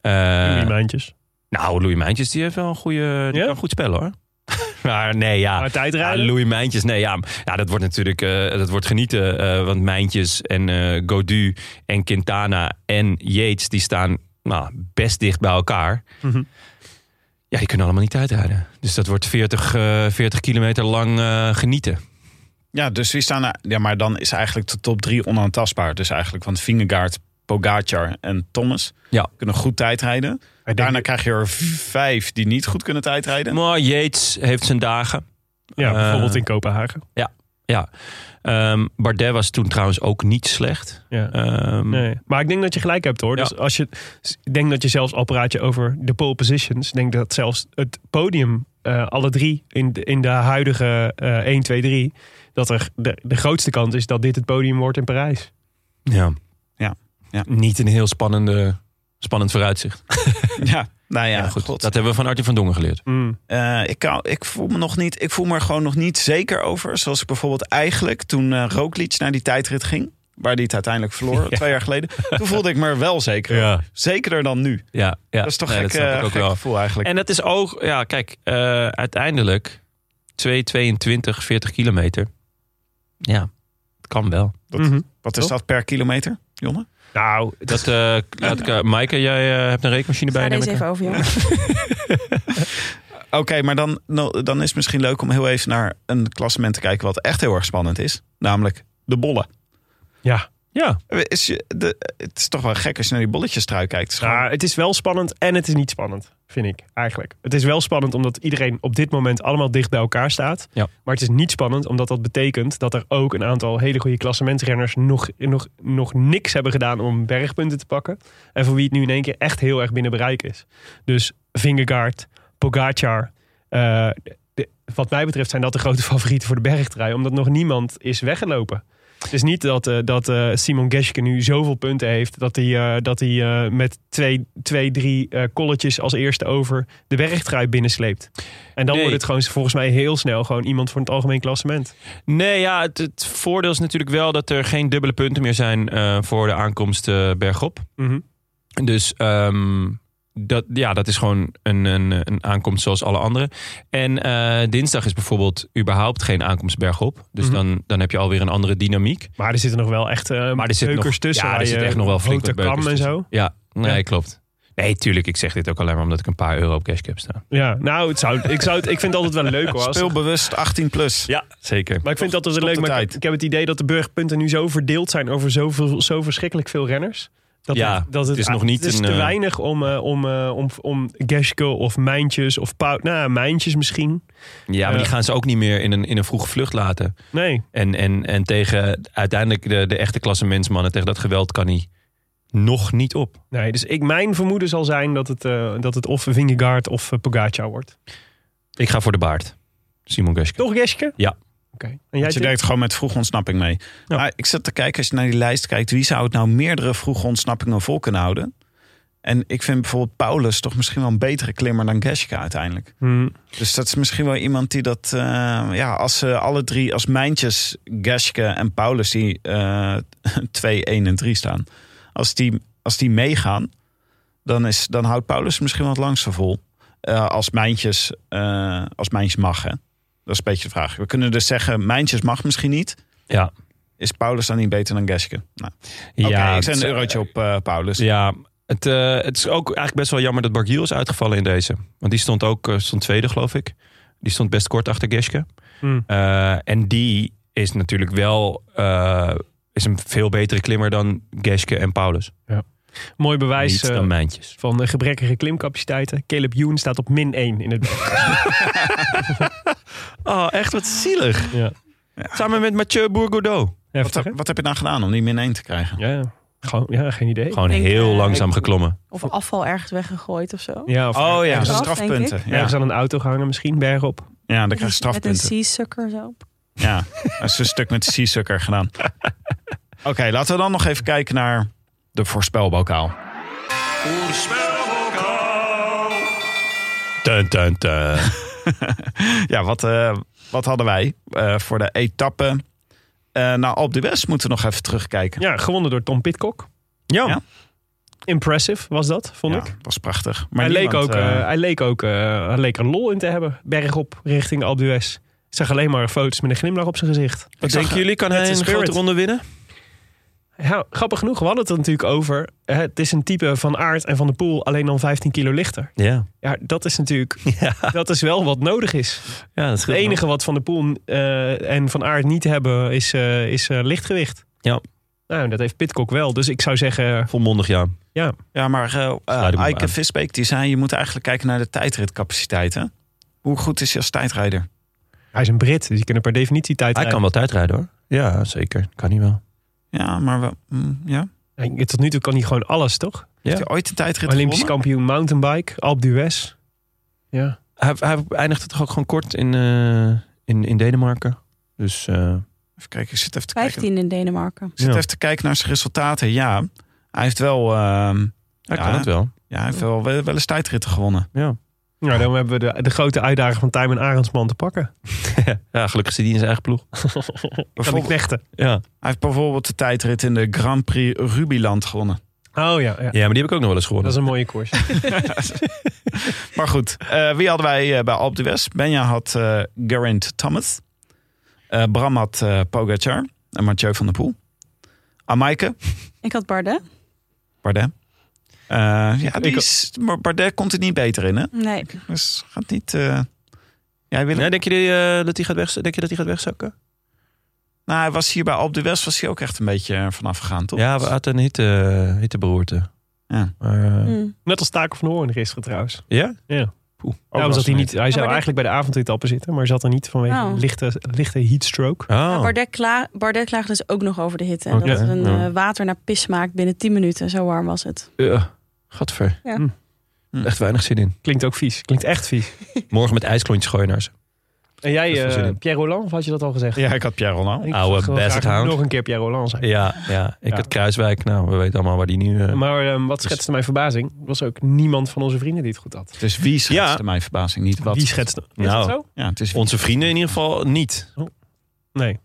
Speaker 4: Eh,
Speaker 5: die maandjes.
Speaker 4: nou, Louis Mijntjes die heeft wel een goede. Die
Speaker 5: Ja?
Speaker 4: kan goed spellen hoor. maar nee, ja.
Speaker 5: Maar
Speaker 4: Ja,
Speaker 5: tijdrijden?
Speaker 4: Louis Mijntjes, nee, ja, ja dat wordt natuurlijk eh, dat wordt genieten. eh, want Mijntjes en eh Godu en Quintana en Yates, die staan nou, best dicht bij elkaar.
Speaker 5: Mhm.
Speaker 4: Ja, die kunnen allemaal niet uitrijden. Dus dat wordt 40, eh, 40 kilometer lang eh, genieten.
Speaker 3: Ja, dus wie staan er? Ja, maar dan is eigenlijk de top drie onaantastbaar. Dus eigenlijk, want Vingegaard, Pogacar en Thomas
Speaker 4: Ja.
Speaker 3: kunnen goed tijdrijden.
Speaker 5: Ik denk-
Speaker 3: Daarna krijg je er vijf die niet goed kunnen tijdrijden.
Speaker 4: Maar Yates heeft zijn dagen.
Speaker 5: ja,
Speaker 4: eh,
Speaker 5: bijvoorbeeld in Kopenhagen.
Speaker 4: Ja. Ehm, Bardet was toen trouwens ook niet slecht.
Speaker 5: Ja.
Speaker 4: Ehm,
Speaker 5: Nee. Maar ik denk dat je gelijk hebt hoor.
Speaker 4: Ja.
Speaker 5: Dus als je, ik denk dat je zelfs al praat je over de pole positions. Ik denk dat zelfs het podium, eh, alle drie in de, in de huidige eh 1, 2, 3, dat er de, de grootste kans is dat dit het podium wordt in Parijs.
Speaker 4: Ja.
Speaker 3: Ja, ja.
Speaker 4: Niet een heel spannende, spannend vooruitzicht.
Speaker 3: Ja, nou ja,
Speaker 4: goed.
Speaker 3: goed.
Speaker 4: Dat hebben we van Artie van Dongen geleerd.
Speaker 5: Mm.
Speaker 3: Eh, ik, kan- ik voel me nog niet, ik voel me er gewoon nog niet zeker over. Zoals ik bijvoorbeeld eigenlijk toen eh Roglic naar die tijdrit ging, waar die het uiteindelijk verloor twee jaar geleden. Toen voelde ik me er wel zeker. over.
Speaker 4: Ja.
Speaker 3: Zekerder dan nu.
Speaker 4: Ja, ja.
Speaker 3: Dat is toch
Speaker 4: Nee,
Speaker 3: gek,
Speaker 4: dat snap
Speaker 3: eh,
Speaker 4: ik ook
Speaker 3: gek
Speaker 4: wel.
Speaker 3: gevoel eigenlijk.
Speaker 4: En dat is ook, ja, kijk, eh, uiteindelijk 2,22, 40 kilometer. Ja, het kan wel.
Speaker 3: dat-
Speaker 5: Mhm.
Speaker 3: Wat is
Speaker 4: Oh.
Speaker 5: toch?
Speaker 3: dat per kilometer, Jonne?
Speaker 5: Nou,
Speaker 4: Dat, eh laat ik, eh, Maaike, jij eh, hebt een rekenmachine bij
Speaker 6: Ga
Speaker 4: je.
Speaker 6: deze
Speaker 4: neem ik
Speaker 6: even
Speaker 4: aan.
Speaker 6: over, jongens.
Speaker 3: Oké, maar dan, nou, dan is het misschien leuk om heel even naar een klassement te kijken wat echt heel erg spannend is. Namelijk de bollen.
Speaker 5: ja.
Speaker 4: Ja,
Speaker 3: Is je, de, het is toch wel gek als je naar die bolletjestrui kijkt. Het is gewoon-
Speaker 5: ja, het is wel spannend en het is niet spannend, vind ik eigenlijk. Het is wel spannend omdat iedereen op dit moment allemaal dicht bij elkaar staat.
Speaker 4: Ja.
Speaker 5: Maar het is niet spannend omdat dat betekent dat er ook een aantal hele goede klassementrenners nog, nog, nog niks hebben gedaan om bergpunten te pakken. En voor wie het nu in één keer echt heel erg binnen bereik is. Dus Vingegaard, Pogacar. eh, de- wat mij betreft zijn dat de grote favorieten voor de bergtrui. Omdat nog niemand is weggelopen. Het is niet dat, eh, dat eh, Simon Geschke nu zoveel punten heeft... dat hij, eh, dat hij eh, met twee, twee drie eh kolletjes als eerste over de bergtrui binnensleept. En dan
Speaker 4: Nee.
Speaker 5: wordt het gewoon volgens mij heel snel... gewoon iemand voor het algemeen klassement.
Speaker 4: nee, ja, het, het voordeel is natuurlijk wel dat er geen dubbele punten meer zijn eh, voor de aankomst eh, bergop.
Speaker 5: Mhm.
Speaker 4: Dus ehm, dat, ja, dat is gewoon een, een, een aankomst zoals alle andere. En eh, dinsdag is bijvoorbeeld überhaupt geen aankomst bergop. Dus
Speaker 5: Mhm.
Speaker 4: dan, dan heb je alweer een andere dynamiek.
Speaker 5: Maar er zitten nog wel echt eh
Speaker 4: Maar er zit
Speaker 5: beukers
Speaker 4: nog,
Speaker 5: tussen.
Speaker 4: Ja,
Speaker 5: waar
Speaker 4: er zit
Speaker 5: je
Speaker 4: echt nog wel flink
Speaker 5: Rote
Speaker 4: wat beukers
Speaker 5: Kam en
Speaker 4: tussen.
Speaker 5: zo.
Speaker 4: Ja, nee,
Speaker 5: Ja.
Speaker 4: klopt. Nee, tuurlijk. Ik zeg dit ook alleen maar omdat ik een paar euro op cash heb staan.
Speaker 5: Ja, nou, het zou, ik, zou het, ik vind het altijd wel leuk hoor. als-
Speaker 3: Speel bewust 18 plus.
Speaker 4: Ja, zeker.
Speaker 5: Maar ik vind dat altijd
Speaker 3: Stop
Speaker 5: leuk.
Speaker 3: de
Speaker 5: Maar ik,
Speaker 3: tijd.
Speaker 5: ik heb het idee dat de burgerpunten nu zo verdeeld zijn over zoveel, zo verschrikkelijk veel renners. Dat
Speaker 4: Ja,
Speaker 5: dat
Speaker 4: het is nog niet
Speaker 5: het is
Speaker 4: een,
Speaker 5: te
Speaker 4: eh,
Speaker 5: weinig om, eh, om, eh, om, om Geschke of Mijntjes of Pau. Nou, Mijntjes misschien.
Speaker 4: Ja, maar
Speaker 5: Ja.
Speaker 4: die gaan ze ook niet meer in een, in een vroege vlucht laten.
Speaker 5: Nee.
Speaker 4: En, en, en tegen uiteindelijk de, de echte klasse mensmannen, tegen dat geweld kan hij nog niet op.
Speaker 5: nee dus ik, mijn vermoeden zal zijn dat het, eh, dat het of Vingegaard of eh, Pogacar wordt.
Speaker 4: Ik ga voor de baard. Simon Geschke.
Speaker 5: Toch Geschke?
Speaker 4: Ja.
Speaker 5: Oké. En jij
Speaker 3: Want je
Speaker 5: Tim?
Speaker 3: denkt gewoon met vroegontsnapping mee. Maar ik zat te kijken, als je naar die lijst kijkt, wie zou het nou meerdere vroegontsnappingen vol kunnen houden? En ik vind bijvoorbeeld Paulus toch misschien wel een betere klimmer dan Geschka uiteindelijk.
Speaker 5: Hmm.
Speaker 3: Dus dat is misschien wel iemand die dat, eh, ja, als ze alle drie, als Mijntjes, Geschke en Paulus, die eh 2, 1 en 3 staan, als die, als die meegaan, dan, is, dan houdt Paulus misschien wel het langste vol. Eh, als, Mijntjes, eh, als Mijntjes mag, hè? Dat is een beetje de vraag. We kunnen dus zeggen, Mijntjes mag misschien niet.
Speaker 4: Ja.
Speaker 3: Is Paulus dan niet beter dan Geschke? Nou, Oké, ik zet een
Speaker 4: het-
Speaker 3: eurotje op eh, Paulus.
Speaker 4: Ja, het, eh, het is ook eigenlijk best wel jammer dat Bargiel is uitgevallen in deze. Want die stond ook eh, stond tweede, geloof ik. Die stond best kort achter Geschke.
Speaker 5: Hmm.
Speaker 4: Eh, en die is natuurlijk wel eh, is een veel betere klimmer dan Geschke en Paulus.
Speaker 5: Mooi
Speaker 4: Niet
Speaker 5: bewijs eh,
Speaker 4: dan Mijntjes.
Speaker 5: van eh, gebrekkige klimcapaciteiten. Caleb Youn staat op min 1 in het
Speaker 4: Oh, echt wat zielig.
Speaker 5: Ja.
Speaker 4: Samen met Mathieu Bourgaudot.
Speaker 3: Wat,
Speaker 5: heftig.
Speaker 3: heb-
Speaker 5: hè?
Speaker 3: wat heb je nou gedaan om die min 1 te krijgen?
Speaker 5: Ja, gewoon, ja, geen idee.
Speaker 4: Gewoon
Speaker 6: denk,
Speaker 4: heel
Speaker 6: eh,
Speaker 4: langzaam
Speaker 6: ik-
Speaker 4: geklommen.
Speaker 6: Of afval ergens weggegooid of zo.
Speaker 5: Ja, of
Speaker 3: Oh ja,
Speaker 5: ergens-
Speaker 6: Straf,
Speaker 3: strafpunten.
Speaker 5: Ja.
Speaker 3: Ja.
Speaker 5: Ergens aan een auto gehangen misschien, bergop.
Speaker 3: ja, dan krijg je
Speaker 6: Met een
Speaker 3: strafpunten.
Speaker 6: seasucker zo.
Speaker 3: Ja, dat is een stuk met Seasucker gedaan. Oké, laten we dan nog even kijken naar de voorspelbokaal.
Speaker 4: Tun, tun, tun.
Speaker 3: Ja, wat, eh, wat hadden wij eh, voor de etappe? Eh nou, op de West moeten we nog even terugkijken.
Speaker 5: Ja, gewonnen door Tom Pitcock.
Speaker 3: Ja.
Speaker 5: Impressive was dat, vond ik.
Speaker 3: was prachtig. Maar
Speaker 5: Hij leek,
Speaker 3: niemand,
Speaker 5: ook,
Speaker 3: eh,
Speaker 5: eh, hij leek ook eh, hij leek er lol in te hebben. Bergop richting Alpe d'Huez. Ik zag alleen maar foto's met een glimlach op zijn gezicht.
Speaker 4: Wat denken jullie? Kan
Speaker 5: It's
Speaker 4: hij
Speaker 5: a
Speaker 4: een
Speaker 5: spirit.
Speaker 4: grote ronde winnen?
Speaker 5: Ja, grappig genoeg, we hadden het er natuurlijk over. eh, Het is een type van aard en van de pool, alleen dan 15 kilo lichter.
Speaker 4: Ja.
Speaker 5: Ja, dat is natuurlijk
Speaker 4: Ja,
Speaker 5: dat is wel wat nodig is.
Speaker 4: ja dat
Speaker 5: Het enige wat van de pool eh, en van aard niet hebben, is, eh, is eh, lichtgewicht.
Speaker 4: Ja.
Speaker 5: Nou, dat heeft Pitcock wel. Dus ik zou zeggen,
Speaker 4: Volmondig, ja.
Speaker 3: Ja, maar eh,
Speaker 4: Sluit ik
Speaker 3: eh
Speaker 4: me
Speaker 3: Eike
Speaker 4: aan.
Speaker 3: Visbeek die zei... je moet eigenlijk kijken naar de tijdritcapaciteiten. Hoe goed is hij als tijdrijder?
Speaker 5: hij is een Brit, dus die kunnen per definitie tijd
Speaker 4: Hij kan wel tijdrijden hoor. Ja, zeker. Kan hij wel.
Speaker 3: Ja, maar we, mm, ja.
Speaker 5: kan... Tot nu toe kan hij gewoon alles, toch?
Speaker 3: heeft hij ooit een tijdrit
Speaker 5: Olympisch
Speaker 3: gewonnen?
Speaker 5: kampioen mountainbike, Alpe d'Huez. Ja.
Speaker 4: Hij, hij eindigde toch ook gewoon kort in, eh, in, in Denemarken. Dus eh,
Speaker 3: Even kijken, ik zit even te kijken.
Speaker 6: 15 in Denemarken.
Speaker 3: Ik zit
Speaker 4: Ja.
Speaker 3: even te kijken naar zijn resultaten. Ja, hij heeft wel, ehm,
Speaker 4: hij
Speaker 3: Ja.
Speaker 4: kan het wel.
Speaker 3: ja, hij heeft wel, wel eens tijdritten gewonnen.
Speaker 5: Nou, dan hebben we de, de grote uitdaging van Tijmen Arendsman te pakken.
Speaker 4: ja, gelukkig zit hij in zijn eigen ploeg.
Speaker 5: Kan ik
Speaker 3: Bijvoorbeeld,
Speaker 5: knechten.
Speaker 4: Ja.
Speaker 3: hij heeft bijvoorbeeld de tijdrit in de Grand Prix Rubiland gewonnen.
Speaker 5: Oh ja, ja.
Speaker 4: ja, maar die heb ik ook nog wel eens
Speaker 5: dat
Speaker 4: gewonnen.
Speaker 5: is een mooie koers.
Speaker 3: Maar goed, eh, wie hadden wij eh, bij Alpe d'Huez? Benja had eh Geraint Thomas. Eh, Bram had eh, Pogacar en Mathieu van der Poel. Amaike,
Speaker 6: Ik had Bardet.
Speaker 3: Bardet. Eh, ja, die
Speaker 5: Ik-
Speaker 3: is, maar Bardet komt er niet beter in, hè?
Speaker 6: Nee.
Speaker 3: Dus gaat niet... eh, Jij wil
Speaker 4: Nee, denk, je, die, eh, dat hij gaat weg, denk je dat hij gaat wegzakken?
Speaker 3: Nou, hij was hier bij Alpe d'Huez was hij ook echt een beetje eh, vanaf gegaan, toch?
Speaker 4: Ja, we hadden een hitte, hitteberoerte.
Speaker 3: Ja.
Speaker 4: Maar, eh,
Speaker 6: Hm.
Speaker 5: Net als Taco van Hoorn gisteren trouwens.
Speaker 4: ja?
Speaker 5: Daarom zat hij, niet, hij zou
Speaker 6: dit-
Speaker 5: eigenlijk bij de avondetappen zitten, maar zat er niet vanwege
Speaker 6: Oh.
Speaker 5: een lichte, lichte heatstroke.
Speaker 4: Oh.
Speaker 6: Nou, Bardet, kla Bardet klaagde dus ook nog over de hitte. En
Speaker 4: Oké.
Speaker 6: dat het een
Speaker 4: Ja.
Speaker 6: eh, water naar pis maakt binnen 10 minuten. Zo warm was het.
Speaker 4: Ja. Gadver.
Speaker 6: Ja.
Speaker 4: Hm.
Speaker 5: Hmm.
Speaker 4: Echt weinig zin in.
Speaker 5: Klinkt ook vies. Klinkt echt vies.
Speaker 4: Morgen met ijsklontjes gooien naar ze.
Speaker 5: En jij,
Speaker 4: Dat is wel zin
Speaker 5: eh,
Speaker 4: in.
Speaker 5: Pierre Roland, of had je dat al gezegd?
Speaker 3: Ja, ik had Pierre Ronald.
Speaker 5: Ik
Speaker 4: Oude
Speaker 5: zag wel
Speaker 4: best
Speaker 5: graag
Speaker 4: hound.
Speaker 5: Nog een keer Pierre Roland zijn.
Speaker 4: Ja, ja. ik
Speaker 5: Ja.
Speaker 4: had Kruiswijk. Nou, we weten allemaal waar die nu... eh,
Speaker 5: Maar ehm, wat schetste mijn verbazing, was ook niemand van onze vrienden die het goed had.
Speaker 3: Dus wie schetste
Speaker 4: Ja.
Speaker 3: mijn verbazing niet? Wat?
Speaker 5: Die schetste? Is
Speaker 4: Nou.
Speaker 5: dat zo? Oh.
Speaker 3: Ja, het is
Speaker 4: Onze vrienden in ieder geval niet.
Speaker 5: Nee.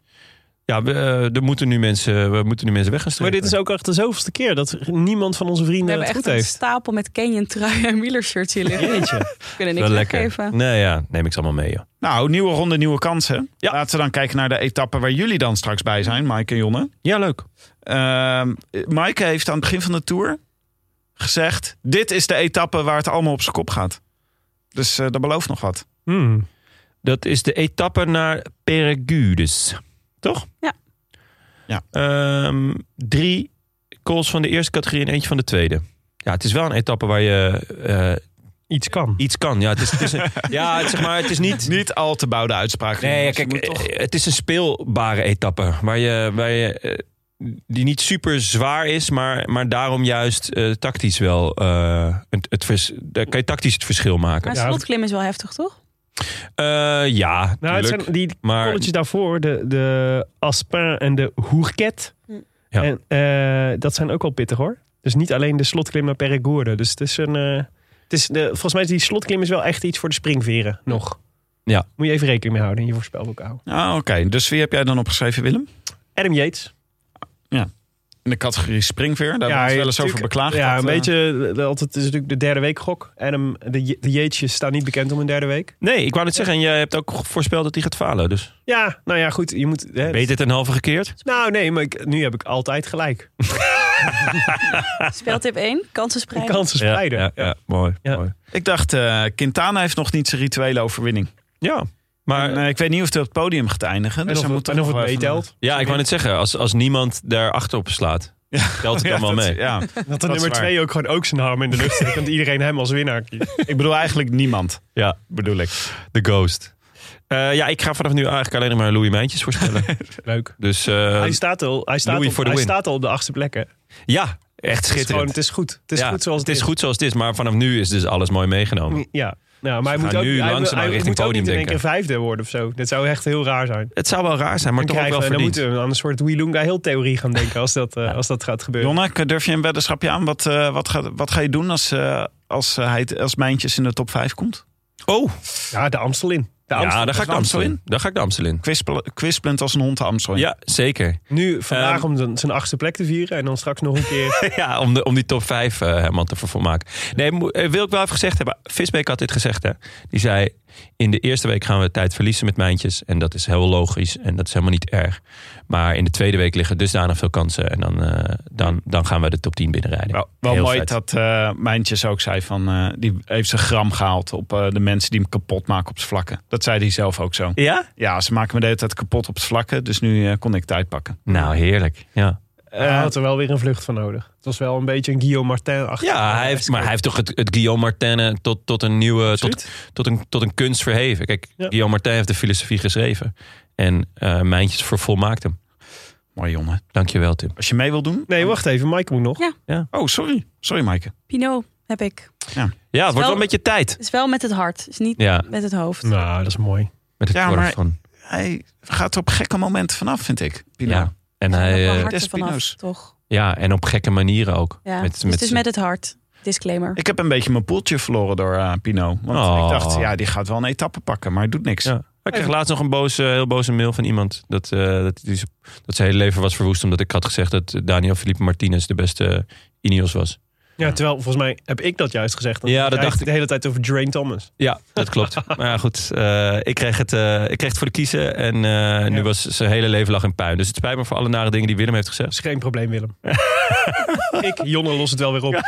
Speaker 4: Ja, we, eh, er moeten nu mensen, we moeten nu mensen weg gaan
Speaker 5: Maar
Speaker 4: strepen.
Speaker 5: dit is ook echt de zoveelste keer dat niemand van onze
Speaker 6: We
Speaker 5: vrienden
Speaker 6: hebben
Speaker 5: het goed
Speaker 6: echt een
Speaker 5: heeft.
Speaker 6: stapel met Canyon truien en wielershirts hier liggen.
Speaker 5: Jeetje.
Speaker 6: We kunnen
Speaker 4: Wel
Speaker 6: niks
Speaker 4: lekker.
Speaker 6: weggeven.
Speaker 4: Nee, ja, neem ik ze allemaal mee. Joh.
Speaker 3: Nou, nieuwe ronde, nieuwe kansen.
Speaker 4: Ja.
Speaker 3: Laten we dan kijken naar de etappe waar jullie dan straks bij zijn, Maaike en Jonne.
Speaker 4: Ja, leuk.
Speaker 3: Ehm Maaike heeft aan het begin van de Tour gezegd... dit is de etappe waar het allemaal op zijn kop gaat. Dus eh, dat belooft nog wat.
Speaker 5: Hmm.
Speaker 4: Dat is de etappe naar Peregudes. Toch?
Speaker 6: Ja.
Speaker 3: Ja.
Speaker 4: Ehm, drie calls van de eerste categorie en eentje van de tweede. Ja, het is wel een etappe waar je eh,
Speaker 5: Iets kan.
Speaker 4: iets kan. Ja, het is, het is een- Dus, eh, ja, het, zeg maar, het is niet...
Speaker 3: Niet al te bouwde uitspraak.
Speaker 4: Nee, ja,
Speaker 3: jongens. Je
Speaker 4: kijk,
Speaker 3: moet toch-
Speaker 4: eh, het is een speelbare etappe. Waar je, waar je, eh, die niet super zwaar is, maar, maar daarom juist eh, tactisch wel. eh, het, het vers- daar kan je tactisch het verschil maken.
Speaker 6: Maar
Speaker 5: Ja.
Speaker 6: slotklim is wel heftig, toch?
Speaker 4: Eh, ja,
Speaker 5: Nou, het
Speaker 4: tuurlijk.
Speaker 5: zijn die
Speaker 4: maar
Speaker 5: kolletjes daarvoor, de, de Aspin en de Hoerket.
Speaker 6: Hm.
Speaker 4: Ja.
Speaker 5: En eh, dat zijn ook wel pittig hoor. Dus niet alleen de slotklim naar Perigorde. Dus het is een. eh, het is de, volgens mij is die slotklim is wel echt iets voor de springveren nog.
Speaker 4: Ja.
Speaker 5: Moet je even rekening mee houden in je voorspelboek houden.
Speaker 4: eh,
Speaker 3: Ah, Oké, dus wie heb jij dan opgeschreven, Willem?
Speaker 5: Adam Yates.
Speaker 3: In de categorie springveer. Daar hebben we het wel eens over
Speaker 5: natuurlijk-
Speaker 3: beklaagd.
Speaker 5: Ja,
Speaker 3: dat,
Speaker 5: een
Speaker 3: eh,
Speaker 5: beetje. eh, Dat het is natuurlijk de derde week gok. Adam, de, Ye- de Yatesjes staan niet bekend om een derde week.
Speaker 4: nee, ik wou net zeggen, en jij hebt ook voorspeld dat hij gaat falen. Dus
Speaker 5: Ja, nou ja, goed. Je moet. Hè,
Speaker 4: beter ten halve gekeerd.
Speaker 5: Nou nee, maar ik- nu heb ik altijd gelijk.
Speaker 6: Speeltip 1, kansen
Speaker 5: De
Speaker 6: spreiden.
Speaker 5: kansen spreiden.
Speaker 4: Ja, ja, ja, mooi.
Speaker 5: Ja.
Speaker 4: mooi.
Speaker 3: Ik dacht, eh, Quintana heeft nog niet zijn rituele overwinning.
Speaker 4: ja. Maar
Speaker 3: En, eh, ik weet niet of hij op het podium gaat eindigen.
Speaker 5: En
Speaker 3: Dus
Speaker 5: of,
Speaker 3: hij moet
Speaker 5: het- en
Speaker 3: toch
Speaker 5: of het
Speaker 3: wel even-
Speaker 5: meetelt.
Speaker 4: ja, ik wou net zeggen, als, als niemand daar achter op slaat, telt het
Speaker 3: Ja,
Speaker 4: dan wel
Speaker 3: dat-
Speaker 4: mee.
Speaker 3: Ja.
Speaker 5: Dat de
Speaker 3: is
Speaker 5: nummer
Speaker 3: waar.
Speaker 5: twee ook gewoon ook zijn arm in de lucht steekt. Want iedereen hem als winnaar kiest.
Speaker 3: Ik bedoel eigenlijk niemand,
Speaker 4: Ja.
Speaker 3: bedoel ik.
Speaker 4: The Ghost. Eh, ja, ik ga vanaf nu eigenlijk alleen nog maar Louis Mijntjes voorspellen.
Speaker 5: Leuk.
Speaker 4: dus eh,
Speaker 5: Hij staat al, hij staat
Speaker 4: Louis
Speaker 5: al,
Speaker 4: voor de
Speaker 5: hij
Speaker 4: win.
Speaker 5: staat al op de achtste plek. hè.
Speaker 4: ja, echt
Speaker 5: Het is, gewoon,
Speaker 4: schitterend.
Speaker 5: het is Mm. goed. Het is
Speaker 4: Ja,
Speaker 5: goed zoals het,
Speaker 4: is. goed zoals het is, maar vanaf nu is dus alles mooi meegenomen.
Speaker 5: Ja. Ja, maar hij
Speaker 4: gaan
Speaker 5: moet ook,
Speaker 4: nu
Speaker 5: hij,
Speaker 4: langzaam
Speaker 5: hij
Speaker 4: richting
Speaker 5: moet ook
Speaker 4: podium
Speaker 5: niet in één
Speaker 4: denken.
Speaker 5: keer vijfde worden of zo. Dat zou echt heel raar zijn.
Speaker 4: Het zou wel raar zijn, maar
Speaker 5: Dan
Speaker 4: toch ook wel
Speaker 5: krijgen we- dan
Speaker 4: verdiend.
Speaker 5: moeten we aan een soort Wielunga heel theorie gaan denken als dat, eh, als dat gaat gebeuren.
Speaker 3: Jonnek, durf je een weddenschapje aan? Wat, eh, wat, ga, wat ga je doen als, eh, als, eh, hij, als Mijntjes in de top 5 komt?
Speaker 4: Oh,
Speaker 5: Ja, de Amstel in. De Amstel.
Speaker 4: ja, daar ga ik de Amstel in. Daar ga ik de Amstel in.
Speaker 3: Kwispel- Kwispelend als een hond de Amstel in.
Speaker 4: Ja, zeker.
Speaker 5: Nu vandaag
Speaker 4: Ehm,
Speaker 5: om de- zijn achtste plek te vieren en dan straks nog een keer.
Speaker 4: Ja, om, de, om die top 5 helemaal te volmaken. Nee, mo- eh, wil ik wel even gezegd hebben. Visbeek had dit gezegd, hè. Die zei, in de eerste week gaan we tijd verliezen met mijntjes. En dat is heel logisch en dat is helemaal niet erg. Maar in de tweede week liggen dusdanig veel kansen. En dan, eh, dan, dan gaan we de top 10 binnenrijden.
Speaker 3: Wel, wel
Speaker 4: Heel
Speaker 3: mooi
Speaker 4: vet.
Speaker 3: dat eh Mijntjes ook zei van... eh, die heeft zijn gram gehaald op eh, de mensen die hem kapot maken op z'n vlakken. Dat zei hij zelf ook zo.
Speaker 4: Ja?
Speaker 3: Ja, ze maken me de hele tijd kapot op z'n vlakken. Dus nu eh, kon ik tijd pakken.
Speaker 4: Nou, heerlijk. Ja,
Speaker 5: Hij had er wel weer een vlucht van nodig. Het was wel een beetje een Guillaume Martin achter.
Speaker 4: ja hij heeft, maar hij heeft toch het, het Guillaume Martin eh, tot, tot een nieuwe... Tot, tot, een, tot een kunst verheven. Kijk,
Speaker 5: Ja.
Speaker 4: Guillaume Martin heeft de filosofie geschreven. En eh mijntjes vervolmaakt hem.
Speaker 3: Mooi jongen.
Speaker 4: Dankjewel, Tim.
Speaker 3: Als je mee wil doen...
Speaker 5: Nee, wacht even. Mike moet nog.
Speaker 6: Ja.
Speaker 3: Oh, sorry. Sorry, Maaike.
Speaker 6: Pinot heb ik.
Speaker 4: Ja, het wordt wel
Speaker 6: Wel-
Speaker 4: een beetje tijd.
Speaker 6: Het is wel met het hart, het is niet
Speaker 4: Ja,
Speaker 6: met het hoofd.
Speaker 5: Nou, dat is mooi.
Speaker 4: met het
Speaker 3: Ja,
Speaker 4: worden
Speaker 3: maar-
Speaker 4: van.
Speaker 3: Hij gaat er op gekke momenten vanaf, vind ik. Pino.
Speaker 4: Ja. En,
Speaker 6: Er zijn
Speaker 4: hij,
Speaker 6: ook wel
Speaker 4: eh,
Speaker 6: harten
Speaker 3: Despino's.
Speaker 6: vanaf, toch?
Speaker 4: ja, en op gekke manieren ook.
Speaker 6: Ja.
Speaker 4: Met-
Speaker 6: dus
Speaker 4: met
Speaker 6: het is
Speaker 4: z'n-
Speaker 6: met het hart. Disclaimer.
Speaker 3: Ik heb een beetje mijn poeltje verloren door eh, Pino. Want
Speaker 4: Oh.
Speaker 3: ik dacht, ja, die gaat wel een etappe pakken, maar hij doet niks.
Speaker 4: Ja. Ik kreeg laatst nog een boze, heel boze mail van iemand. Dat, eh, dat, die, z- dat zijn hele leven was verwoest. Omdat ik had gezegd dat Daniel Felipe Martinez de beste Ineos was.
Speaker 5: Ja, terwijl volgens mij heb ik dat juist gezegd.
Speaker 4: Ja, dat
Speaker 5: Jij
Speaker 4: dacht
Speaker 5: hebt
Speaker 4: ik.
Speaker 5: De hele tijd over Drain Thomas.
Speaker 4: Ja, dat klopt. maar ja, goed, eh, ik, kreeg het, eh, ik kreeg het voor de kiezen. En eh, nu
Speaker 5: Ja.
Speaker 4: was zijn hele leven lag in puin. Dus het spijt me voor alle nare dingen die Willem heeft
Speaker 5: Dat
Speaker 4: gezegd.
Speaker 5: is geen probleem, Willem. ik, Jonne, los het wel weer op.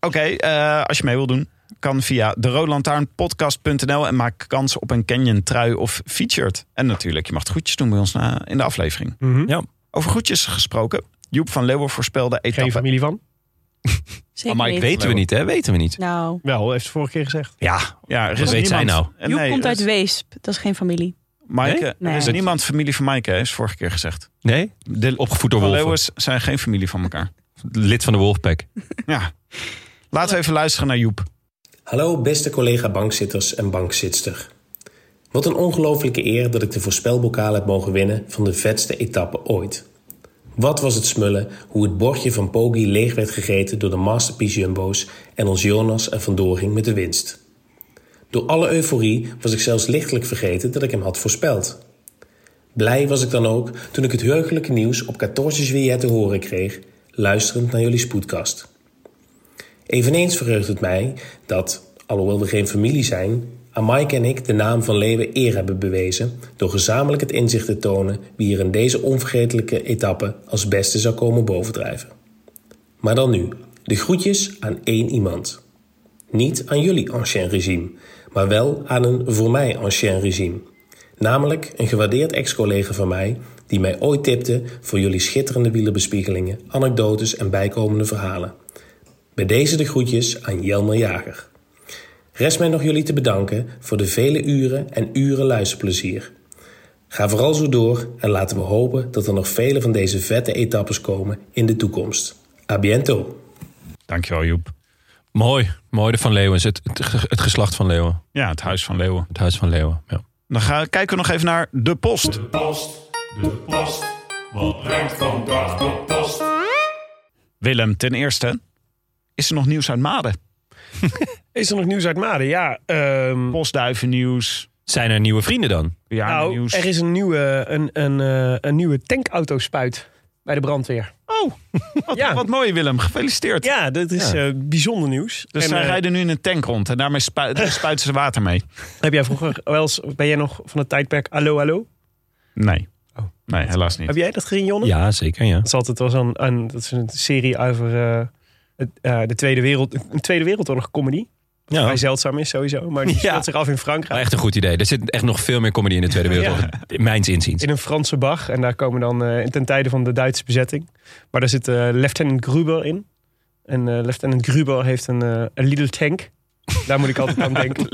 Speaker 3: Oké, eh, als je mee wil doen, kan via de roodlantaarnpodcast.nl en maak kans op een Canyon trui of featured. En natuurlijk, je mag het groetjes doen bij ons na, in de aflevering.
Speaker 5: Mhm.
Speaker 4: Ja.
Speaker 3: Over groetjes gesproken, Joep van Leeuwen voorspelde
Speaker 5: Geen
Speaker 3: etappe.
Speaker 5: familie van?
Speaker 4: Ah,
Speaker 6: Zeker
Speaker 3: maar ik
Speaker 6: niet.
Speaker 4: Weten we niet, hè? Weten we niet.
Speaker 6: Nou,
Speaker 5: Wel, heeft ze vorige keer gezegd.
Speaker 4: Ja,
Speaker 3: Ja, er
Speaker 4: Wat weet zij nou?
Speaker 3: niemand- Eh,
Speaker 6: Joep
Speaker 3: nee,
Speaker 6: komt
Speaker 3: er
Speaker 6: uit
Speaker 3: is-
Speaker 6: Weesp. Dat is geen familie.
Speaker 3: Maaike,
Speaker 6: Nee?
Speaker 3: Er is
Speaker 6: Nee.
Speaker 3: niemand familie van Maaike, hè, is vorige keer gezegd.
Speaker 4: nee?
Speaker 3: De
Speaker 4: Opgevoed door
Speaker 3: van
Speaker 4: Wolven.
Speaker 3: Leeuwens zijn geen familie van elkaar.
Speaker 4: Lid van de Wolfpack.
Speaker 3: Ja. Laten we even luisteren naar Joep.
Speaker 7: Hallo beste collega bankzitters en bankzitster. Wat een ongelofelijke eer dat ik de voorspelbokaal heb mogen winnen van de vetste etappe ooit. Wat was het smullen hoe het bordje van Poggi leeg werd gegeten door de Masterpiece Jumbo's en ons Jonas en vandoor ging met de winst. Door alle euforie was ik zelfs lichtelijk vergeten dat ik hem had voorspeld. Blij was ik dan ook toen ik het heugelijke nieuws op 14 juillet te horen kreeg, luisterend naar jullie spoedkast. Eveneens verheugt het mij dat, alhoewel we geen familie zijn, aan Mike en ik de naam van Leeuwen eer hebben bewezen door gezamenlijk het inzicht te tonen wie er in deze onvergetelijke etappe als beste zou komen bovendrijven. Maar dan nu, de groetjes aan één iemand. Niet aan jullie ancien regime, maar wel aan een voor mij ancien regime. Namelijk een gewaardeerd ex-collega van mij die mij ooit tipte voor jullie schitterende wielenbespiegelingen, anekdotes en bijkomende verhalen. Bij deze de groetjes aan Jelmer Jager. Rest mij nog jullie te bedanken voor de vele uren en uren luisterplezier. Ga vooral zo door en laten we hopen dat er nog vele van deze vette etappes komen in de toekomst. A biento!
Speaker 3: Dankjewel, Joep.
Speaker 4: Mooi. Mooi de Van Leeuwens. Het, het, het geslacht van Leeuwen.
Speaker 3: Ja, het Huis van Leeuwen.
Speaker 4: Het Huis van Leeuwen. Ja.
Speaker 3: Dan gaan, kijken we nog even naar de post.
Speaker 8: De post, wat brengt vandaag de post?
Speaker 3: Willem, ten eerste, is er nog nieuws uit Maden?
Speaker 5: Is er nog nieuws uit Maden? Ja, ehm,
Speaker 3: Postduivennieuws,
Speaker 4: Zijn er nieuwe vrienden dan?
Speaker 5: nou,
Speaker 3: bejaardennieuws.
Speaker 5: er is een nieuwe, een, een, eh, een nieuwe tankautospuit bij de brandweer.
Speaker 3: Oh, wat,
Speaker 5: Ja.
Speaker 3: wat mooi Willem, gefeliciteerd.
Speaker 5: Ja, dat is
Speaker 4: Ja.
Speaker 5: eh, bijzonder nieuws.
Speaker 3: Dus
Speaker 5: En,
Speaker 3: zij
Speaker 5: eh,
Speaker 3: rijden nu in een tank rond en daarmee spu- daar spuiten ze water mee.
Speaker 5: Heb jij vroeger wel eens, ben jij nog van het tijdperk Allo Allo?
Speaker 3: Nee, nee helaas niet.
Speaker 5: Heb jij dat gezien, Jonne?
Speaker 4: Ja, zeker. Ja.
Speaker 5: Dat is altijd was een, een, dat is een serie over eh, het, eh, de Tweede, Wereld, een Tweede Wereldoorlog comedy. Wat
Speaker 4: Ja.
Speaker 5: vrij zeldzaam is sowieso, maar die
Speaker 4: Oh. Ja.
Speaker 5: speelt zich af in Frankrijk.
Speaker 4: Maar echt een goed idee. Er zit echt nog veel meer comedy in de Tweede Wereldoorlog. Mijns inziens.
Speaker 5: In een Franse bag. En daar komen dan eh, ten tijde van de Duitse bezetting. Maar daar zit eh, Lieutenant Gruber in. En eh, Lieutenant Gruber heeft een, eh, een Lidl tank. Daar moet ik altijd aan denken.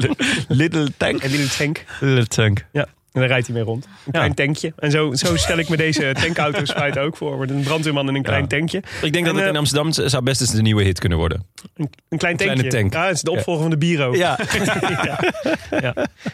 Speaker 3: Little tank.
Speaker 5: Een Lidl tank.
Speaker 4: Little Tank.
Speaker 5: Ja. En daar rijdt hij mee rond. Een klein tankje. En zo, zo stel ik me deze tankauto's feit ook voor. Wordt een brandweerman in een klein
Speaker 4: Ja.
Speaker 5: tankje.
Speaker 4: Ik denk dat
Speaker 5: En,
Speaker 4: het
Speaker 5: eh,
Speaker 4: in Amsterdam z- zou best eens de nieuwe hit kunnen worden.
Speaker 5: Een, een klein
Speaker 4: kleine
Speaker 5: tankje.
Speaker 4: tank.
Speaker 5: Ja, het is de opvolger van de bureau.
Speaker 4: Ja.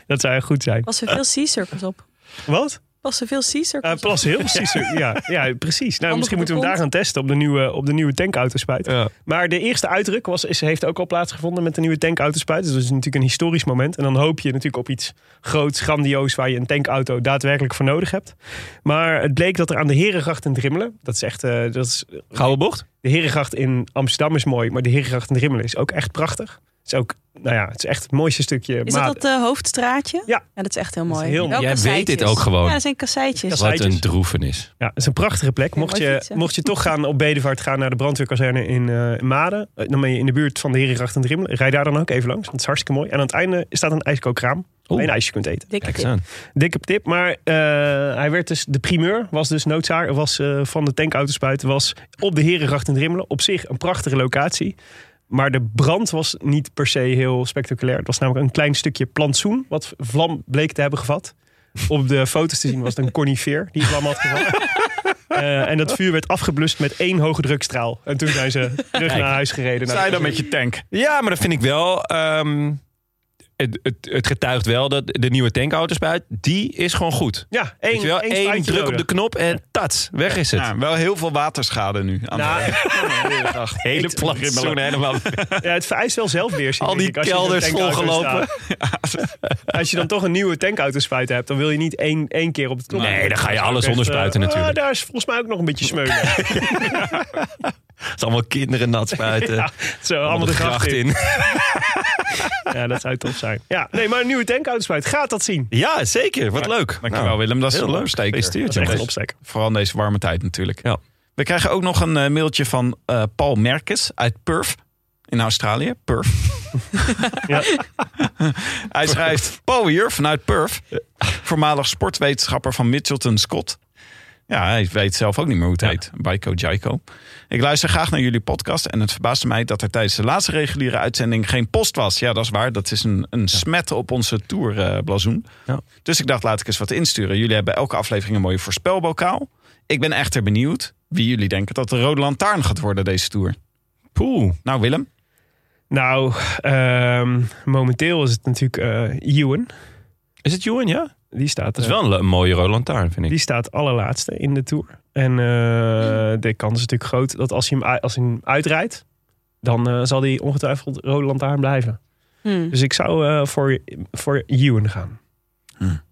Speaker 5: Dat zou goed zijn.
Speaker 6: Passen veel C-circles op.
Speaker 5: Wat?
Speaker 6: Passen veel C-circles
Speaker 5: Eh plas heel precies. Ja, ja, precies. Nou, misschien
Speaker 6: Handig op
Speaker 5: moeten we
Speaker 6: de
Speaker 5: hem daar gaan testen op de nieuwe, op de nieuwe tankautospuit.
Speaker 4: Ja.
Speaker 5: Maar de eerste uitdruk was, is, heeft ook al plaatsgevonden met de nieuwe tankautospuit. Dus dat is natuurlijk een historisch moment. En dan hoop je natuurlijk op iets groots, grandioos... waar je een tankauto daadwerkelijk voor nodig hebt. Maar het bleek dat er aan de Herengracht in Drimmelen... dat is echt... eh, dat is,
Speaker 4: Gouden bocht?
Speaker 5: de Herengracht in Amsterdam is mooi... maar de Herengracht in Drimmelen is ook echt prachtig. Het is ook, nou ja, het is echt het mooiste stukje.
Speaker 6: Is
Speaker 5: Maden.
Speaker 6: dat dat eh, hoofdstraatje?
Speaker 5: Ja.
Speaker 6: Dat is echt heel
Speaker 5: Dat is
Speaker 6: mooi.
Speaker 5: heel mooi.
Speaker 6: Wel
Speaker 4: Jij weet dit
Speaker 6: kasseitjes.
Speaker 4: ook gewoon.
Speaker 6: Ja, dat zijn kasseitjes.
Speaker 5: Kassei-
Speaker 4: Wat
Speaker 5: Zijtjes.
Speaker 4: een droevenis.
Speaker 5: Ja, het is een prachtige plek.
Speaker 6: Ja,
Speaker 5: Mocht
Speaker 6: mooi
Speaker 5: je,
Speaker 6: fietsen.
Speaker 5: mocht je toch gaan op bedevaart gaan naar de brandweerkazerne in eh, Maden, eh, dan ben je in de buurt van de Herengracht en Drimmelen. Rij daar dan ook even langs, want het is hartstikke mooi. En aan het einde staat een ijskookraam waar je een ijsje kunt eten.
Speaker 6: Dikke
Speaker 4: Kijk eens
Speaker 6: tip.
Speaker 4: aan.
Speaker 5: Dikke tip, maar eh, hij werd dus, de primeur was dus noodzaak, was eh, van de tankautospuit, was op de Herengracht en Drimmelen. Op zich een prachtige locatie. Maar de brand was niet per se heel spectaculair. Het was namelijk een klein stukje plantsoen wat vlam bleek te hebben gevat. Op de foto's te zien was het een conifeer die vlam had gevat. Eh, en dat vuur werd afgeblust met één hoge drukstraal. En toen zijn ze terug naar huis gereden.
Speaker 3: Sta je dan met je tank?
Speaker 4: Ja, maar dat vind ik wel. ehm, het, het, het getuigt wel dat de nieuwe tankauto's die is gewoon goed.
Speaker 5: Ja,
Speaker 4: Weet
Speaker 5: één,
Speaker 4: je wel,
Speaker 5: één
Speaker 4: één
Speaker 5: spuitje
Speaker 4: druk op
Speaker 5: nodig.
Speaker 4: de knop en tats, weg is het.
Speaker 3: Ja, wel heel veel waterschade nu. Aan
Speaker 5: Nou,
Speaker 3: de Herengracht.
Speaker 4: Hele plantsoen helemaal.
Speaker 5: Ja, het vereist wel zelfbeheersing.
Speaker 4: Al die
Speaker 5: denk ik, als je in zo'n
Speaker 4: kelders
Speaker 5: tankauto
Speaker 4: volgelopen.
Speaker 5: staat. als je dan toch een nieuwe tankauto spuiten hebt, dan wil je niet één, één keer op het knopje.
Speaker 4: Nee, dan ga je
Speaker 5: Echt,
Speaker 4: alles
Speaker 5: eh,
Speaker 4: onderspuiten
Speaker 5: ah,
Speaker 4: natuurlijk.
Speaker 5: daar is volgens mij ook nog een beetje smeulen.
Speaker 4: Het is allemaal kinderen nat spuiten.
Speaker 5: Ja, zo, allemaal de gracht in. Ja, dat zou tof zijn. Ja, nee, maar een nieuwe tankauto spuiten, gaat dat zien.
Speaker 4: Ja, zeker. Wat leuk.
Speaker 3: Dankjewel
Speaker 4: Nou,
Speaker 3: Willem, dat is
Speaker 4: heel
Speaker 3: een
Speaker 4: leuk.
Speaker 3: opsteker.
Speaker 4: Gefeliciteerd,
Speaker 3: Dat is echt
Speaker 5: Echt
Speaker 3: een
Speaker 5: een opsteker.
Speaker 3: Vooral in deze warme tijd natuurlijk.
Speaker 4: Ja.
Speaker 3: We krijgen ook nog een eh, mailtje van eh, Paul Merkes uit Perth in Australië. Perth.
Speaker 5: Ja.
Speaker 3: Hij schrijft, Paul hier vanuit Perth, voormalig sportwetenschapper van Mitchelton Scott. Ja, hij weet zelf ook niet meer hoe het heet. Baiko Jaiko. Ik luister graag naar jullie podcast en het verbaasde mij dat er tijdens de laatste reguliere uitzending geen post was. Ja, dat is waar. Dat is een, een smet op onze eh, tourblazoen.
Speaker 4: Ja.
Speaker 3: Dus ik dacht, laat ik eens wat insturen. Jullie hebben elke aflevering een mooie voorspelbokaal. Ik ben echter benieuwd wie jullie denken dat de Rode Lantaarn gaat worden deze tour.
Speaker 4: Poeh.
Speaker 3: Nou, Willem.
Speaker 5: Nou, ehm, momenteel is het natuurlijk eh Ewan.
Speaker 4: Is het Johan, ja? Het
Speaker 5: Die staat,
Speaker 4: is
Speaker 5: eh,
Speaker 4: wel een, le- een mooie rode lantaarn, vind ik.
Speaker 5: die staat allerlaatste in de Tour. En eh,
Speaker 4: Hmm.
Speaker 5: de kans is natuurlijk groot dat als hij hem, u- als hij hem uitrijdt, dan eh, zal hij ongetwijfeld rode lantaarn blijven.
Speaker 6: Hmm.
Speaker 5: Dus ik zou eh, voor, voor Ewan gaan.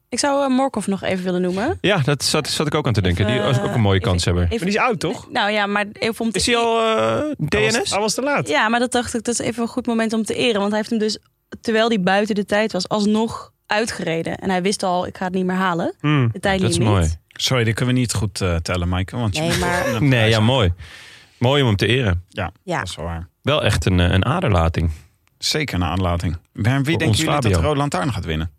Speaker 6: Ik zou eh, Morkov nog even willen noemen.
Speaker 4: Ja, dat zat, zat ik ook aan te denken. Die
Speaker 6: eh,
Speaker 4: Oh, is ook een mooie
Speaker 6: ik-
Speaker 4: kans hebben.
Speaker 5: Maar die is oud, toch?
Speaker 6: Nou ja, maar even om te...
Speaker 4: Is hij al eh,
Speaker 5: Hij
Speaker 4: DNS?
Speaker 5: was, hij was te laat.
Speaker 6: Ja, maar dat dacht ik, dat is even een goed moment om te eren. Want hij heeft hem dus, terwijl hij buiten de tijd was, alsnog uitgereden. En hij wist al, ik ga het niet meer halen.
Speaker 5: Hmm.
Speaker 6: De tijd
Speaker 4: Dat is
Speaker 6: niet.
Speaker 4: mooi.
Speaker 3: Sorry, dat kunnen we niet goed eh, tellen, Maaike. Want je
Speaker 6: Nee,
Speaker 3: moet
Speaker 6: maar-
Speaker 3: gewoon een
Speaker 4: Nee,
Speaker 3: prijs
Speaker 4: ja,
Speaker 3: hebben.
Speaker 4: mooi. Mooi om hem te eren.
Speaker 6: Ja.
Speaker 3: Dat is wel waar.
Speaker 4: Wel echt een, eh, een aderlating.
Speaker 3: Zeker een aanlating. Maar wie
Speaker 4: Voor
Speaker 3: denken
Speaker 4: ons
Speaker 3: jullie dat
Speaker 4: Fabio.
Speaker 3: de Rode Lantaarn gaat winnen?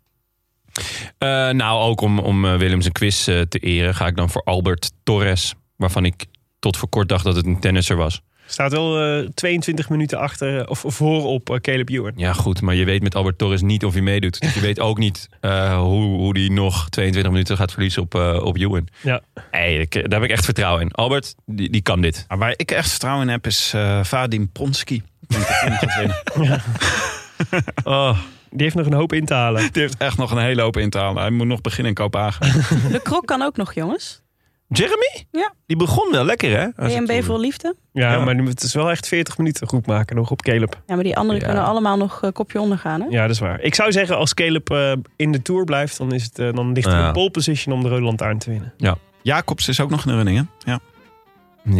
Speaker 4: Eh, nou, ook om, om eh, Willem zijn quiz eh, te eren, ga ik dan voor Albert Torres. Waarvan ik tot voor kort dacht dat het een tennisser was.
Speaker 5: Staat wel eh, 22 minuten achter eh, of voor op eh, Caleb Ewan.
Speaker 4: Ja, goed, maar je weet met Albert Torres niet of hij meedoet. Dus je weet ook niet eh, hoe, hoe die nog 22 minuten gaat verliezen op, eh op Ewan.
Speaker 5: Ja.
Speaker 4: Nee, ik- eh, daar heb ik echt vertrouwen in. Albert, die, die kan dit.
Speaker 3: Maar Nou, waar ik echt vertrouwen in heb, is eh, Vadim Pronsky. Ik denk dat hij hem gaat winnen.
Speaker 5: Die heeft nog een hoop in te halen.
Speaker 3: Die heeft echt nog een hele hoop in te halen. Hij moet nog beginnen in Kopenhagen.
Speaker 6: De krok kan ook nog, jongens.
Speaker 4: Jeremy?
Speaker 6: Ja.
Speaker 4: Die begon wel lekker, hè? Als ik-
Speaker 6: BNB voor liefde.
Speaker 5: Ja,
Speaker 3: Ja.
Speaker 5: maar het is wel echt 40 minuten goed maken nog op Caleb.
Speaker 6: Ja, maar die anderen
Speaker 4: Ja.
Speaker 6: kunnen allemaal nog eh, kopje ondergaan, hè?
Speaker 5: Ja, dat is waar. Ik zou zeggen, als Caleb eh, in de Tour blijft, dan, is het, eh, dan ligt hij
Speaker 4: Ja.
Speaker 5: in pole position om de Rode Lantaarn te winnen.
Speaker 3: Jacobs is ook nog in de running, hè? Ja,
Speaker 4: Ja.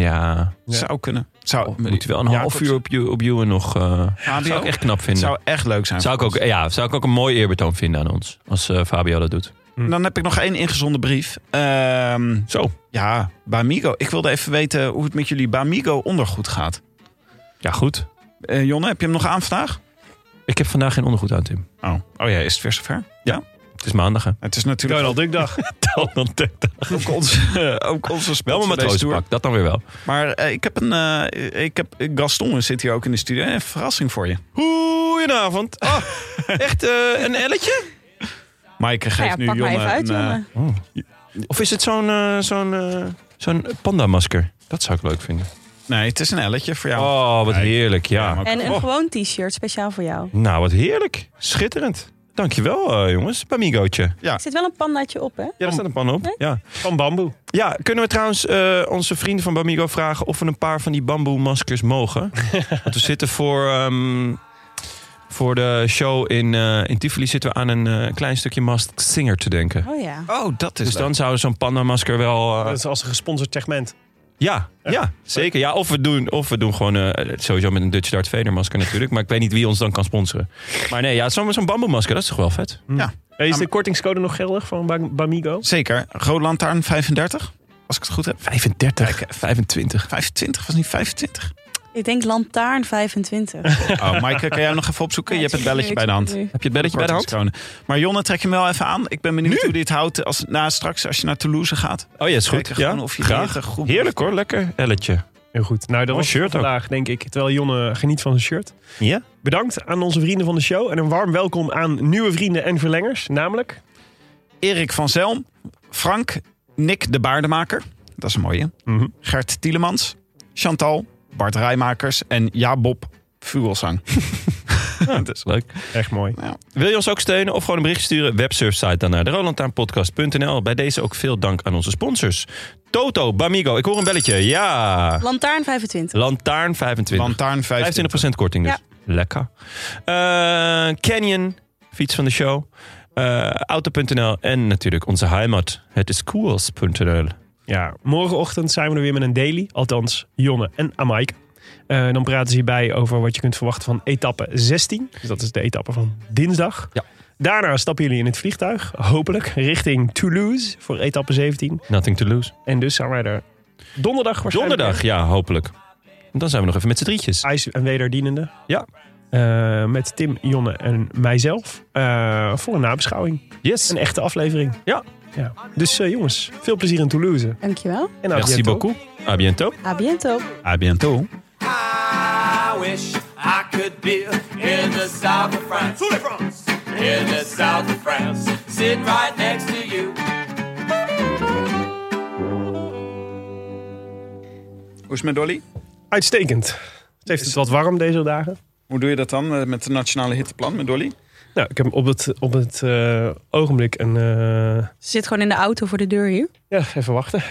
Speaker 5: Ja.
Speaker 3: zou kunnen. Zou,
Speaker 4: We moeten Oh, wel een half
Speaker 3: Jacobs.
Speaker 4: uur op, Ew- op Ewan nog... eh
Speaker 3: Fabio?
Speaker 4: zou ik echt knap vinden.
Speaker 3: zou echt leuk zijn.
Speaker 4: Zou ik, ook, ja, zou ik ook een mooi eerbetoon vinden aan ons. Als eh, Fabio dat doet.
Speaker 3: Dan heb ik nog één ingezonden brief. Ehm,
Speaker 4: Zo.
Speaker 3: ja, Bamigo. Ik wilde even weten hoe het met jullie Bamigo ondergoed gaat.
Speaker 4: Ja, goed.
Speaker 3: Eh, Jonne, heb je hem nog aan vandaag?
Speaker 4: Ik heb vandaag geen ondergoed aan, Tim.
Speaker 3: Oh, oh ja, is het weer zover? Ja.
Speaker 4: Het is maandag, hè?
Speaker 3: Het is natuurlijk
Speaker 5: Donald Duck dag.
Speaker 3: ook onze, ook onze
Speaker 4: Wel mijn
Speaker 3: sponsor deze tour.
Speaker 4: matrozenpak, dat dan weer wel.
Speaker 3: Maar eh, ik heb een... eh, ik heb, Gaston zit hier ook in de studio. Eh, Een verrassing voor je.
Speaker 4: Ah, Goedenavond. echt een eh, elletje?
Speaker 3: Maaike
Speaker 6: Nou
Speaker 3: geeft
Speaker 6: ja,
Speaker 3: nu
Speaker 6: pak maar
Speaker 3: Jonne
Speaker 6: even uit,
Speaker 3: een, eh,
Speaker 6: jongen.
Speaker 4: Of is het zo'n eh, zo'n eh, zo'n pandamasker? Dat zou ik leuk vinden.
Speaker 3: nee, het is een elletje voor jou.
Speaker 4: Oh, wat heerlijk, ja.
Speaker 3: maar-
Speaker 6: En een
Speaker 3: Oh,
Speaker 6: gewoon t-shirt speciaal voor jou.
Speaker 4: Nou, wat heerlijk. Schitterend. Dankjewel, eh jongens. Bamigootje.
Speaker 6: Er zit wel een pandaatje op, hè?
Speaker 4: Ja, daar staat een pan op. Ja.
Speaker 5: Van bamboe.
Speaker 4: ja, kunnen we trouwens eh, onze vrienden van Bamigo vragen... of we een paar van die bamboe-maskers mogen? Want we zitten voor, ehm, voor de show in, eh, in Tivoli... zitten we aan een eh, klein stukje Masked Singer te denken.
Speaker 6: Oh ja.
Speaker 3: oh, dat is
Speaker 4: Dus dan zou zo'n pandamasker wel... eh,
Speaker 5: Dat is als een gesponsord segment.
Speaker 4: Ja, ja, zeker. Ja, of we doen, of we doen gewoon eh, sowieso met een Dutch Darth Vader masker natuurlijk. Maar ik weet niet wie ons dan kan sponsoren. Maar nee, ja, zo'n zo'n bamboe masker, dat is toch wel vet?
Speaker 5: Is de kortingscode nog geldig van Bam- Bamigo?
Speaker 3: Zeker. Rood Lantaarn 35, als ik het goed heb.
Speaker 4: 35, 25.
Speaker 3: 25, was niet 25?
Speaker 6: Ik denk lantaarn 25.
Speaker 3: Oh, Maaike, kan jij hem nog even opzoeken?
Speaker 6: Ja,
Speaker 3: je hebt het belletje
Speaker 6: ik
Speaker 3: bij de hand.
Speaker 6: zie het nu.
Speaker 4: Heb je het belletje bij de hand?
Speaker 3: Kortingscode. Maar Jonne, trek hem wel even aan. Ik ben benieuwd hoe dit houdt als, na, straks als je naar Toulouse gaat.
Speaker 4: Oh ja, is goed.
Speaker 3: Kijken
Speaker 4: Ja,
Speaker 3: gewoon of je
Speaker 4: graag.
Speaker 3: dit, eh, goed-
Speaker 4: Heerlijk hoor, lekker elletje.
Speaker 5: Heel goed. Nou, dat
Speaker 4: Oh,
Speaker 5: was het voor
Speaker 4: shirt ook.
Speaker 5: vandaag, denk ik. Terwijl Jonne geniet van zijn shirt.
Speaker 4: Ja?
Speaker 5: Bedankt aan onze vrienden van de show. En een warm welkom aan nieuwe vrienden en verlengers. Namelijk
Speaker 3: Erik van Zelm, Frank, Nick de Baardemaker. Dat is een mooie.
Speaker 5: Mhm.
Speaker 3: Gert Tielemans, Chantal, Bart Rijmakers en Jabob Vugelsang.
Speaker 4: dat is leuk.
Speaker 5: Echt mooi.
Speaker 4: Wil je ons ook steunen of gewoon een bericht sturen? Websurfsite dan naar derolantaanpodcast.nl. Bij deze ook veel dank aan onze sponsors. Toto, Bamigo, ik hoor een belletje. Ja.
Speaker 6: Lantaarn 25.
Speaker 4: Lantaarn 25.
Speaker 3: Lantaarn 25.
Speaker 4: 25% korting dus. Lekker. Eh, Canyon, fiets van de show. Eh, Auto.nl en natuurlijk onze heimat. Het is koers.nl.
Speaker 5: Ja, morgenochtend zijn we er weer met een daily. Althans, Jonne en Amaike. Eh, dan praten ze hierbij over wat je kunt verwachten van etappe 16. Dus dat is de etappe van dinsdag.
Speaker 4: Ja.
Speaker 5: Daarna stappen jullie in het vliegtuig, hopelijk, richting Toulouse voor etappe 17.
Speaker 4: Nothing to lose.
Speaker 5: En dus zijn wij er donderdag waarschijnlijk.
Speaker 4: Donderdag, ja, hopelijk. Dan zijn we nog even met z'n drietjes.
Speaker 5: IJs en wederdienende.
Speaker 4: Ja.
Speaker 5: Eh, met Tim, Jonne en mijzelf. eh, voor een nabeschouwing.
Speaker 4: Yes.
Speaker 5: Een echte aflevering.
Speaker 4: Ja.
Speaker 5: ja. Dus eh, jongens, veel plezier in Toulouse.
Speaker 6: Dankjewel.
Speaker 5: En à
Speaker 4: Merci
Speaker 5: bientôt.
Speaker 4: beaucoup. A bientôt.
Speaker 6: A bientôt.
Speaker 3: A bientôt.
Speaker 9: I wish I could be in the south of France. In the south of France. Sitting right next to you.
Speaker 3: Hoe is het met Dolly?
Speaker 5: Uitstekend. Het heeft het wat warm deze dagen.
Speaker 3: Hoe doe je dat dan eh, met de nationale hitteplan met Dolly?
Speaker 5: Nou, ik heb op het, op het eh, ogenblik een... eh,
Speaker 6: Ze zit gewoon in de auto voor de deur hier.
Speaker 5: ja, even wachten.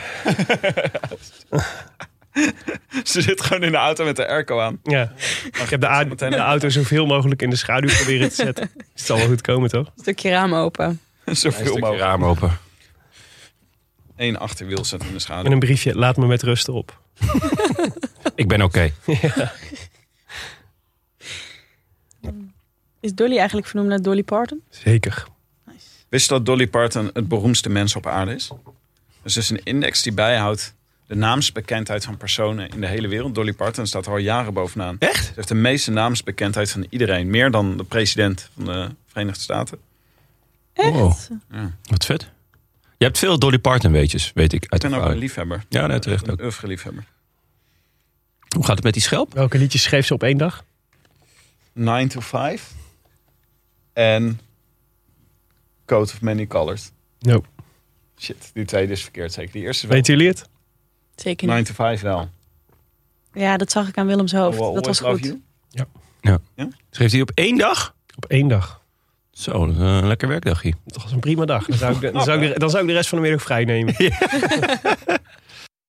Speaker 3: Ze zit gewoon in de auto met de airco aan.
Speaker 5: Ja. Ik heb de, a-
Speaker 3: meteen
Speaker 5: de auto zoveel mogelijk in de schaduw proberen te zetten. Het zal wel goed komen, toch?
Speaker 6: Stukje raam open.
Speaker 3: Zoveel
Speaker 4: Stukje
Speaker 3: mogelijk.
Speaker 4: raam open.
Speaker 3: Eén achterwiel zet in de schaduw.
Speaker 5: Met een briefje, laat me met rust erop.
Speaker 4: Ik ben oké.
Speaker 6: Is Dolly eigenlijk vernoemd naar Dolly Parton?
Speaker 5: Zeker.
Speaker 3: Wist je dat Dolly Parton het beroemdste mens op aarde is? Dus is een index die bijhoudt de naamsbekendheid van personen in de hele wereld. Dolly Parton staat er al jaren bovenaan.
Speaker 4: Echt?
Speaker 3: Ze heeft de meeste naamsbekendheid van iedereen. Meer dan de president van de Verenigde Staten.
Speaker 6: Echt?
Speaker 4: Wat vet. Je hebt veel Dolly Parton weetjes, weet ik. Uit
Speaker 3: Ik ben
Speaker 4: de
Speaker 3: ook een
Speaker 4: vrouwen.
Speaker 3: liefhebber.
Speaker 4: Ja, nee, terecht ook.
Speaker 3: Een oeuvre-liefhebber.
Speaker 4: Hoe gaat het met die schelp?
Speaker 5: Welke liedjes schreef ze op één dag?
Speaker 3: 9 to 5. En Coat of Many Colors.
Speaker 5: No.
Speaker 3: Shit, die tweede is verkeerd zeker. Die eerste wel.
Speaker 5: Weten jullie het?
Speaker 6: Zeker niet.
Speaker 3: 9 to 5 wel.
Speaker 6: Ja, dat zag ik aan Willems hoofd.
Speaker 3: Will
Speaker 6: Dat was
Speaker 3: always love
Speaker 6: goed.
Speaker 3: you.
Speaker 4: Schreef hij op één dag?
Speaker 5: Op één dag.
Speaker 4: Zo, dat is een lekker werkdagje.
Speaker 5: Dat was een prima dag. Dan zou ik de, dan zou ik de, dan zou ik de rest van de middag vrij nemen.